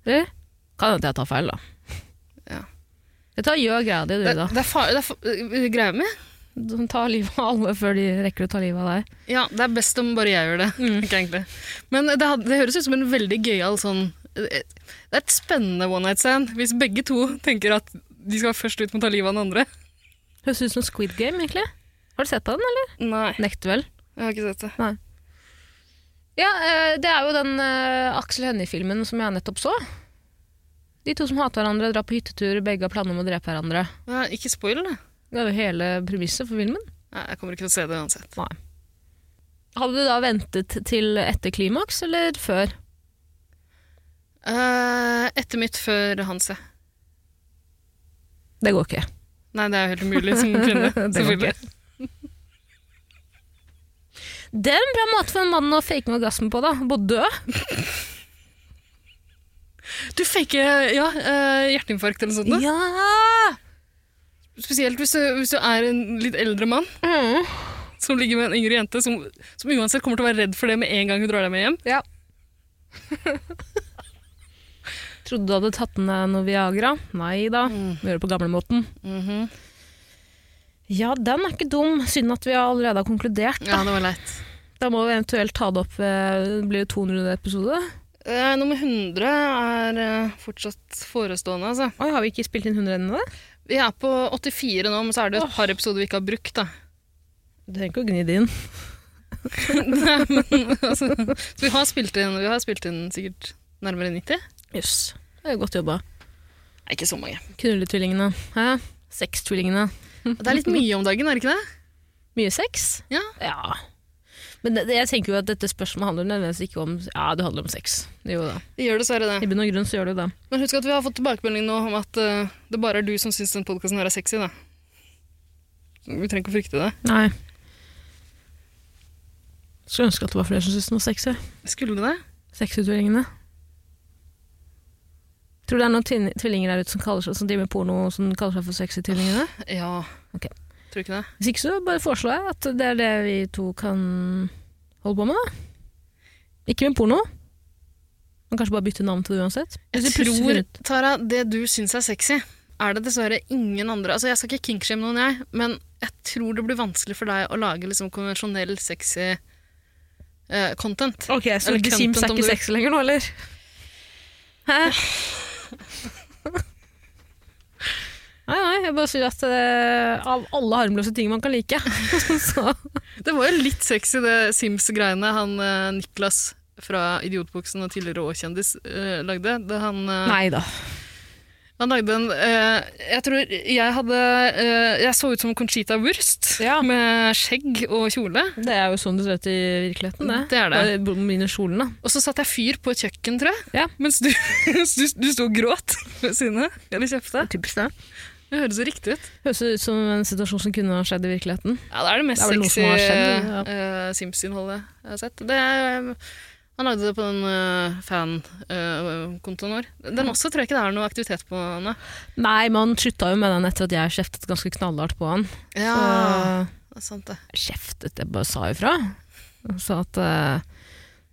Speaker 1: Eller? Kan hende jeg tar feil, da.
Speaker 2: Ja.
Speaker 1: Jeg tar gjør greia di, du,
Speaker 2: Det,
Speaker 1: da.
Speaker 2: det er far... Det er fa øh, greia mi.
Speaker 1: Du tar livet av alle før de rekker å ta livet av deg.
Speaker 2: Ja, det er best om bare jeg gjør det. Ikke egentlig. Men det, had- det høres ut som en veldig gøyal sånn Det er et spennende one night stand hvis begge to tenker at de skal først ut med å ta livet av den andre.
Speaker 1: Høres ut som Squid Game, egentlig. Har du sett på den, eller?
Speaker 2: Nei,
Speaker 1: Nekter vel.
Speaker 2: jeg har ikke sett det.
Speaker 1: Ja, eh, det er jo den eh, Aksel Hennie-filmen som jeg nettopp så. De to som hater hverandre, drar på hyttetur, begge har planer om å drepe hverandre.
Speaker 2: Ja, ikke spoil det.
Speaker 1: Det er jo hele premisset for filmen.
Speaker 2: Nei, jeg kommer ikke til å se det uansett.
Speaker 1: Hadde du da ventet til etter klimaks, eller før?
Speaker 2: Eh, etter mitt før Hans, ja.
Speaker 1: Det går ikke.
Speaker 2: Nei, det er jo helt umulig [laughs] som kvinne.
Speaker 1: [laughs] Det går
Speaker 2: selvfølgelig.
Speaker 1: Det er en bra måte for en mann å fake med orgasmen på, da. Både dø.
Speaker 2: Du faker ja, eh, hjerteinfarkt eller noe sånt. da.
Speaker 1: Ja!
Speaker 2: Spesielt hvis du, hvis du er en litt eldre mann
Speaker 1: Mm.
Speaker 2: som ligger med en yngre jente, som, som uansett kommer til å være redd for det med en gang hun drar deg med hjem.
Speaker 1: ja. Trodde du hadde tatt med noe Viagra? Nei da.
Speaker 2: Mm.
Speaker 1: Gjør det på gamlemåten.
Speaker 2: Mhm.
Speaker 1: Ja, den er ikke dum. Synd at vi allerede har konkludert.
Speaker 2: Ja, det var leit.
Speaker 1: Da må vi eventuelt ta det opp ved det blir 200. episode.
Speaker 2: Eh, nummer 100 er eh, fortsatt forestående, altså.
Speaker 1: Oi, Har vi ikke spilt inn 100 ennå?
Speaker 2: Vi er på 84 nå, men så er det jo et par episoder vi ikke har brukt, da.
Speaker 1: Du trenger ikke å gni det inn.
Speaker 2: Nei, men, altså, så vi har, spilt inn, vi har spilt inn sikkert nærmere 90.
Speaker 1: Jøss. Det er godt jobba.
Speaker 2: Nei, ikke så mange.
Speaker 1: Knulletvillingene. Hæ? Sextvillingene.
Speaker 2: Det er litt mye om dagen, er det ikke det?
Speaker 1: Mye sex?
Speaker 2: Ja.
Speaker 1: ja. Men det, det- jeg tenker jo at dette spørsmålet handler nødvendigvis ikke om Ja, det handler om sex. Det gjør jo det.
Speaker 2: Det gjør dessverre
Speaker 1: I
Speaker 2: det.
Speaker 1: bunn og grunn så gjør det jo det.
Speaker 2: Men husk at vi har fått tilbakemelding nå om at eh, det bare er du som syns den podkasten her er sexy, da. Så Vi trenger ikke å frykte det.
Speaker 1: Nei. Skulle ønske at det var flere som syntes den var sexy.
Speaker 2: Skulle det?
Speaker 1: Sexutvillingene. Tror du det er noen tvin- tvillinger der ute som, kaller seg, som driver med porno som kaller seg for sexytvillingene?
Speaker 2: Ja.
Speaker 1: Ok.
Speaker 2: Tror du ikke det?
Speaker 1: Hvis ikke så bare foreslår jeg at det er det vi to kan holde på med. da. Ikke med porno. Men kanskje bare bytte navn til det uansett. Hvis
Speaker 2: Jeg
Speaker 1: vi plutselig
Speaker 2: tror,
Speaker 1: finner ut-
Speaker 2: Tara, det du syns er sexy, er det dessverre ingen andre Altså, jeg skal ikke kinkshame noen, jeg, men jeg tror det blir vanskelig for deg å lage liksom konvensjonell sexy eh, content.
Speaker 1: Ok, så Eller
Speaker 2: Eller Content,
Speaker 1: Sims er
Speaker 2: om
Speaker 1: ikke
Speaker 2: du-
Speaker 1: sexy lenger nå, eller? Hæ? Nei, nei, jeg bare sier at eh, av alle harmløse ting man kan like, [laughs] så
Speaker 2: Det var jo litt sexy, det Sims-greiene han eh, Niklas fra Idiotboksen og tidligere Å-kjendis eh, lagde. Det han, eh,
Speaker 1: Nei da.
Speaker 2: han lagde en eh, Jeg tror jeg hadde eh, Jeg så ut som Conchita Wurst
Speaker 1: Ja.
Speaker 2: med skjegg og kjole.
Speaker 1: Det er jo sånn det ser ut i virkeligheten, det.
Speaker 2: Det er det.
Speaker 1: Bare Mine kjolene.
Speaker 2: Og så satte jeg fyr på et kjøkken, tror jeg. [laughs]
Speaker 1: Ja.
Speaker 2: Mens du, mens du, du sto og gråt ved siden av. Eller kjefta.
Speaker 1: Typisk det.
Speaker 2: Det høres så riktig ut.
Speaker 1: Høres ut som en situasjon som kunne ha skjedd i virkeligheten.
Speaker 2: Ja, Det er det mest
Speaker 1: Det er vel noe
Speaker 2: sexy
Speaker 1: som har skjedd,
Speaker 2: eh, Sims-innholdet jeg har sett. Det er, eh, han lagde det på den eh, fan-kontoen vår. Den også tror jeg ikke det er noe aktivitet på. Anne.
Speaker 1: Nei, men han slutta jo med den etter at jeg kjeftet ganske knallhardt på han.
Speaker 2: Ja,
Speaker 1: Så-
Speaker 2: det er sant det.
Speaker 1: kjeftet, jeg bare sa ifra. Og sa at eh,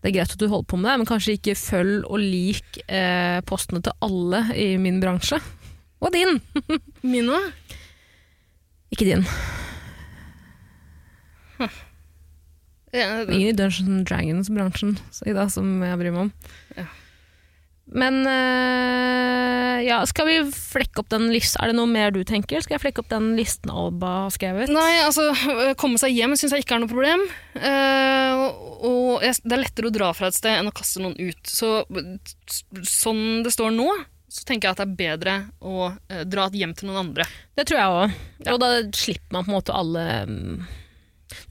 Speaker 1: det er greit at du holder på med det, men kanskje ikke følg og lik eh, postene til alle i min bransje. Og din!
Speaker 2: Min òg.
Speaker 1: Ikke din.
Speaker 2: Ja, det-
Speaker 1: Ingen i Dungeons and Dragons-bransjen så i dag som jeg bryr meg om.
Speaker 2: Ja.
Speaker 1: Men eh, ja, skal vi flekke opp den listen? Er det noe mer du tenker? Skal jeg flekke opp den listen Alba har skrevet?
Speaker 2: Nei, altså, øh, komme seg hjem syns jeg ikke er noe problem. Eh, og- og jeg, det er lettere å dra fra et sted enn å kaste noen ut. Så s- sånn det står nå, så tenker jeg at det er bedre å eh, dra et hjem til noen andre.
Speaker 1: Det tror jeg òg. Og da slipper man på en måte alle mm,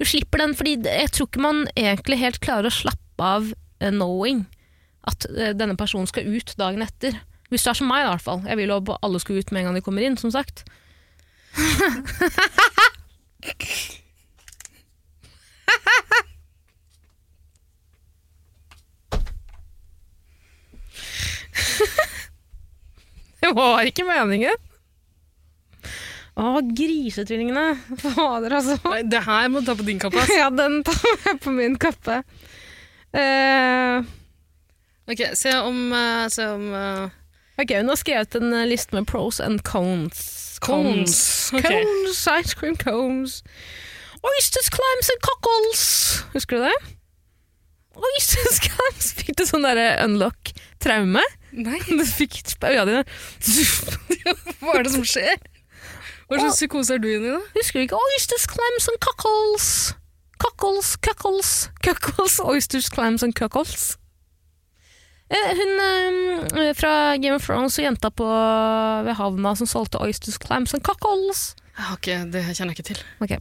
Speaker 1: Du slipper den, fordi det- jeg tror ikke man egentlig helt klarer å slappe av eh, knowing at eh, denne personen skal ut dagen etter. Hvis du er som meg, da, i hvert fall. Jeg vil jo at alle skal ut med en gang de kommer inn, som sagt. [laughs] Det var ikke meningen. Å, grisetvillingene. Fader, altså.
Speaker 2: Nei, det her må du ta på din kappe. ass.
Speaker 1: Ja, den tar jeg på min kappe. Eh,
Speaker 2: Ok, se om, eh, se om eh,
Speaker 1: ok, hun har skrevet en eh, liste med pros and cons.
Speaker 2: Cones.
Speaker 1: Cones,
Speaker 2: Ok.
Speaker 1: cones, ice cream cones. Oysters, clams and cockles. Husker du det? Oysters, clams. Fikk du sånn derre unlock traume?
Speaker 2: [laughs] Nei,
Speaker 1: [laughs] Du fikk øya dine.
Speaker 2: hva er det som skjer? Hva slags psykose er du inne i, da?
Speaker 1: Husker du ikke oysters, clams and cockles? Cockles, cockles, cockles, [laughs] oysters, clams and cockles. Eh, Hun eh, fra Game of Thrones og jenta på ved havna som solgte oysters, clams and cockles.
Speaker 2: Jeg har ikke, det kjenner jeg ikke til.
Speaker 1: Ok.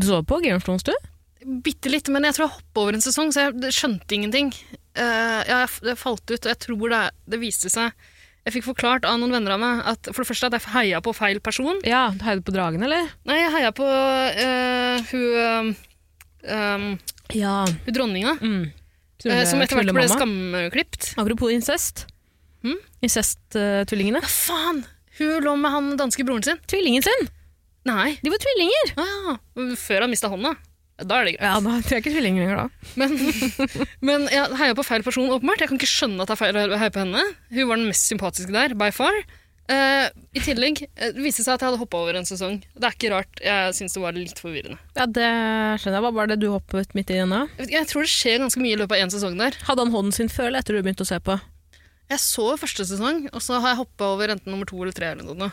Speaker 1: Du så på Game of Thrones, du?
Speaker 2: Bitte litt, men jeg tror jeg hoppa over en sesong, så jeg skjønte ingenting. Eh, ja, jeg, f- jeg falt ut, og jeg tror det, det viste seg Jeg fikk forklart av noen venner av meg at for det første at jeg heia på feil person.
Speaker 1: Ja, du heide på dragen, eller?
Speaker 2: Nei, jeg heia på eh, hun eh,
Speaker 1: Ja.
Speaker 2: Hun dronninga,
Speaker 1: Mm.
Speaker 2: eh, som etter hvert ble
Speaker 1: Knullemamma.
Speaker 2: skamklipt.
Speaker 1: Apropos incest.
Speaker 2: Mm?
Speaker 1: Incest-tvillingene.
Speaker 2: Hva faen! Hun lå med han danske broren sin.
Speaker 1: Tvillingen sin!
Speaker 2: Nei.
Speaker 1: De var tvillinger!
Speaker 2: Ah, før han mista hånda. Da er det greit.
Speaker 1: Ja, da tror jeg ikke tvillinger lenger, da.
Speaker 2: Men, [laughs] men jeg heia på feil person, åpenbart. Jeg kan ikke skjønne at jeg feil- heier på henne. Hun var den mest sympatiske der, by far. Eh, I tillegg eh, det viste det seg at jeg hadde hoppa over en sesong. Det er ikke rart. Jeg syns det var litt forvirrende.
Speaker 1: Ja, det skjønner jeg. Hva var det du hoppet midt i denne?
Speaker 2: Jeg vet ikke, jeg tror det skjer ganske mye i løpet av én sesong der.
Speaker 1: Hadde han hånden sin før eller etter du begynte å se på?
Speaker 2: Jeg så første sesong, og så har jeg hoppa over enten nummer to eller tre. eller noe.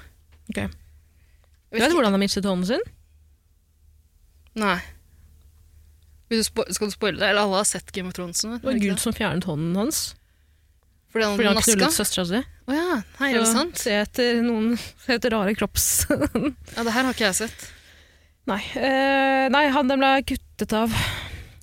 Speaker 1: Okay.
Speaker 2: Jeg
Speaker 1: Du
Speaker 2: vet
Speaker 1: vet
Speaker 2: ikke-
Speaker 1: hvordan han mistet hånden sin?
Speaker 2: Nei. Vil du spo- skal du spoile det? Eller alle har sett Game of Thrones? nå,
Speaker 1: Det var
Speaker 2: ikke
Speaker 1: Gud
Speaker 2: det?
Speaker 1: som fjernet hånden hans.
Speaker 2: Fordi han
Speaker 1: Fordi han knullet
Speaker 2: naska?
Speaker 1: søstera si.
Speaker 2: Å ja. Nei, er det
Speaker 1: Så
Speaker 2: sant?
Speaker 1: Se etter noen se etter rare kropps... [laughs]
Speaker 2: Ja, det her har ikke jeg sett.
Speaker 1: nei. eh, nei, han den ble kuttet av.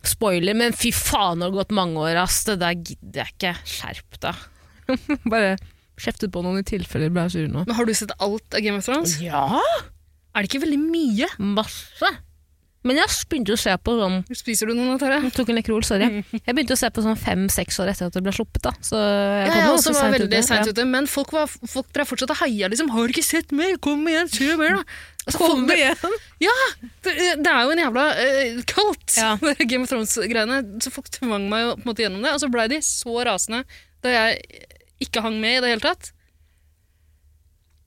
Speaker 1: Spoiler, men fy faen, det har gått mange år, ass. Det der gidder jeg ikke. Skjerp deg. [laughs] Bare kjeftet på noen i tilfelle de ble sure nå.
Speaker 2: Men har du sett alt av Game of Thrones?
Speaker 1: Ja,
Speaker 2: Er det ikke veldig mye?
Speaker 1: masse. Men jeg begynte å se på sånn
Speaker 2: Spiser du noe nå, Tara?
Speaker 1: Jeg tok en Lekrol, sorry.
Speaker 2: [laughs]
Speaker 1: Jeg begynte å se på sånn fem-seks år etter at det ble sluppet. da. Så jeg
Speaker 2: Ja,
Speaker 1: kom
Speaker 2: jeg
Speaker 1: jo
Speaker 2: også
Speaker 1: også
Speaker 2: var
Speaker 1: sent
Speaker 2: veldig
Speaker 1: ute.
Speaker 2: seint
Speaker 1: Ja.
Speaker 2: ute, men folk, var, folk drev fortsatt og heia liksom. 'Har du ikke sett mer? Kom igjen, se mer, da!' Altså, folk, det,
Speaker 1: igjen!
Speaker 2: det, det er jo en jævla uh, kaldt,
Speaker 1: Ja.
Speaker 2: [laughs] Game of Thrones-greiene. Så folk tvang meg jo på en måte gjennom det, og så blei de så rasende da jeg ikke hang med i det hele tatt.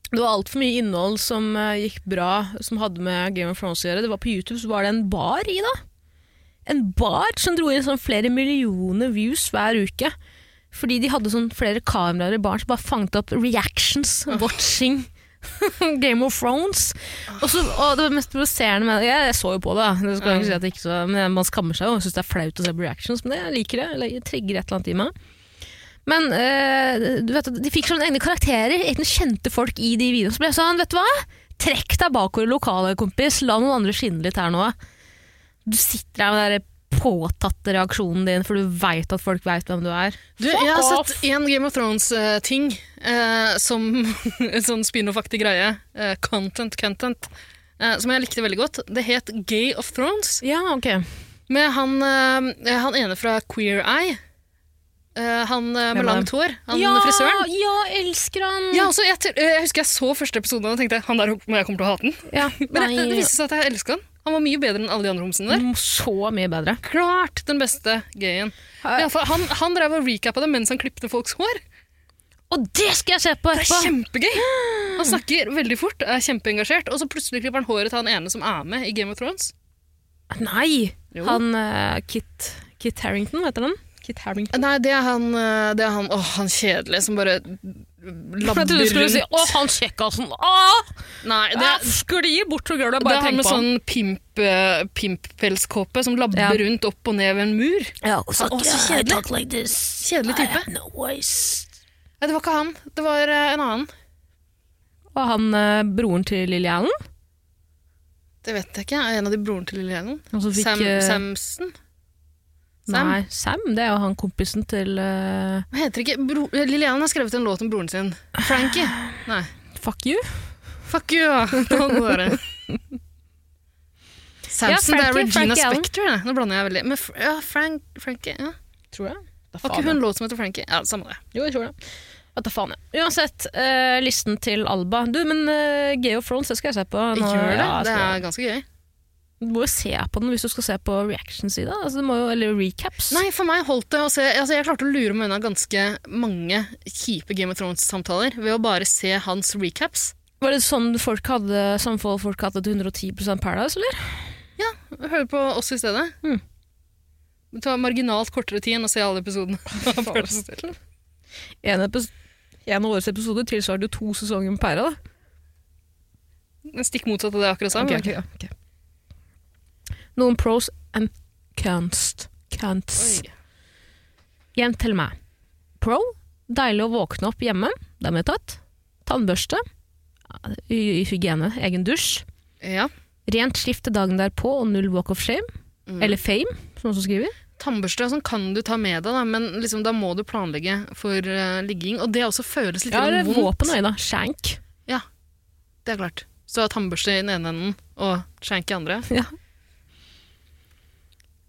Speaker 1: Det var altfor mye innhold som eh, gikk bra, som hadde med Game of Thrones å gjøre. Det var På YouTube så var det en bar i, da. En bar som dro inn sånn flere millioner views hver uke. Fordi de hadde sånn flere kameraer i baren som bare fanget opp reactions, watching [laughs] Game of Thrones. Og, så, og det mest provoserende med jeg, jeg så jo på det, da. det skal jeg ikke si at jeg ikke så, men man skammer seg jo og syns det er flaut å se på reactions, men det, jeg liker det. Eller, det trigger et eller annet i meg. Men eh, du vet, at de fikk sånne egne karakterer, egne kjente folk i de videoene. Så ble jeg sånn, vet du hva? Trekk deg bakover i lokalet, kompis. La noen andre skinne litt her nå. Du sitter her med det der påtatte reaksjonen din, for du veit at folk veit hvem du er.
Speaker 2: Du, jeg har
Speaker 1: Fuck
Speaker 2: sett en Game of Thrones-ting eh, som [laughs] en sånn spin-off-aktig greie. eh, content, content. eh, som jeg likte veldig godt. Det het Gay of Thrones.
Speaker 1: Ja, ok.
Speaker 2: Med han, eh, han ene fra Queer Eye. Eh, han eh,
Speaker 1: Hvem er
Speaker 2: med langt hår. Han frisøren.
Speaker 1: Ja, elsker han!
Speaker 2: Ja, altså, jeg, t- eh, jeg husker jeg så første episode og tenkte han der men jeg kommer til å hate den.
Speaker 1: Ja,
Speaker 2: Men
Speaker 1: nei, Mm,
Speaker 2: det, det viste seg at jeg elska han. Han var mye bedre enn alle de andre homsene der.
Speaker 1: så mye bedre. Mm.
Speaker 2: Klart den beste gayen.
Speaker 1: Ja.
Speaker 2: Ja, for han, han drev og recappa det mens han klippte folks hår.
Speaker 1: Og det skal jeg se på
Speaker 2: Det er
Speaker 1: etterpå!
Speaker 2: kjempegøy! Han snakker veldig fort, er kjempeengasjert, og så plutselig klipper han håret til han ene som er med i Game of Thrones.
Speaker 1: Nei!
Speaker 2: Jo.
Speaker 1: Han eh, Kit, Kit Harrington, vet du den? Kit Harrington.
Speaker 2: Nei, det er han, eh, det er han, åh, han kjedelige som bare labber
Speaker 1: Jeg trodde du skulle si 'Å, han kjekkasen'! ah!» Å!
Speaker 2: Nei, det er,
Speaker 1: Sklir bort fra gulvet,
Speaker 2: det
Speaker 1: bare
Speaker 2: er han
Speaker 1: tenk
Speaker 2: med
Speaker 1: på han.
Speaker 2: sånn pimp, eh, pimppelskåpe som labber
Speaker 1: Ja.
Speaker 2: rundt opp og ned ved en mur.
Speaker 1: Ja, og sånn, så,
Speaker 2: Å,
Speaker 1: yeah,
Speaker 2: så
Speaker 1: I
Speaker 2: kjedelig.
Speaker 1: talk like this.
Speaker 2: Kjedelig
Speaker 1: I
Speaker 2: type.
Speaker 1: have no voice.
Speaker 2: Nei, det var ikke han, det var eh, en annen.
Speaker 1: Og han eh, broren til Lilly Allen,
Speaker 2: Det vet jeg ikke, er en av de broren til Lille Helen.
Speaker 1: han som fikk
Speaker 2: Sam,
Speaker 1: eh,
Speaker 2: Samson? Sam?
Speaker 1: Nei, Sam, det er jo han kompisen til eh,
Speaker 2: Hva heter det ikke? Bro, Lille Helen har skrevet en låt om broren sin. Frankie? Nei.
Speaker 1: Fuck you.
Speaker 2: Fuck you,
Speaker 1: [laughs]
Speaker 2: ja. Det var noe der. Samson,
Speaker 1: Ja,
Speaker 2: det
Speaker 1: Frankie,
Speaker 2: er Regina
Speaker 1: Frankie Allen.
Speaker 2: Spektor. det. Nå blander jeg veldig. Men Fr- ja, Frank, Frankie, ja.
Speaker 1: Tror jeg.
Speaker 2: Har ikke hun låt som heter Frankie? Ja, samme det.
Speaker 1: Jo, jeg tror det. Vet da faen, jeg. Uansett, eh, listen til Alba. Du, men uh, Geo Thrones, det skal jeg se på. nå.
Speaker 2: Gjør det?
Speaker 1: Ja, jeg
Speaker 2: Det
Speaker 1: skal-
Speaker 2: er ganske gøy.
Speaker 1: Du må jo se på den hvis du skal se på reaction-sida. Altså, du må jo- eller recaps.
Speaker 2: Nei, for meg holdt det å se altså, Jeg klarte å lure meg unna ganske mange kjipe Game of Thrones-samtaler ved å bare se hans recaps.
Speaker 1: Var det sånn folk hadde samfold folk hadde til 110 Paradise, eller?
Speaker 2: Ja, høre på oss i stedet.
Speaker 1: Mm.
Speaker 2: Det tar marginalt kortere tid enn å se
Speaker 1: [laughs]
Speaker 2: alle episodene. Føles det til.
Speaker 1: En, epis- en av årets episoder tilsvarte jo to sesonger med Pæra. da.
Speaker 2: Stikk motsatt av det jeg akkurat sa.
Speaker 1: Ok,
Speaker 2: men-
Speaker 1: ok, ja, ok. Noen pros and cons. Cons.
Speaker 2: Oi.
Speaker 1: Hjem til meg. Pro. Deilig å våkne opp hjemme. Det er medtatt. Tannbørste. I, i hygiene. Egen dusj.
Speaker 2: Ja.
Speaker 1: Rent skifte dagen derpå og null walk of shame.
Speaker 2: Mm.
Speaker 1: Eller fame, som noen som skriver.
Speaker 2: Tannbørste og sånn kan du ta med deg, da, men liksom, da må du planlegge for eh, ligging. Og det også føles litt
Speaker 1: Ja,
Speaker 2: grann
Speaker 1: eller
Speaker 2: vondt.
Speaker 1: våpen og øyne. Shank.
Speaker 2: Det er klart. Så tannbørste i den ene enden og skjenk i andre.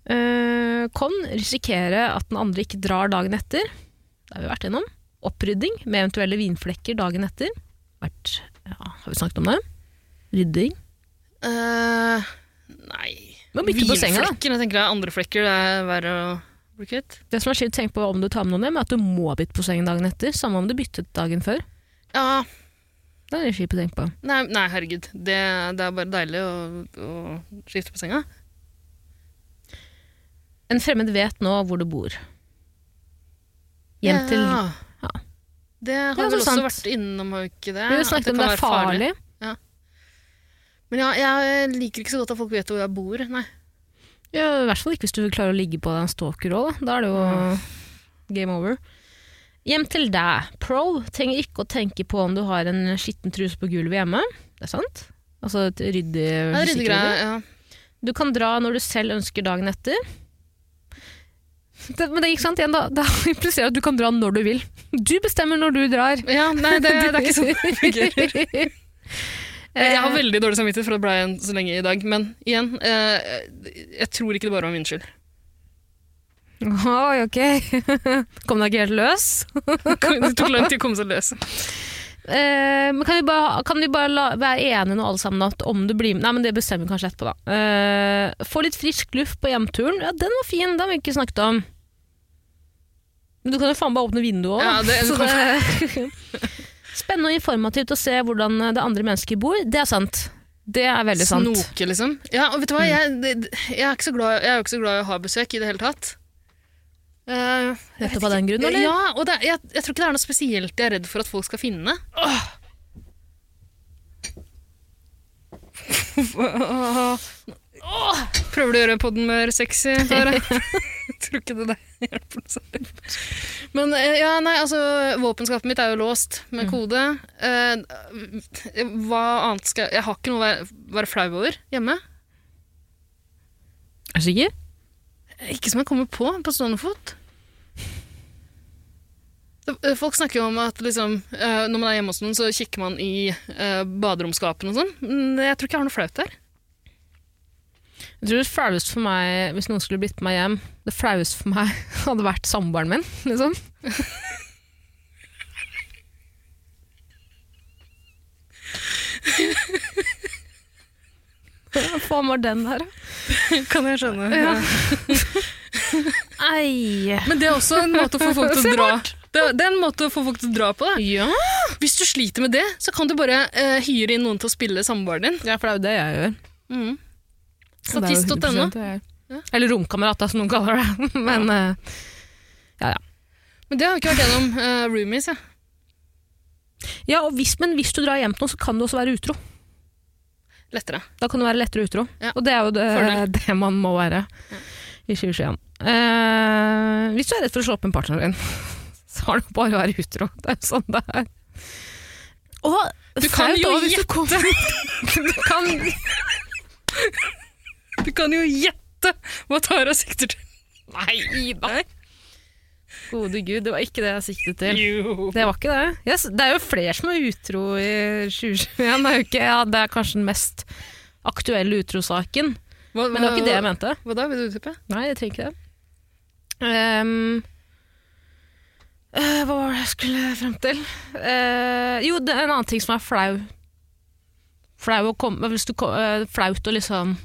Speaker 1: Eh, Kon risikere at den andre ikke drar dagen etter. Det har vi vært gjennom. Opprydding med eventuelle vinflekker dagen etter. Vært, ja, har vi snakket om det? Rydding.
Speaker 2: Eh, nei
Speaker 1: Men bytte på senga, da.
Speaker 2: Vinflekker, jeg tenker jeg. Andre flekker det er verre å bli kvitt.
Speaker 1: Det som er skilt tenk på om du tar med noen hjem, er at du må bytte på sengen dagen etter. Samme om du byttet dagen før.
Speaker 2: Ja,
Speaker 1: Det er kjipt å tenke på.
Speaker 2: nei, nei herregud. Det, det er bare deilig å, å skifte på senga.
Speaker 1: En fremmed vet nå hvor du bor. Hjem til
Speaker 2: Ja.
Speaker 1: Ja.
Speaker 2: Det
Speaker 1: Ja,
Speaker 2: har vi
Speaker 1: så
Speaker 2: vel også
Speaker 1: sant.
Speaker 2: vært innom, har vi ikke det?
Speaker 1: Vi har
Speaker 2: At
Speaker 1: jo snakket om
Speaker 2: kan
Speaker 1: det er
Speaker 2: være farlig.
Speaker 1: farlig.
Speaker 2: Men ja, jeg liker ikke så godt at folk vet hvor jeg bor. Nei.
Speaker 1: Ja, I hvert fall ikke hvis du klarer å ligge på deg en stalker òg, da. Da er det jo game over. Hjem til deg. Pro trenger ikke å tenke på om du har en skitten truse på gulvet hjemme. Det er sant. Altså et ryddig
Speaker 2: Ja, det er
Speaker 1: musikkryddig.
Speaker 2: ryddegreier, ja.
Speaker 1: Du kan dra når du selv ønsker dagen etter. Det, men det [laughs] gikk sant igjen, da. Da impliserer det at du kan dra når du vil. Du bestemmer når du [laughs] drar.
Speaker 2: Ja, nei, det, det er ikke [laughs]
Speaker 1: [laughs]
Speaker 2: sånn det fungerer. Eh,
Speaker 1: fungerer. Eh,
Speaker 2: Jeg har veldig dårlig samvittighet for at det ble igjen så lenge i dag, men igjen, eh, jeg tror ikke det bare var min skyld. [laughs]
Speaker 1: Oi, ok. [laughs] Kom deg ikke helt løs?
Speaker 2: Det tok lang tid å komme seg løs.
Speaker 1: Eh, men kan vi bare, kan vi bare la, være enige nå alle sammen at om du blir med Nei, men det bestemmer vi kanskje etterpå, da. Eh, få litt frisk luft på hjemturen. Ja, den var fin, den har vi ikke snakket om. Men du kan jo faen bare åpne vinduet òg.
Speaker 2: Ja, det-
Speaker 1: Spennende og informativt å se hvordan det andre mennesket bor. Det er sant. Det er veldig sant.
Speaker 2: Snoke, liksom. Ja, og vet du hva, jeg, det- jeg, er ikke så glad, jeg er jo ikke så glad i å ha besøk i det hele tatt. Eh, jeg vet
Speaker 1: Nettopp av den grunn,
Speaker 2: ikke-
Speaker 1: eller?
Speaker 2: Ja, og det, er- jeg, jeg tror ikke det er noe spesielt jeg er redd for at folk skal finne. Åh. Åh. Prøver du å gjøre podden mer sexy?
Speaker 1: [laughs]
Speaker 2: Tara? jeg tror ikke det der hjelper noe særlig. Men eh, ja, nei, altså, våpenskapet mitt er jo låst
Speaker 1: Mm.
Speaker 2: med kode. Eh, hva annet skal jeg Jeg har ikke noe å være, være flau over hjemme.
Speaker 1: Er du sikker?
Speaker 2: Ikke som jeg kommer på på stående fot. Det- eh, Folk snakker jo om at liksom, eh, når man er hjemme hos noen, så kikker man i eh, baderomskapene og sånn. Men Jeg tror ikke jeg har noe flaut der.
Speaker 1: Jeg tror det flaueste for meg, hvis noen skulle blitt med meg hjem, det flaueste for meg [laughs] hadde vært samboeren min, liksom. Hva faen var den der, da?
Speaker 2: Kan jeg skjønne.
Speaker 1: [laughs] Ei.
Speaker 2: Men det er også en måte å få [laughs] folk til å
Speaker 1: Så
Speaker 2: dra. Det er, det er en måte å få folk til å dra på. Da.
Speaker 1: Ja.
Speaker 2: Hvis du sliter med det, så kan du bare eh, hyre inn noen til å spille samboeren din.
Speaker 1: ja, for det er jo det jeg gjør.
Speaker 2: Mm.
Speaker 1: Det er jo
Speaker 2: Statist.no.
Speaker 1: 100% det jeg gjør.
Speaker 2: Ja.
Speaker 1: Eller romkamerat, da, som noen kaller det. [laughs] Men eh,
Speaker 2: Men det har jeg ikke vært gjennom eh, roomies, jeg.
Speaker 1: ja, og hvis, men hvis du drar hjem til noen, så kan du også være utro.
Speaker 2: Lettere.
Speaker 1: Da kan du være lettere utro.
Speaker 2: Ja.
Speaker 1: Og det er jo det,
Speaker 2: Fordel.
Speaker 1: [laughs] det man må være i 2021. Eh, hvis du er redd for å slå opp med partneren din, [laughs] så har du bare å være utro. Det er jo sånn det er. Og
Speaker 2: Du kan
Speaker 1: flaut
Speaker 2: jo
Speaker 1: også hvis du [laughs] kommer- du kan,
Speaker 2: Du kan jo gjette hva Tara sikter til.
Speaker 1: Nei, Ida! Gode gud, det var ikke det jeg siktet til.
Speaker 2: Jo.
Speaker 1: Det var ikke det. Yes, det er jo flere som er utro i 2021. Det er, jo ikke, ja, det er kanskje den mest aktuelle utrosaken.
Speaker 2: Hva,
Speaker 1: Men det var ikke det jeg
Speaker 2: hva-
Speaker 1: mente.
Speaker 2: Hva da? Vil du [laughs] utdype?
Speaker 1: Nei, jeg trenger ikke det. Ehm, eh, hva var det jeg skulle frem til? Eh, jo, det er en annen ting som er flau. Flau å komme, hvis du, ko- eh, flaut å liksom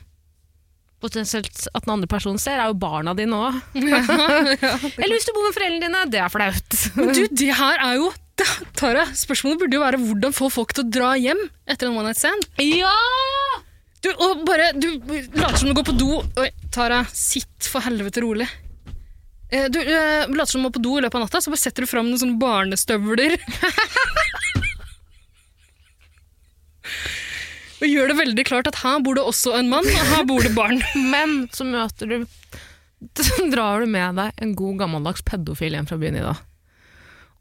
Speaker 1: Potensielt at den andre personen ser, er jo barna dine òg. Eller hvis du bor med foreldrene dine, det er flaut.
Speaker 2: Men du, det her er jo Da- Tara, spørsmålet burde jo være hvordan få folk til å dra hjem etter en one night stand.
Speaker 1: Ja!
Speaker 2: Du, og bare, du later som du går på do Oi, Tara, sitt for helvete rolig. Eh, Du eh, later som du må på do i løpet av natta, så bare setter du fram noen sånne barnestøvler. [laughs] og gjør det veldig klart at her bor det også en mann, og her bor det barn.
Speaker 1: Men så møter du Så [laughs] drar du med deg en god gammeldags pedofil hjem fra byen i dag.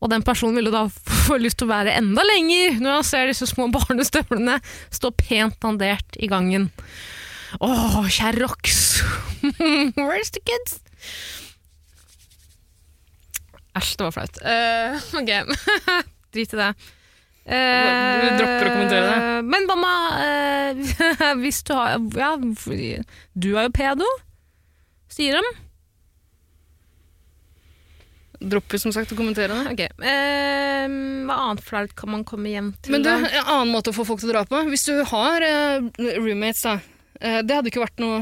Speaker 1: Og den personen vil jo da [laughs] få lyst til å være enda lenger når han ser disse små [laughs] barnestøvlene stå pent dandert i gangen. Å, kjære Rox! [laughs] Where's the kids? Æsj, det var flaut. Eh, ok, [laughs] drit i det. Eh,
Speaker 2: Du dropper å kommentere det.
Speaker 1: Men hva med eh, [laughs] Hvis du har Ja, du er jo pedo, sier de.
Speaker 2: Dropper som sagt å kommentere det.
Speaker 1: Ok, eh, Hva annet flaut kan man komme hjem til?
Speaker 2: Men du,
Speaker 1: da?
Speaker 2: en annen måte å få folk til å dra på. Hvis du har eh, roommates, da. eh, det hadde ikke vært noe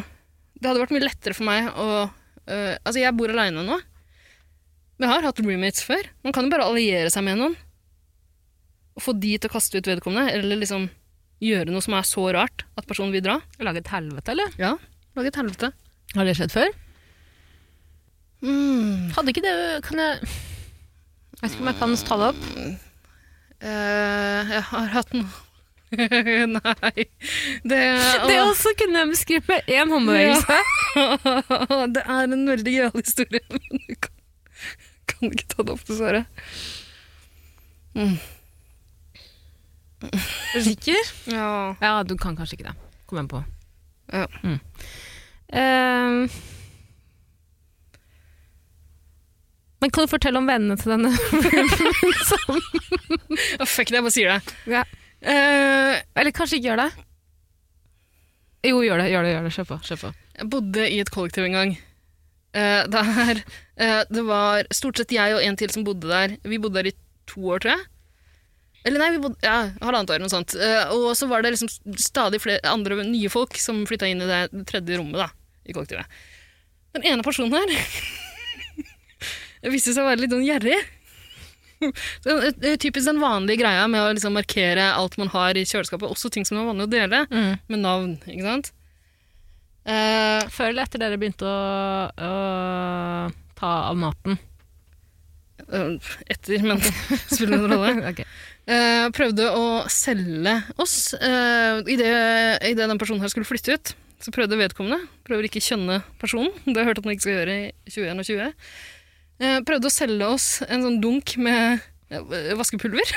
Speaker 2: Det hadde vært mye lettere for meg å eh, Altså, jeg bor aleine nå. Men jeg har hatt roommates før. Man kan jo bare alliere seg med noen. Og få de til å kaste ut vedkommende, eller liksom gjøre noe som er så rart at personen vil dra.
Speaker 1: Lage et helvete, eller?
Speaker 2: Ja, lage et helvete.
Speaker 1: Har det skjedd før?
Speaker 2: Mm.
Speaker 1: Hadde ikke det Kan jeg Jeg vet ikke om jeg kan ta det opp.
Speaker 2: Eh, jeg har hatt noe [laughs] Nei. Det,
Speaker 1: også kunne jeg beskrive én
Speaker 2: [laughs] det er en veldig gøyal historie, [laughs] men jeg kan, kan ikke ta det opp, dessverre.
Speaker 1: Er du sikker?
Speaker 2: Ja.
Speaker 1: Ja, du kan kanskje ikke det. Kom igjen på.
Speaker 2: Ja.
Speaker 1: Mm. Eh, men kan du fortelle om vennene til denne?
Speaker 2: fuck det, jeg bare sier det.
Speaker 1: Ja.
Speaker 2: Eh,
Speaker 1: [laughs] Eller kanskje ikke gjør det? Jo, gjør det. gjør det, gjør det. Kjør på. Kjør på.
Speaker 2: jeg bodde i et kollektiv en gang. Eh, der, eh, det var stort sett jeg og en til som bodde der. Vi bodde der i to år, tror jeg. Eller nei, vi bodde, ja, halvannet år eller noe sånt. Eh, og så var det liksom stadig flere andre nye folk som flytta inn i det tredje rommet da, i kollektivet. Den ene personen her [laughs] viste seg å være litt sånn gjerrig. [laughs] Den, eh, typisk den vanlige greia med å liksom markere alt man har i kjøleskapet, også ting som er vanlig å dele,
Speaker 1: Mm.
Speaker 2: med navn. ikke sant? Eh,
Speaker 1: Før eller etter dere begynte å, å ta av
Speaker 2: [laughs]
Speaker 1: maten?
Speaker 2: Eh, etter, men [laughs] spiller ingen rolle.
Speaker 1: [laughs] Ok.
Speaker 2: Eh, prøvde å selge oss. Uh, Idet i det den personen her skulle flytte ut, så prøvde vedkommende Prøver ikke kjønne personen, [laughs] det har jeg hørt at man ikke skal gjøre i 2021. Eh, prøvde å selge oss en sånn dunk med eh, vaskepulver.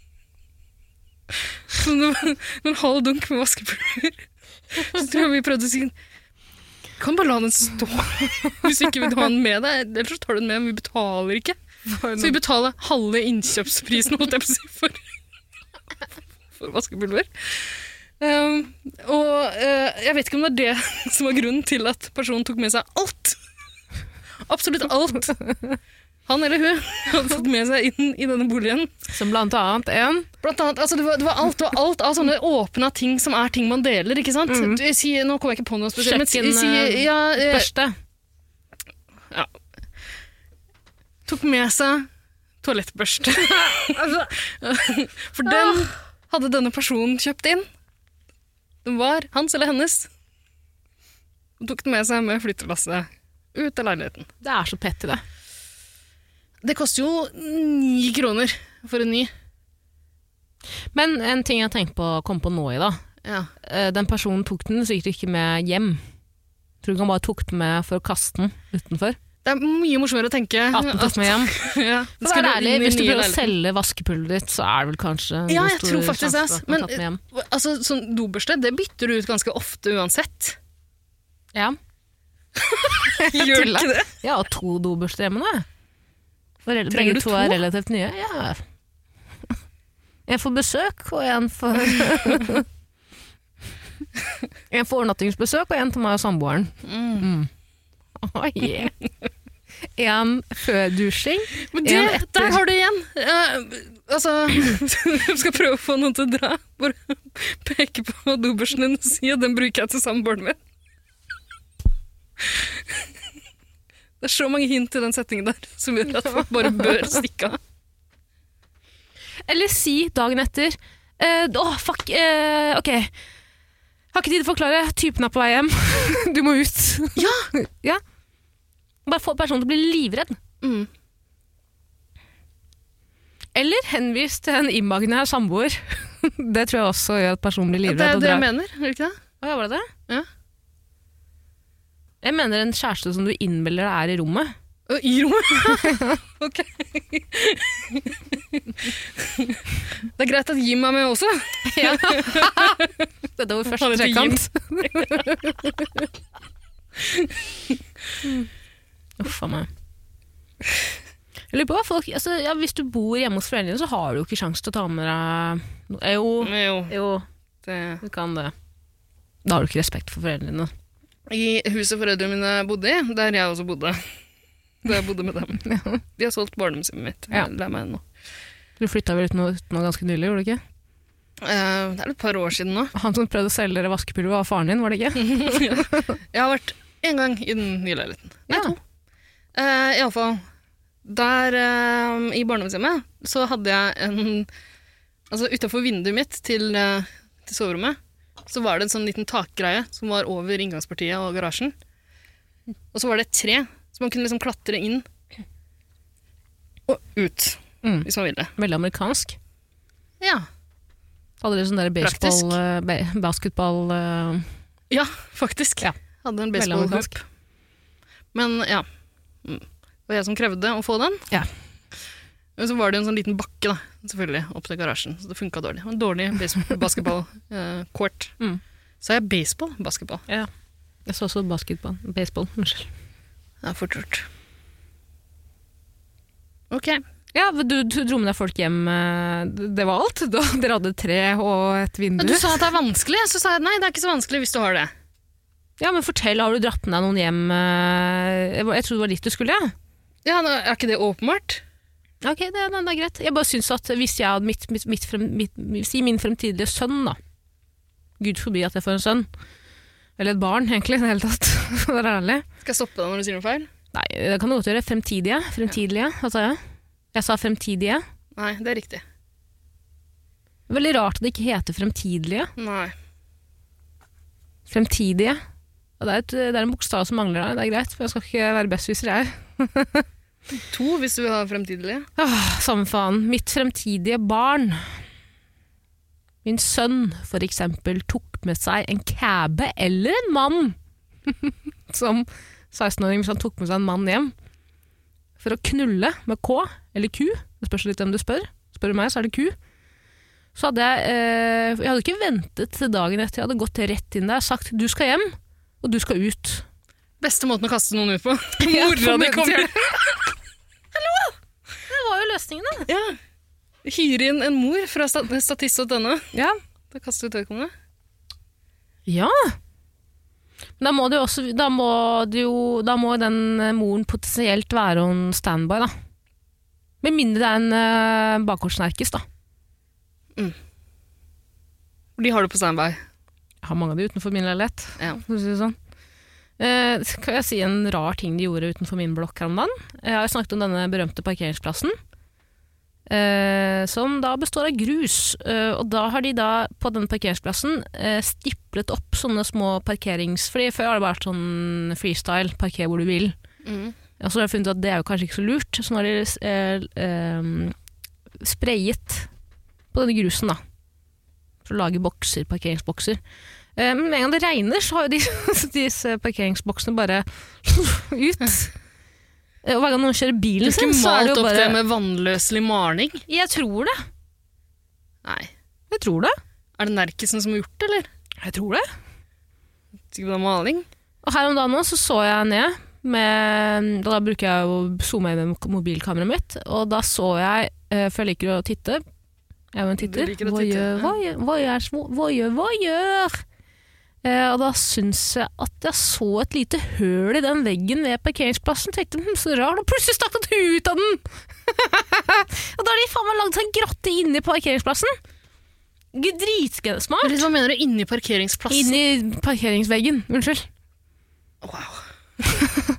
Speaker 2: [laughs] [laughs] Sånn, det var en halv dunk med vaskepulver. Så tror jeg vi prøvde å si Kan bare la den stå [laughs] hvis ikke vil du ha den med deg. Ellers så tar du den med, men vi betaler ikke. Så vi betaler halve innkjøpsprisen holdt jeg på å si, for, for vaskepulver. Ehm, og eh, jeg vet ikke om det er det som var grunnen til at personen tok med seg alt. Absolutt alt. Han eller hun hadde tatt med seg inn i denne boligen.
Speaker 1: Som blant annet en
Speaker 2: Blant annet, altså det, var, det var alt, det var alt av sånne åpne ting som er ting man deler, ikke sant? Du, Si, nå kommer jeg ikke på noe spesielt, men si,
Speaker 1: Kjøkken,
Speaker 2: si,
Speaker 1: eh,
Speaker 2: ja, eh,
Speaker 1: børste.
Speaker 2: tok med seg [laughs] toalettbørste. Altså, For den hadde denne personen kjøpt inn. Den var hans eller hennes. Og tok den med seg med flyttelasset ut av leiligheten.
Speaker 1: Det er så pett i det.
Speaker 2: Det koster jo ni kroner for en ny.
Speaker 1: Men en ting jeg tenkte på, kom på nå i dag.
Speaker 2: Ja.
Speaker 1: Eh, Den personen tok den sikkert ikke med hjem. Tror du ikke han bare tok den med for å kaste den
Speaker 2: [laughs]
Speaker 1: utenfor?
Speaker 2: Det er mye morsommere å tenke.
Speaker 1: At den tok med hjem.
Speaker 2: ja, den
Speaker 1: For å
Speaker 2: skal
Speaker 1: være
Speaker 2: jo
Speaker 1: ærlig,
Speaker 2: inn i
Speaker 1: hvis du
Speaker 2: nye
Speaker 1: prøver å
Speaker 2: leiligheten.
Speaker 1: selge vaskepulveret ditt, så er det vel kanskje en
Speaker 2: Ja,
Speaker 1: god
Speaker 2: jeg
Speaker 1: stor
Speaker 2: tror faktisk
Speaker 1: sjanse for
Speaker 2: det, ass.
Speaker 1: at den
Speaker 2: Men-
Speaker 1: tatt med hjem.
Speaker 2: Altså, sånn dobørste, det bytter du ut ganske ofte uansett.
Speaker 1: Ja.
Speaker 2: [laughs] Gjør du ikke det?
Speaker 1: Jeg har to dobørster hjemme nå. jeg. For rel-
Speaker 2: Trenger
Speaker 1: Begge
Speaker 2: du
Speaker 1: to
Speaker 2: to?
Speaker 1: er relativt nye. Ja. En for besøk, og en [laughs] for En for overnattingsbesøk, og en til meg og samboeren. Mm. Oh, yeah. En før dusjing. En
Speaker 2: Men det,
Speaker 1: etter.
Speaker 2: der har du igjen. Eh, altså, [laughs] jeg skal prøve å få noen til å dra. Bare peke på dobørsten din og si at den bruker jeg til samboeren min. Det er så mange hint i den setningen der som gjør at folk bare bør stikke av.
Speaker 1: Eller si dagen etter eh, Åh, fuck, eh, ok Har ikke tid til å forklare, typen er på vei hjem [laughs] Du må ut [laughs] Ja, Bare få personen til å bli livredd
Speaker 2: Mm.
Speaker 1: Eller henvis til en imaginær samboer [laughs] Det tror jeg også gjør at personen blir
Speaker 2: Det
Speaker 1: livredd
Speaker 2: er
Speaker 1: og
Speaker 2: det jeg
Speaker 1: drar.
Speaker 2: mener, er det ikke det?
Speaker 1: Åja, var det det?
Speaker 2: Ja.
Speaker 1: Jeg mener en kjæreste som du innmelder deg er i
Speaker 2: [laughs]
Speaker 1: rommet
Speaker 2: Å, I rommet? [laughs] ok. det er greit at Jim er med også.
Speaker 1: Ja [laughs] Dette var
Speaker 2: Ha
Speaker 1: første
Speaker 2: det til
Speaker 1: trekant
Speaker 2: [laughs]
Speaker 1: Uff a meg. Jeg lurer på hva folk altså, ja, Hvis du bor hjemme hos foreldrene, så har du jo ikke sjanse til å ta med deg no- eh, Jo,
Speaker 2: Men jo,
Speaker 1: jo,
Speaker 2: det...
Speaker 1: du kan det. Da har du ikke respekt for foreldrene dine.
Speaker 2: I huset foreldrene mine bodde i, der jeg også bodde. [laughs] Da jeg bodde med dem. De har solgt barndomshjemmet mitt.
Speaker 1: Ja.
Speaker 2: La meg nå.
Speaker 1: Du flytta vel ut nå, ut nå ganske nylig, gjorde du ikke?
Speaker 2: Eh, det er et par år siden nå.
Speaker 1: Han som prøvde å selge dere vaskepulver, var faren din, var det ikke?
Speaker 2: Jeg har vært én gang i den nye leiligheten. Nei,
Speaker 1: Ja.
Speaker 2: to. Uh, Iallfall. Der eh, i barndomshjemmet så hadde jeg en Altså utafor vinduet mitt til, eh, til soverommet så var det en sånn liten takgreie som var over inngangspartiet og garasjen. Og så var det et tre, så man kunne liksom klatre inn og ut
Speaker 1: Mm.
Speaker 2: hvis man ville.
Speaker 1: Veldig amerikansk.
Speaker 2: Ja.
Speaker 1: Hadde dere sånn der baseball,
Speaker 2: Praktisk.
Speaker 1: eh, ba basketball eh,
Speaker 2: Ja, faktisk.
Speaker 1: Ja.
Speaker 2: Hadde en
Speaker 1: Veldig
Speaker 2: baseballhoop.
Speaker 1: amerikansk.
Speaker 2: Men ja, Mm. det var jeg som krevde å få den.
Speaker 1: Ja.
Speaker 2: Men så var det jo en sånn liten bakke da, selvfølgelig, opp til garasjen, så det funka dårlig. Det var En dårlig base- [laughs] basketball-court.
Speaker 1: Mm.
Speaker 2: Så er jeg baseball? Basketball.
Speaker 1: Jeg så også basketball. Baseball, unnskyld.
Speaker 2: Det er fort gjort. Ok.
Speaker 1: Ja, men du, du dro med deg folk hjem. eh, Det var alt? Da, dere hadde et tre og et vindu?
Speaker 2: Men du sa at det er vanskelig, så sa jeg nei, det er ikke så vanskelig hvis du har det.
Speaker 1: Ja, men fortell, har du dratt med deg noen hjem? eh, Jeg var- jeg trodde det var dit du skulle, jeg.
Speaker 2: Ja, nå Er ikke det åpenbart?
Speaker 1: Ja. Ok, det, nei, det er greit. Jeg bare syns at hvis jeg hadde mitt, mitt, mitt, frem, mitt Si min fremtidige sønn, da. Gud forby at jeg får en sønn. Eller et barn, egentlig, i det hele tatt. [laughs] For å være ærlig.
Speaker 2: Skal jeg stoppe deg når du sier noe feil?
Speaker 1: Nei, det kan du godt gjøre. Fremtidige. Fremtidige, hva sa jeg? Jeg sa fremtidige.
Speaker 2: Nei, det er riktig.
Speaker 1: Veldig rart at det ikke heter fremtidige.
Speaker 2: Nei.
Speaker 1: Fremtidige. Og det, er et, det er en bokstav som mangler der, det er greit, for jeg skal ikke være bestviser, jeg.
Speaker 2: To hvis du vil ha fremtidige.
Speaker 1: Åh, samme faen. Mitt fremtidige barn. Min sønn, for eksempel, tok med seg en kæbe eller en mann. [laughs] Som 16-åring, hvis han tok med seg en mann hjem. For å knulle med K, eller Q. Det spørs litt hvem du spør. Spør du meg, så er det Q. Så hadde jeg eh, Jeg hadde ikke ventet til dagen etter. Jeg hadde gått rett inn der og sagt 'du skal hjem', og 'du skal ut'.
Speaker 2: Beste måten å kaste noen ut på.
Speaker 1: [laughs] Ja,
Speaker 2: Mora di kommer
Speaker 1: formodentlig. Det var jo løsningen, da.
Speaker 2: ja. Hyre inn en mor fra stat statist.no.
Speaker 1: Ja.
Speaker 2: Da kaster du ut vedkommende.
Speaker 1: Ja. Men da må, det jo også, da, må det jo, da må jo den eh, moren potensielt være on standby, da. Med mindre det er en eh, bakgårdsnerkis, da.
Speaker 2: De har det på standby.
Speaker 1: Jeg har mange av de utenfor min leilighet.
Speaker 2: Ja.
Speaker 1: for å si det sånn. Eh, skal jeg si en rar ting de gjorde utenfor min blokk her om dagen? Jeg har jo snakket om denne berømte parkeringsplassen. Eh, som da består av grus. Eh, og da har de da på denne parkeringsplassen eh, stiplet opp sånne små parkeringsfly. Før har det vært sånn freestyle, parker hvor du vil.
Speaker 2: Mm.
Speaker 1: Og så har jeg funnet ut at det er jo kanskje ikke så lurt, så nå har de eh, eh, sprayet på denne grusen, da. For å lage bokser, parkeringsbokser. Eh, men med en gang det regner, så har jo de, disse [laughs] parkeringsboksene bare [laughs] ut. Eh, Og hver gang noen kjører
Speaker 2: Du
Speaker 1: bilen sin,
Speaker 2: skulle
Speaker 1: Liksom, så er det
Speaker 2: malt
Speaker 1: jo
Speaker 2: opp det
Speaker 1: bare
Speaker 2: med vannløselig maling.
Speaker 1: Jeg tror det.
Speaker 2: Nei.
Speaker 1: Jeg tror det.
Speaker 2: Er det Nerkisen som har gjort det, eller?
Speaker 1: Jeg tror det.
Speaker 2: Sikkert det er maling.
Speaker 1: Og her om dagen nå så så jeg ned med Da bruker jeg å zoome inn med mobilkameraet mitt, og da så jeg, eh, for jeg liker å titte Jeg er jo en titter.
Speaker 2: Du liker å
Speaker 1: Hva
Speaker 2: titte,
Speaker 1: gjør,
Speaker 2: ja.
Speaker 1: hva gjør, hva gjør, hva gjør, hva gjør? Eh, og da syns jeg at jeg så et lite høl i den veggen ved parkeringsplassen. Tenkte hm, så rart, og plutselig stakk det et hue ut av den! [laughs] og da har de faen meg lagd seg en grotte inni parkeringsplassen! Dritsmart!
Speaker 2: Eller Hva mener du? Inni parkeringsplassen?
Speaker 1: Inni parkeringsveggen, unnskyld.
Speaker 2: Wow.
Speaker 1: [laughs]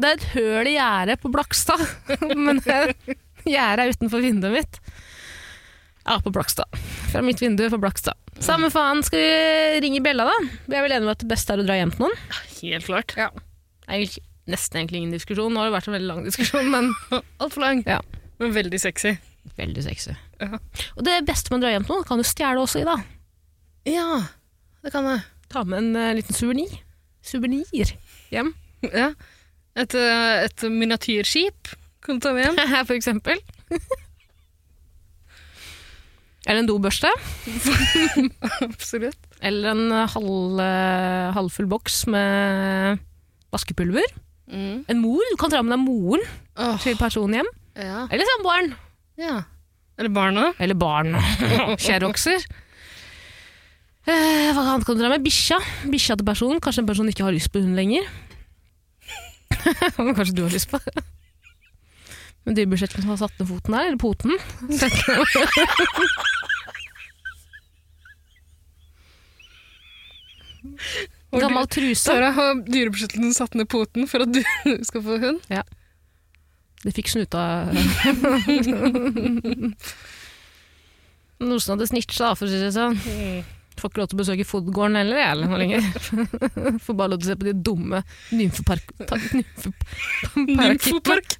Speaker 1: Det er et høl i gjerdet på Blakstad, [laughs] men det gjerdet er utenfor vinduet mitt. Ja, på Blakstad. Fra mitt vindu på Blakstad. Samme faen, skal vi ringe bjella, da? Vi er vel enige om at det beste er å dra hjem til noen?
Speaker 2: Helt klart.
Speaker 1: Det er egentlig nesten egentlig ingen diskusjon, nå har det vært en veldig lang diskusjon, men
Speaker 2: [laughs] Altfor lang,
Speaker 1: Ja.
Speaker 2: men veldig sexy.
Speaker 1: [laughs] veldig sexy.
Speaker 2: Ja.
Speaker 1: Og det beste med å dra hjem til noen, kan du stjele også i, da.
Speaker 2: Ja, det kan jeg.
Speaker 1: Ta med en eh, liten suvenir. Suvenir hjem,
Speaker 2: Ja. Et, eh, et miniatyrskip kan du ta
Speaker 1: [laughs]
Speaker 2: med hjem. [laughs]
Speaker 1: for eksempel. Eller en dobørste.
Speaker 2: Absolutt.
Speaker 1: Eller en halv, eh, halvfull boks med vaskepulver.
Speaker 2: Mm.
Speaker 1: En mor. Du kan dra med deg moren
Speaker 2: Åh,
Speaker 1: til personen hjem.
Speaker 2: ja.
Speaker 1: Eller samboeren.
Speaker 2: ja. Er det barna?
Speaker 1: Eller barn. Skjærokser. Eh, hva annet kan du dra med? Bikkja. Bikkja til personen. Kanskje en person ikke har lyst på hund lenger. [laughs] Men Kanskje du har lyst på det. Men dyrebudsjettet som har satt ned foten der, eller poten
Speaker 2: Og
Speaker 1: Gammel truse.
Speaker 2: Sara har dyrebeskyttelsen satt ned poten for at du [laughs] skal få hund.
Speaker 1: Det fikk snuta Noen som hadde snitcha, for å si det sånn.
Speaker 2: Mm.
Speaker 1: Får ikke lov til å besøke Fodgården heller, jeg eller noe lenger. [laughs] Får bare lov til å se på de dumme nymfepark... pa- Nymfepark...
Speaker 2: Nymfopark.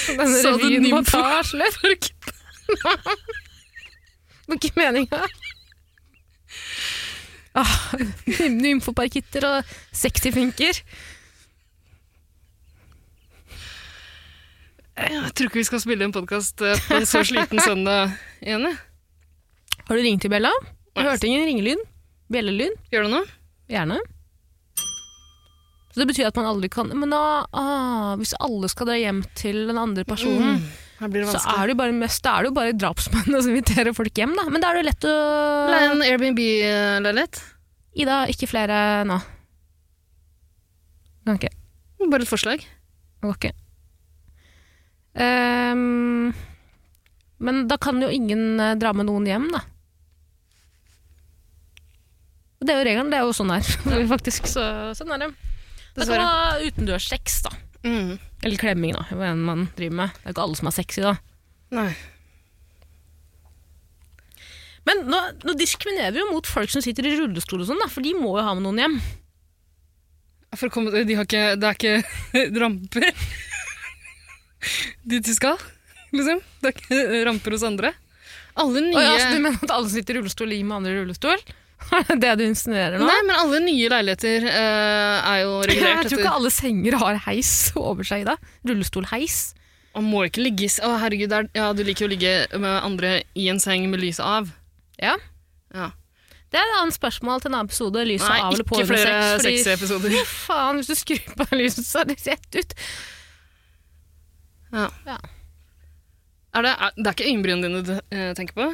Speaker 1: Denne
Speaker 2: Sa du
Speaker 1: revyen må
Speaker 2: nymfo-
Speaker 1: ta slutt.
Speaker 2: [laughs]
Speaker 1: Det var ikke meninga. Ah, Nymfoparkitter og sexyfinker.
Speaker 2: Jeg tror ikke vi skal spille en podkast på en så [laughs] sliten søndag igjen. jeg.
Speaker 1: Har du ringt til Bella? Du
Speaker 2: Nei.
Speaker 1: hørte ingen ringelyd? Bjellelyd?
Speaker 2: Gjør du noe?
Speaker 1: Gjerne. Så det betyr at man aldri kan Men da, ah, hvis alle skal dra hjem til den andre personen,
Speaker 2: Mm. Her blir det
Speaker 1: så
Speaker 2: vanskelig.
Speaker 1: er det jo bare, mest, da er det jo bare drapsmennene [laughs] som inviterer folk hjem, da. Men da er det jo lett å
Speaker 2: Leie en Airbnb-leilighet.
Speaker 1: Ida, ikke flere nå. Kan ikke.
Speaker 2: Bare et forslag.
Speaker 1: Det går ikke. Ehm, men da kan jo ingen eh, dra med noen hjem, da. Og Det er jo regelen. Det er jo sånn her, [laughs] faktisk. Så, sånn er det. Da kan
Speaker 2: Dessverre.
Speaker 1: man ha utendørssex, da.
Speaker 2: Mm.
Speaker 1: Eller klemming, da. Hva enn man driver med. Det er ikke alle som er sexy, da.
Speaker 2: Nei.
Speaker 1: Men nå, nå diskriminerer vi jo mot folk som sitter i rullestol og sånn, da, for de må jo ha med noen hjem.
Speaker 2: For å komme, de har ikke, det er ikke [laughs] ramper dit de skal, liksom. Det er ikke ramper hos andre. Alle nye,
Speaker 1: Å ja, så du mener at alle som sitter i rullestol, ligger med andre i rullestol? [laughs] Er det det du insinuerer nå?
Speaker 2: Nei, men alle nye leiligheter eh, er jo regulert.
Speaker 1: Jeg tror ikke alle senger har heis over seg, Ida. Rullestolheis.
Speaker 2: Man må ikke ligge i s- Å, herregud, det er, ja, du liker jo å ligge med andre i en seng med lyset av.
Speaker 1: Ja.
Speaker 2: Ja.
Speaker 1: Det er et annet spørsmål til en annen episode. Lyset
Speaker 2: Nei,
Speaker 1: av eller på
Speaker 2: ikke flere
Speaker 1: under sex. Fordi,
Speaker 2: sexepisoder.
Speaker 1: [laughs] fy faen, hvis du skrur på lyset, så er det rett ut.
Speaker 2: Ja.
Speaker 1: Ja.
Speaker 2: Er det, er, det er ikke øyenbrynene dine du eh, tenker på?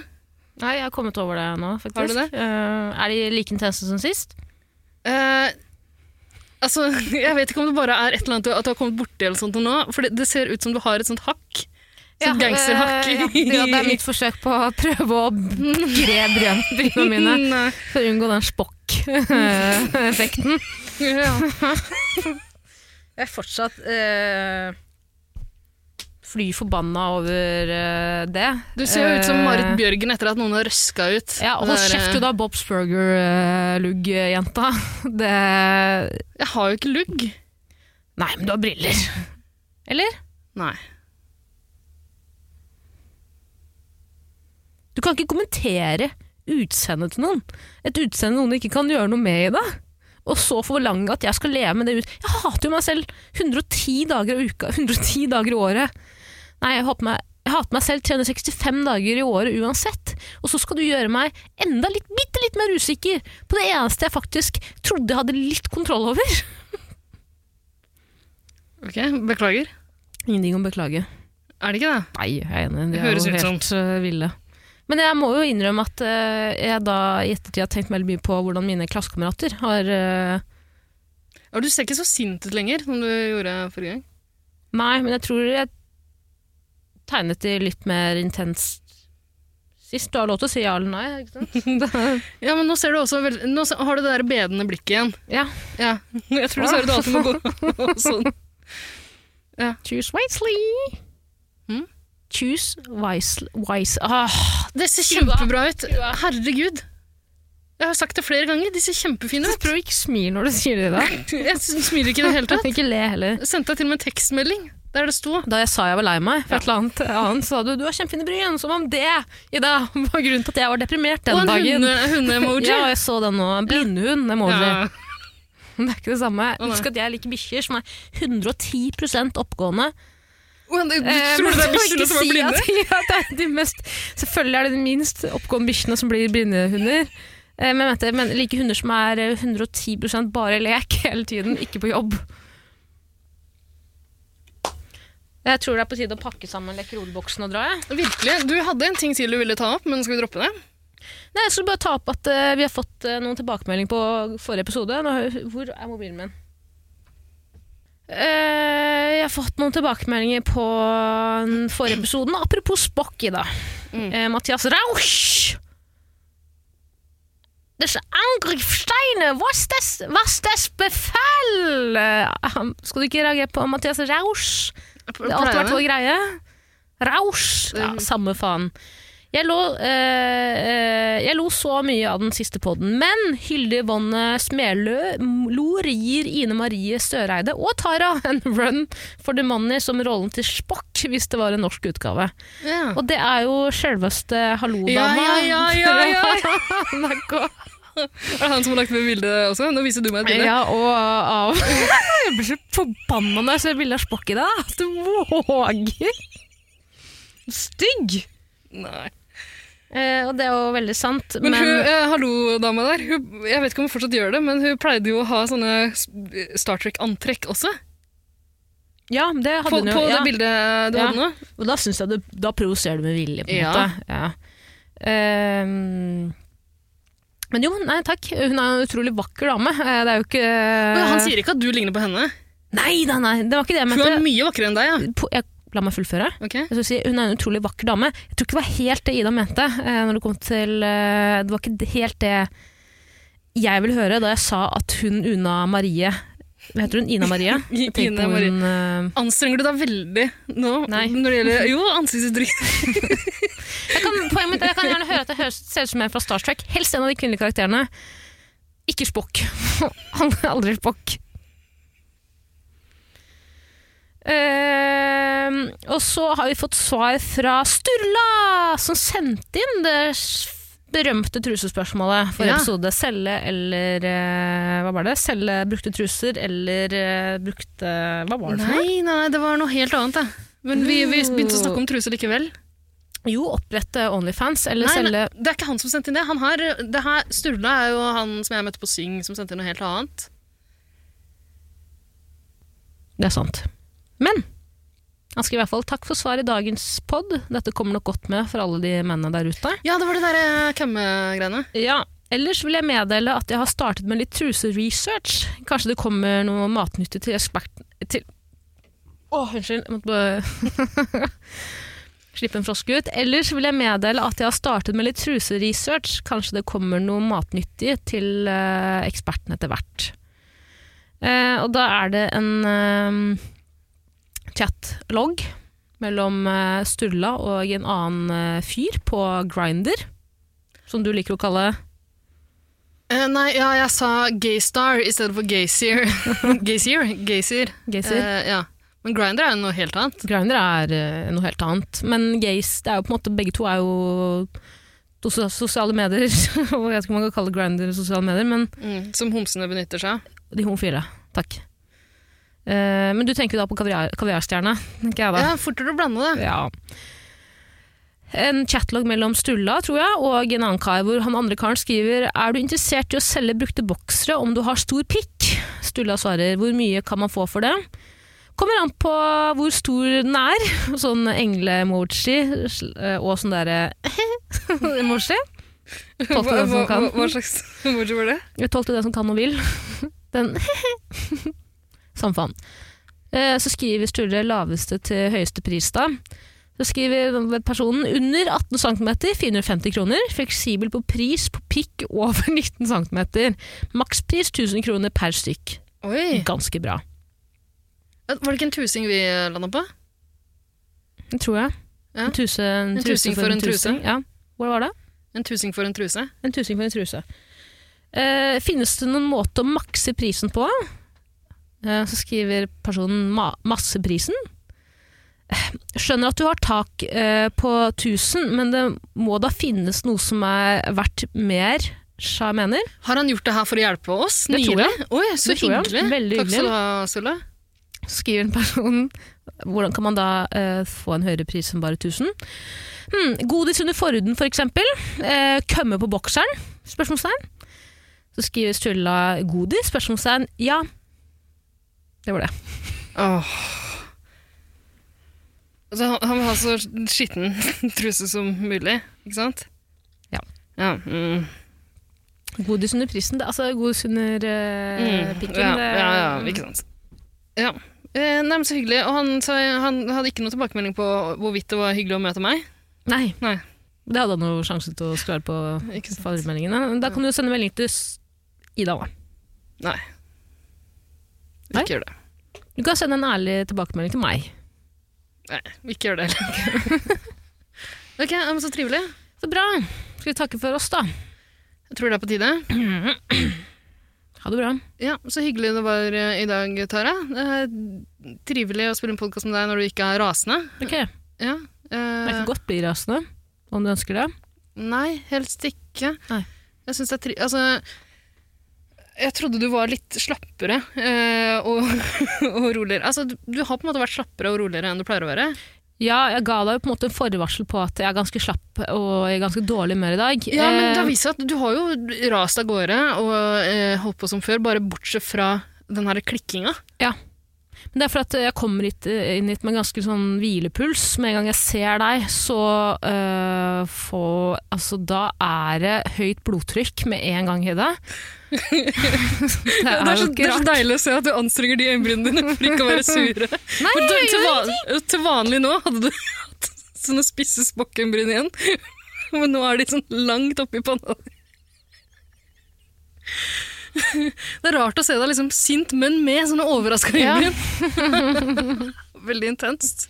Speaker 1: Nei, jeg har kommet over det nå, faktisk.
Speaker 2: Har du det?
Speaker 1: Eh, er de like intense som sist?
Speaker 2: Eh, altså, [laughs] jeg vet ikke om det bare er et eller annet du, at du har kommet borti eller sånt nå, for det, det ser ut som du har et sånt hakk. Sånt gangsterhakk.
Speaker 1: eh, ja, det, ja, det er
Speaker 2: [laughs]
Speaker 1: mitt forsøk på å prøve [laughs] å gre bryn- brynene mine
Speaker 2: Mm, Nei.
Speaker 1: for å unngå den spokk-effekten.
Speaker 2: Ja.
Speaker 1: Jeg er fortsatt eh, fly forbanna over eh, det.
Speaker 2: Du ser jo ut som
Speaker 1: Eh,
Speaker 2: Marit Bjørgen etter at noen har røska ut.
Speaker 1: Ja, og
Speaker 2: Det
Speaker 1: hold
Speaker 2: der,
Speaker 1: kjeft du da, eh, Bobs Burger-lugg-jenta. Det
Speaker 2: eh, Jeg har jo ikke lugg.
Speaker 1: Nei, men du har briller. Eller?
Speaker 2: Nei.
Speaker 1: Du kan ikke kommentere utseendet til noen. Et utseende noen ikke kan gjøre noe med i det. Og så forlange at jeg skal leve med det ut. Jeg hater jo meg selv 110 dager i uka, [laughs] 110 dager i året. Nei, jeg hater meg, jeg hater meg selv 365 dager i året uansett. Og så skal du gjøre meg enda litt, bitte litt mer usikker på det eneste jeg faktisk trodde jeg hadde litt kontroll over.
Speaker 2: Ok, Beklager.
Speaker 1: Ingenting å beklage.
Speaker 2: Er det ikke det?
Speaker 1: Nei, jeg er enig. De
Speaker 2: Det
Speaker 1: er
Speaker 2: høres
Speaker 1: jo
Speaker 2: ut som.
Speaker 1: helt øh, ville. Men jeg må jo innrømme at øh, jeg da i ettertid har tenkt veldig mye på hvordan mine klassekamerater har øh,
Speaker 2: Ja, Du ser ikke så sint ut lenger som du gjorde forrige gang.
Speaker 1: Nei, men jeg tror jeg tegnet de litt mer intenst sist. Du har lov til å si ja eller nei, ikke sant? Det-
Speaker 2: Ja, men Nå ser du også veld... Nå se- har du det der bedende blikket igjen.
Speaker 1: ja.
Speaker 2: Ja. [laughs] Jeg tror du sa det du alltid må gå [laughs] sånn.
Speaker 1: Choose wisely. Hm?
Speaker 2: Mm?
Speaker 1: Choose wisely wise. Ah,
Speaker 2: Det ser kjempebra ut. Herregud. Jeg har sagt det flere ganger. De ser kjempefine
Speaker 1: [laughs]
Speaker 2: ut.
Speaker 1: prøv å ikke smile når du sier det i dag.
Speaker 2: Jeg smiler ikke i det hele tatt.
Speaker 1: Ikke le heller.
Speaker 2: Jeg sendte deg til og med en tekstmelding der det sto
Speaker 1: Da jeg sa jeg var lei meg for et eller annet annet, sa du du har kjempefine bryn. Som om det Ida, [laughs] var grunnen til at jeg var deprimert
Speaker 2: Og
Speaker 1: den
Speaker 2: en
Speaker 1: dagen.
Speaker 2: hunde- hunde-emoji.
Speaker 1: [laughs] Ja, jeg så den nå. En blindhund. emoji.
Speaker 2: Ja.
Speaker 1: [laughs] Det er ikke det samme.
Speaker 2: nei.
Speaker 1: Husk at jeg liker bikkjer som er 110 oppegående.
Speaker 2: Og en- Du
Speaker 1: Eh,
Speaker 2: [laughs] tror
Speaker 1: men
Speaker 2: det er
Speaker 1: jeg må
Speaker 2: bikkjene
Speaker 1: ikke
Speaker 2: som er
Speaker 1: si At,
Speaker 2: blinde?
Speaker 1: at det er [laughs] de mest, selvfølgelig er det de minst oppegående bikkjene som blir blindehunder. Eh, Men, jeg mente- men jeg liker hunder som er eh, 110 bare i lek [laughs] hele tiden, ikke på jobb. Jeg tror det er på tide å pakke sammen lekerolboksen og dra. Jeg.
Speaker 2: Virkelig. Du hadde en ting til du ville ta opp, men skal vi droppe det?
Speaker 1: Nei, jeg skulle bare ta opp at eh, vi har fått eh, noen tilbakemelding på forrige episode. Nå, hvor er mobilen min? Eh, jeg har fått noen tilbakemeldinger på den forrige episoden. Apropos Spock, Ida.
Speaker 2: Mm.
Speaker 1: Eh, Mathias Rausch! Disse angrepssteinene, was des, was des befall? Eh, han- skal du ikke reagere på Mathias Rausch? Det har alltid vært vår greie. Rausch! Ja,
Speaker 2: Mm.
Speaker 1: samme faen. Jeg lo, eh, eh, jeg lo så mye av den siste podden, men Hilde Yvonne Smelø Lor gir Ine Marie Søreide og Tara en run for the money som rollen til Spock, hvis det var en norsk utgave.
Speaker 2: Ja.
Speaker 1: Og det er jo selveste
Speaker 2: Ja,
Speaker 1: Hallo-dama.
Speaker 2: ja, ja, ja, ja.
Speaker 1: [laughs] NRK.
Speaker 2: Er det han som har lagt med bildet også? Nå viser du meg et bilde.
Speaker 1: Ja, og av [laughs] Jeg blir så forbanna når jeg ser bilde av Spock i deg. At du våger! Stygg!
Speaker 2: Nei.
Speaker 1: Eh, og det er jo veldig sant,
Speaker 2: Men,
Speaker 1: men,
Speaker 2: hun, eh, hallo dama der, hun, jeg vet ikke om hun fortsatt gjør det, men hun pleide jo å ha sånne s- Star Trek-antrekk også.
Speaker 1: Ja, det hadde
Speaker 2: På,
Speaker 1: hun
Speaker 2: på
Speaker 1: jo.
Speaker 2: det
Speaker 1: Ja.
Speaker 2: bildet du
Speaker 1: Ja.
Speaker 2: hadde nå.
Speaker 1: Og da syns jeg du Da provoserer du med vilje, på en
Speaker 2: Ja.
Speaker 1: måte. Ja. Ehm, men jo, nei takk. Hun er en utrolig vakker dame. Eh, Det er jo ikke
Speaker 2: Men han sier ikke at du ligner på henne.
Speaker 1: Nei, nei, nei, det var ikke Eh. det jeg
Speaker 2: Hun er
Speaker 1: mente.
Speaker 2: mye vakrere enn deg, ja.
Speaker 1: På- Jeg, la meg fullføre.
Speaker 2: Ok?
Speaker 1: Jeg skulle si, hun er en utrolig vakker dame. Jeg tror ikke det var helt det Ida mente. eh, Når det, kom til, eh, det var ikke helt det jeg ville høre da jeg sa at hun Una Marie Hva heter hun? Ina
Speaker 2: [laughs]
Speaker 1: Marie? Jeg tenkte
Speaker 2: Ina
Speaker 1: på
Speaker 2: Marie.
Speaker 1: Hun, eh,
Speaker 2: Anstrenger du deg veldig nå
Speaker 1: Nei.
Speaker 2: når
Speaker 1: [laughs]
Speaker 2: det gjelder Jo, ansiktsuttrykk.
Speaker 1: jeg, kan, poenget mitt er, jeg kan gjerne høre at det høres, ser ut som en fra Star Trek. Helst en av de kvinnelige karakterene. Ikke [laughs] Spock. Aldri, aldri Spock. Ehm, og så har vi fått svar fra Sturla, som sendte inn det s- berømte trusespørsmålet for
Speaker 2: Ja.
Speaker 1: episode. Selge eller eh, Hva var det? Selge brukte truser eller eh, brukte Hva var det for noe?
Speaker 2: Nei, nei, det var noe helt annet, da. Men vi, vi begynte å snakke om truser likevel.
Speaker 1: Jo, opprette Onlyfans, eller
Speaker 2: Nei,
Speaker 1: selge
Speaker 2: men det er ikke han som sendte inn det. Han her, det her, Sturla er jo han som jeg møtte på Syng, som sendte inn noe helt annet.
Speaker 1: Det er sant. Men han skriver i hvert fall 'takk for svar i dagens pod'. Dette kommer nok godt med for alle de mennene der ute.
Speaker 2: Ja, det var det derre kømme-greiene.
Speaker 1: Ja, ellers vil jeg meddele at jeg har startet med litt truseresearch. Kanskje det kommer noe matnyttig til eksperten til Å, unnskyld. Jeg måtte bare [laughs] Slippe en frosk ut. Ellers vil jeg meddele at jeg har startet med litt truseresearch. Kanskje det kommer noe matnyttig til eh, eksperten etter hvert. Eh, og da er det en eh, chatlog mellom eh, Sturla og en annen eh, fyr på Grinder, som du liker å kalle
Speaker 2: Eh, nei, ja, jeg sa Gaystar i stedet for [laughs] Gayseer. Gayseer? Gayseer.
Speaker 1: Gaysir.
Speaker 2: Eh, ja. Men Grinder er jo noe helt annet.
Speaker 1: Grinder er eh, noe helt annet. Men gays, det er jo på en måte, begge to er jo to so- sosiale medier. [laughs] og jeg vet ikke om man kan kalle Grinder sosiale medier, men
Speaker 2: Som homsene benytter seg av.
Speaker 1: de homofile. Takk. Eh, men du tenker jo da på kaviar, kaviarstjerne, tenker jeg da.
Speaker 2: Ja, fortere å blande det.
Speaker 1: Ja. En chatlog mellom Stulla, tror jeg, og en annen kar hvor han andre karen skriver Er du interessert i å selge brukte boksere om du har stor pikk? Stulla svarer Hvor mye kan man få for det? Kommer an på hvor stor den er. [laughs] Sånn engle-emoji eh, og sånn derre [laughs] emoji. [laughs] Tolk til
Speaker 2: Hva,
Speaker 1: den
Speaker 2: hva,
Speaker 1: som kan.
Speaker 2: hva, hva slags [laughs] emoji var det?
Speaker 1: Tolk til den som kan og vil. [laughs] Den Samme faen. Eh, Så skriver Sturre laveste til høyeste pris da. Så skriver personen under 18 cm 450 kroner, fleksibel på pris på pikk over [laughs] 19 cm. Makspris 1000 kroner per stykk.
Speaker 2: Oi.
Speaker 1: Ganske bra.
Speaker 2: Var det ikke en tusing vi landa på?
Speaker 1: Det tror jeg.
Speaker 2: Ja.
Speaker 1: En, truse,
Speaker 2: En tusing for en truse.
Speaker 1: Ja. Hvor var det?
Speaker 2: En tusing for en truse?
Speaker 1: En tusing for en truse. Eh, finnes det noen måte å makse prisen på? Eh, så skriver personen ma masseprisen. Eh, Skjønner at du har tak eh, på 1000, men det må da finnes noe som er verdt mer, sa jeg mener.
Speaker 2: Har han gjort det her for å hjelpe oss?
Speaker 1: Det tror jeg.
Speaker 2: Nylig? Oi, så
Speaker 1: Det tror jeg.
Speaker 2: hyggelig.
Speaker 1: Veldig
Speaker 2: Takk skal du ha, Sulla.
Speaker 1: Så skriver en person hvordan kan man da eh, få en høyere pris enn bare 1000? Hmm, godis under forhuden, for eksempel. Eh, kømme på bokseren? Spørsmålstegn. Så skriver Sturla godis? Spørsmålstegn. Ja. Det var det.
Speaker 2: Åh. Altså, han- han vil ha så skitten [laughs] truse som mulig, ikke sant?
Speaker 1: Ja.
Speaker 2: Ja, mm.
Speaker 1: Godis under prisen, det, altså godis under eh,
Speaker 2: Mm,
Speaker 1: pikken. eh,
Speaker 2: ja,
Speaker 1: det-
Speaker 2: ja, ja, ikke sant. Ja. Eh, nei, men så hyggelig. Og han, sa, han hadde ikke noe tilbakemelding på hvorvidt det var hyggelig å møte meg.
Speaker 1: Nei.
Speaker 2: Nei.
Speaker 1: Det hadde han jo sjanse til å svare på
Speaker 2: Ikke sant?
Speaker 1: fallmeldingene. Da kan du jo sende melding til s- Ida, da.
Speaker 2: Nei.
Speaker 1: Nei?
Speaker 2: Ikke gjør det.
Speaker 1: Du kan sende en ærlig tilbakemelding til meg.
Speaker 2: Nei, ikke gjør det heller. [laughs] ok, ja, men så trivelig.
Speaker 1: Så bra. Skal vi takke for oss, da?
Speaker 2: Jeg tror det er på tide.
Speaker 1: Ha det bra.
Speaker 2: Ja, Så hyggelig det var eh, i dag, Tara. Eh, trivelig å spille en podkast med deg når du ikke er rasende.
Speaker 1: Ok.
Speaker 2: Ja,
Speaker 1: Det er
Speaker 2: eh,
Speaker 1: ikke godt å bli rasende, om du ønsker det.
Speaker 2: Nei, helst ikke.
Speaker 1: Nei.
Speaker 2: Jeg syns det er tri... Altså, jeg trodde du var litt slappere eh, og, [laughs] og roligere. Altså, du, du har på en måte vært slappere og roligere enn du pleier å være.
Speaker 1: Ja, jeg ga deg jo på en måte en forvarsel på at jeg er ganske slapp og i ganske dårlig humør i dag.
Speaker 2: Ja, men det
Speaker 1: Eh,
Speaker 2: har vist seg at du har jo rast av gårde og eh, holdt på som før, bare bortsett fra den her klikkinga.
Speaker 1: men det er for at jeg kommer hit, eh, inn hit med ganske sånn hvilepuls. Med en gang jeg ser deg, så eh, får Altså, da er det høyt blodtrykk med en gang, Hedda. [laughs] det er, jo ikke rart.
Speaker 2: deilig å se at du anstrenger de øyenbrynene dine for ikke å [laughs] være sure.
Speaker 1: Nei,
Speaker 2: For
Speaker 1: jeg gjør
Speaker 2: til, van, til vanlig nå hadde du [laughs] hatt sånne spisse spokkøyenbryn igjen, [laughs] men nå er de sånn langt oppi panna. [laughs] Det er rart å se deg liksom sint, men med sånne overraska
Speaker 1: Ja.
Speaker 2: øyenbryn.
Speaker 1: [laughs]
Speaker 2: Veldig intenst.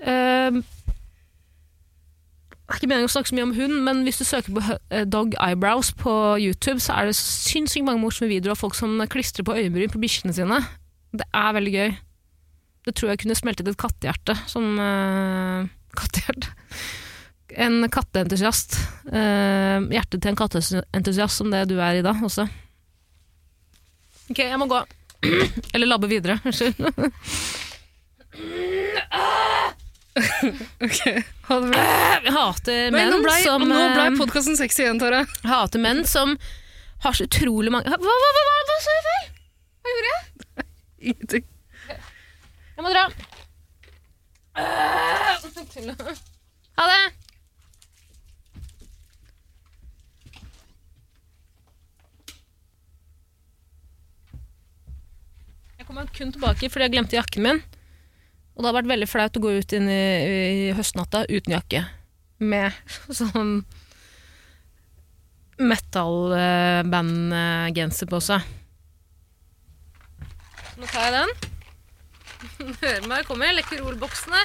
Speaker 1: Eh, det er ikke meningen å snakke så mye om hund, men hvis du søker på hø- eh, dog eyebrows på YouTube, så er det sinnssykt mange morsomme videoer av folk som klistrer på øyenbryn på bikkjene sine. Det er veldig gøy. Det tror jeg kunne smeltet et kattehjerte. Sånn eh, kattehjerte. En katteentusiast. Eh, hjertet til en katteentusiast, som det du er i dag også. Ok, jeg må gå. Eller labbe videre. Unnskyld.
Speaker 2: Ok, ha det bra.
Speaker 1: Jeg hater
Speaker 2: Men
Speaker 1: menn
Speaker 2: nå ble,
Speaker 1: som
Speaker 2: nå ble
Speaker 1: eh,
Speaker 2: podkasten sexy igjen, Tara.
Speaker 1: hater menn som har så utrolig mange Hva, hva, hva, hva, hva sa jeg feil? Hva gjorde jeg?
Speaker 2: Ingenting.
Speaker 1: Jeg må dra. Øh. Ha det! Jeg kom meg kun tilbake fordi jeg glemte jakken min. Og det har vært veldig flaut å gå ut inn i, i høstnatta uten jakke. Med [laughs] sånn metal-band-genser eh, på seg. Så nå tar jeg den. Du hører meg komme. Jeg lekker ordboksene.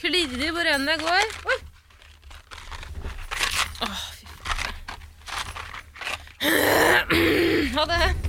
Speaker 1: Klirrer i hvor enn jeg går. Oi! Åh, fy faen. [clears throat] Ha det.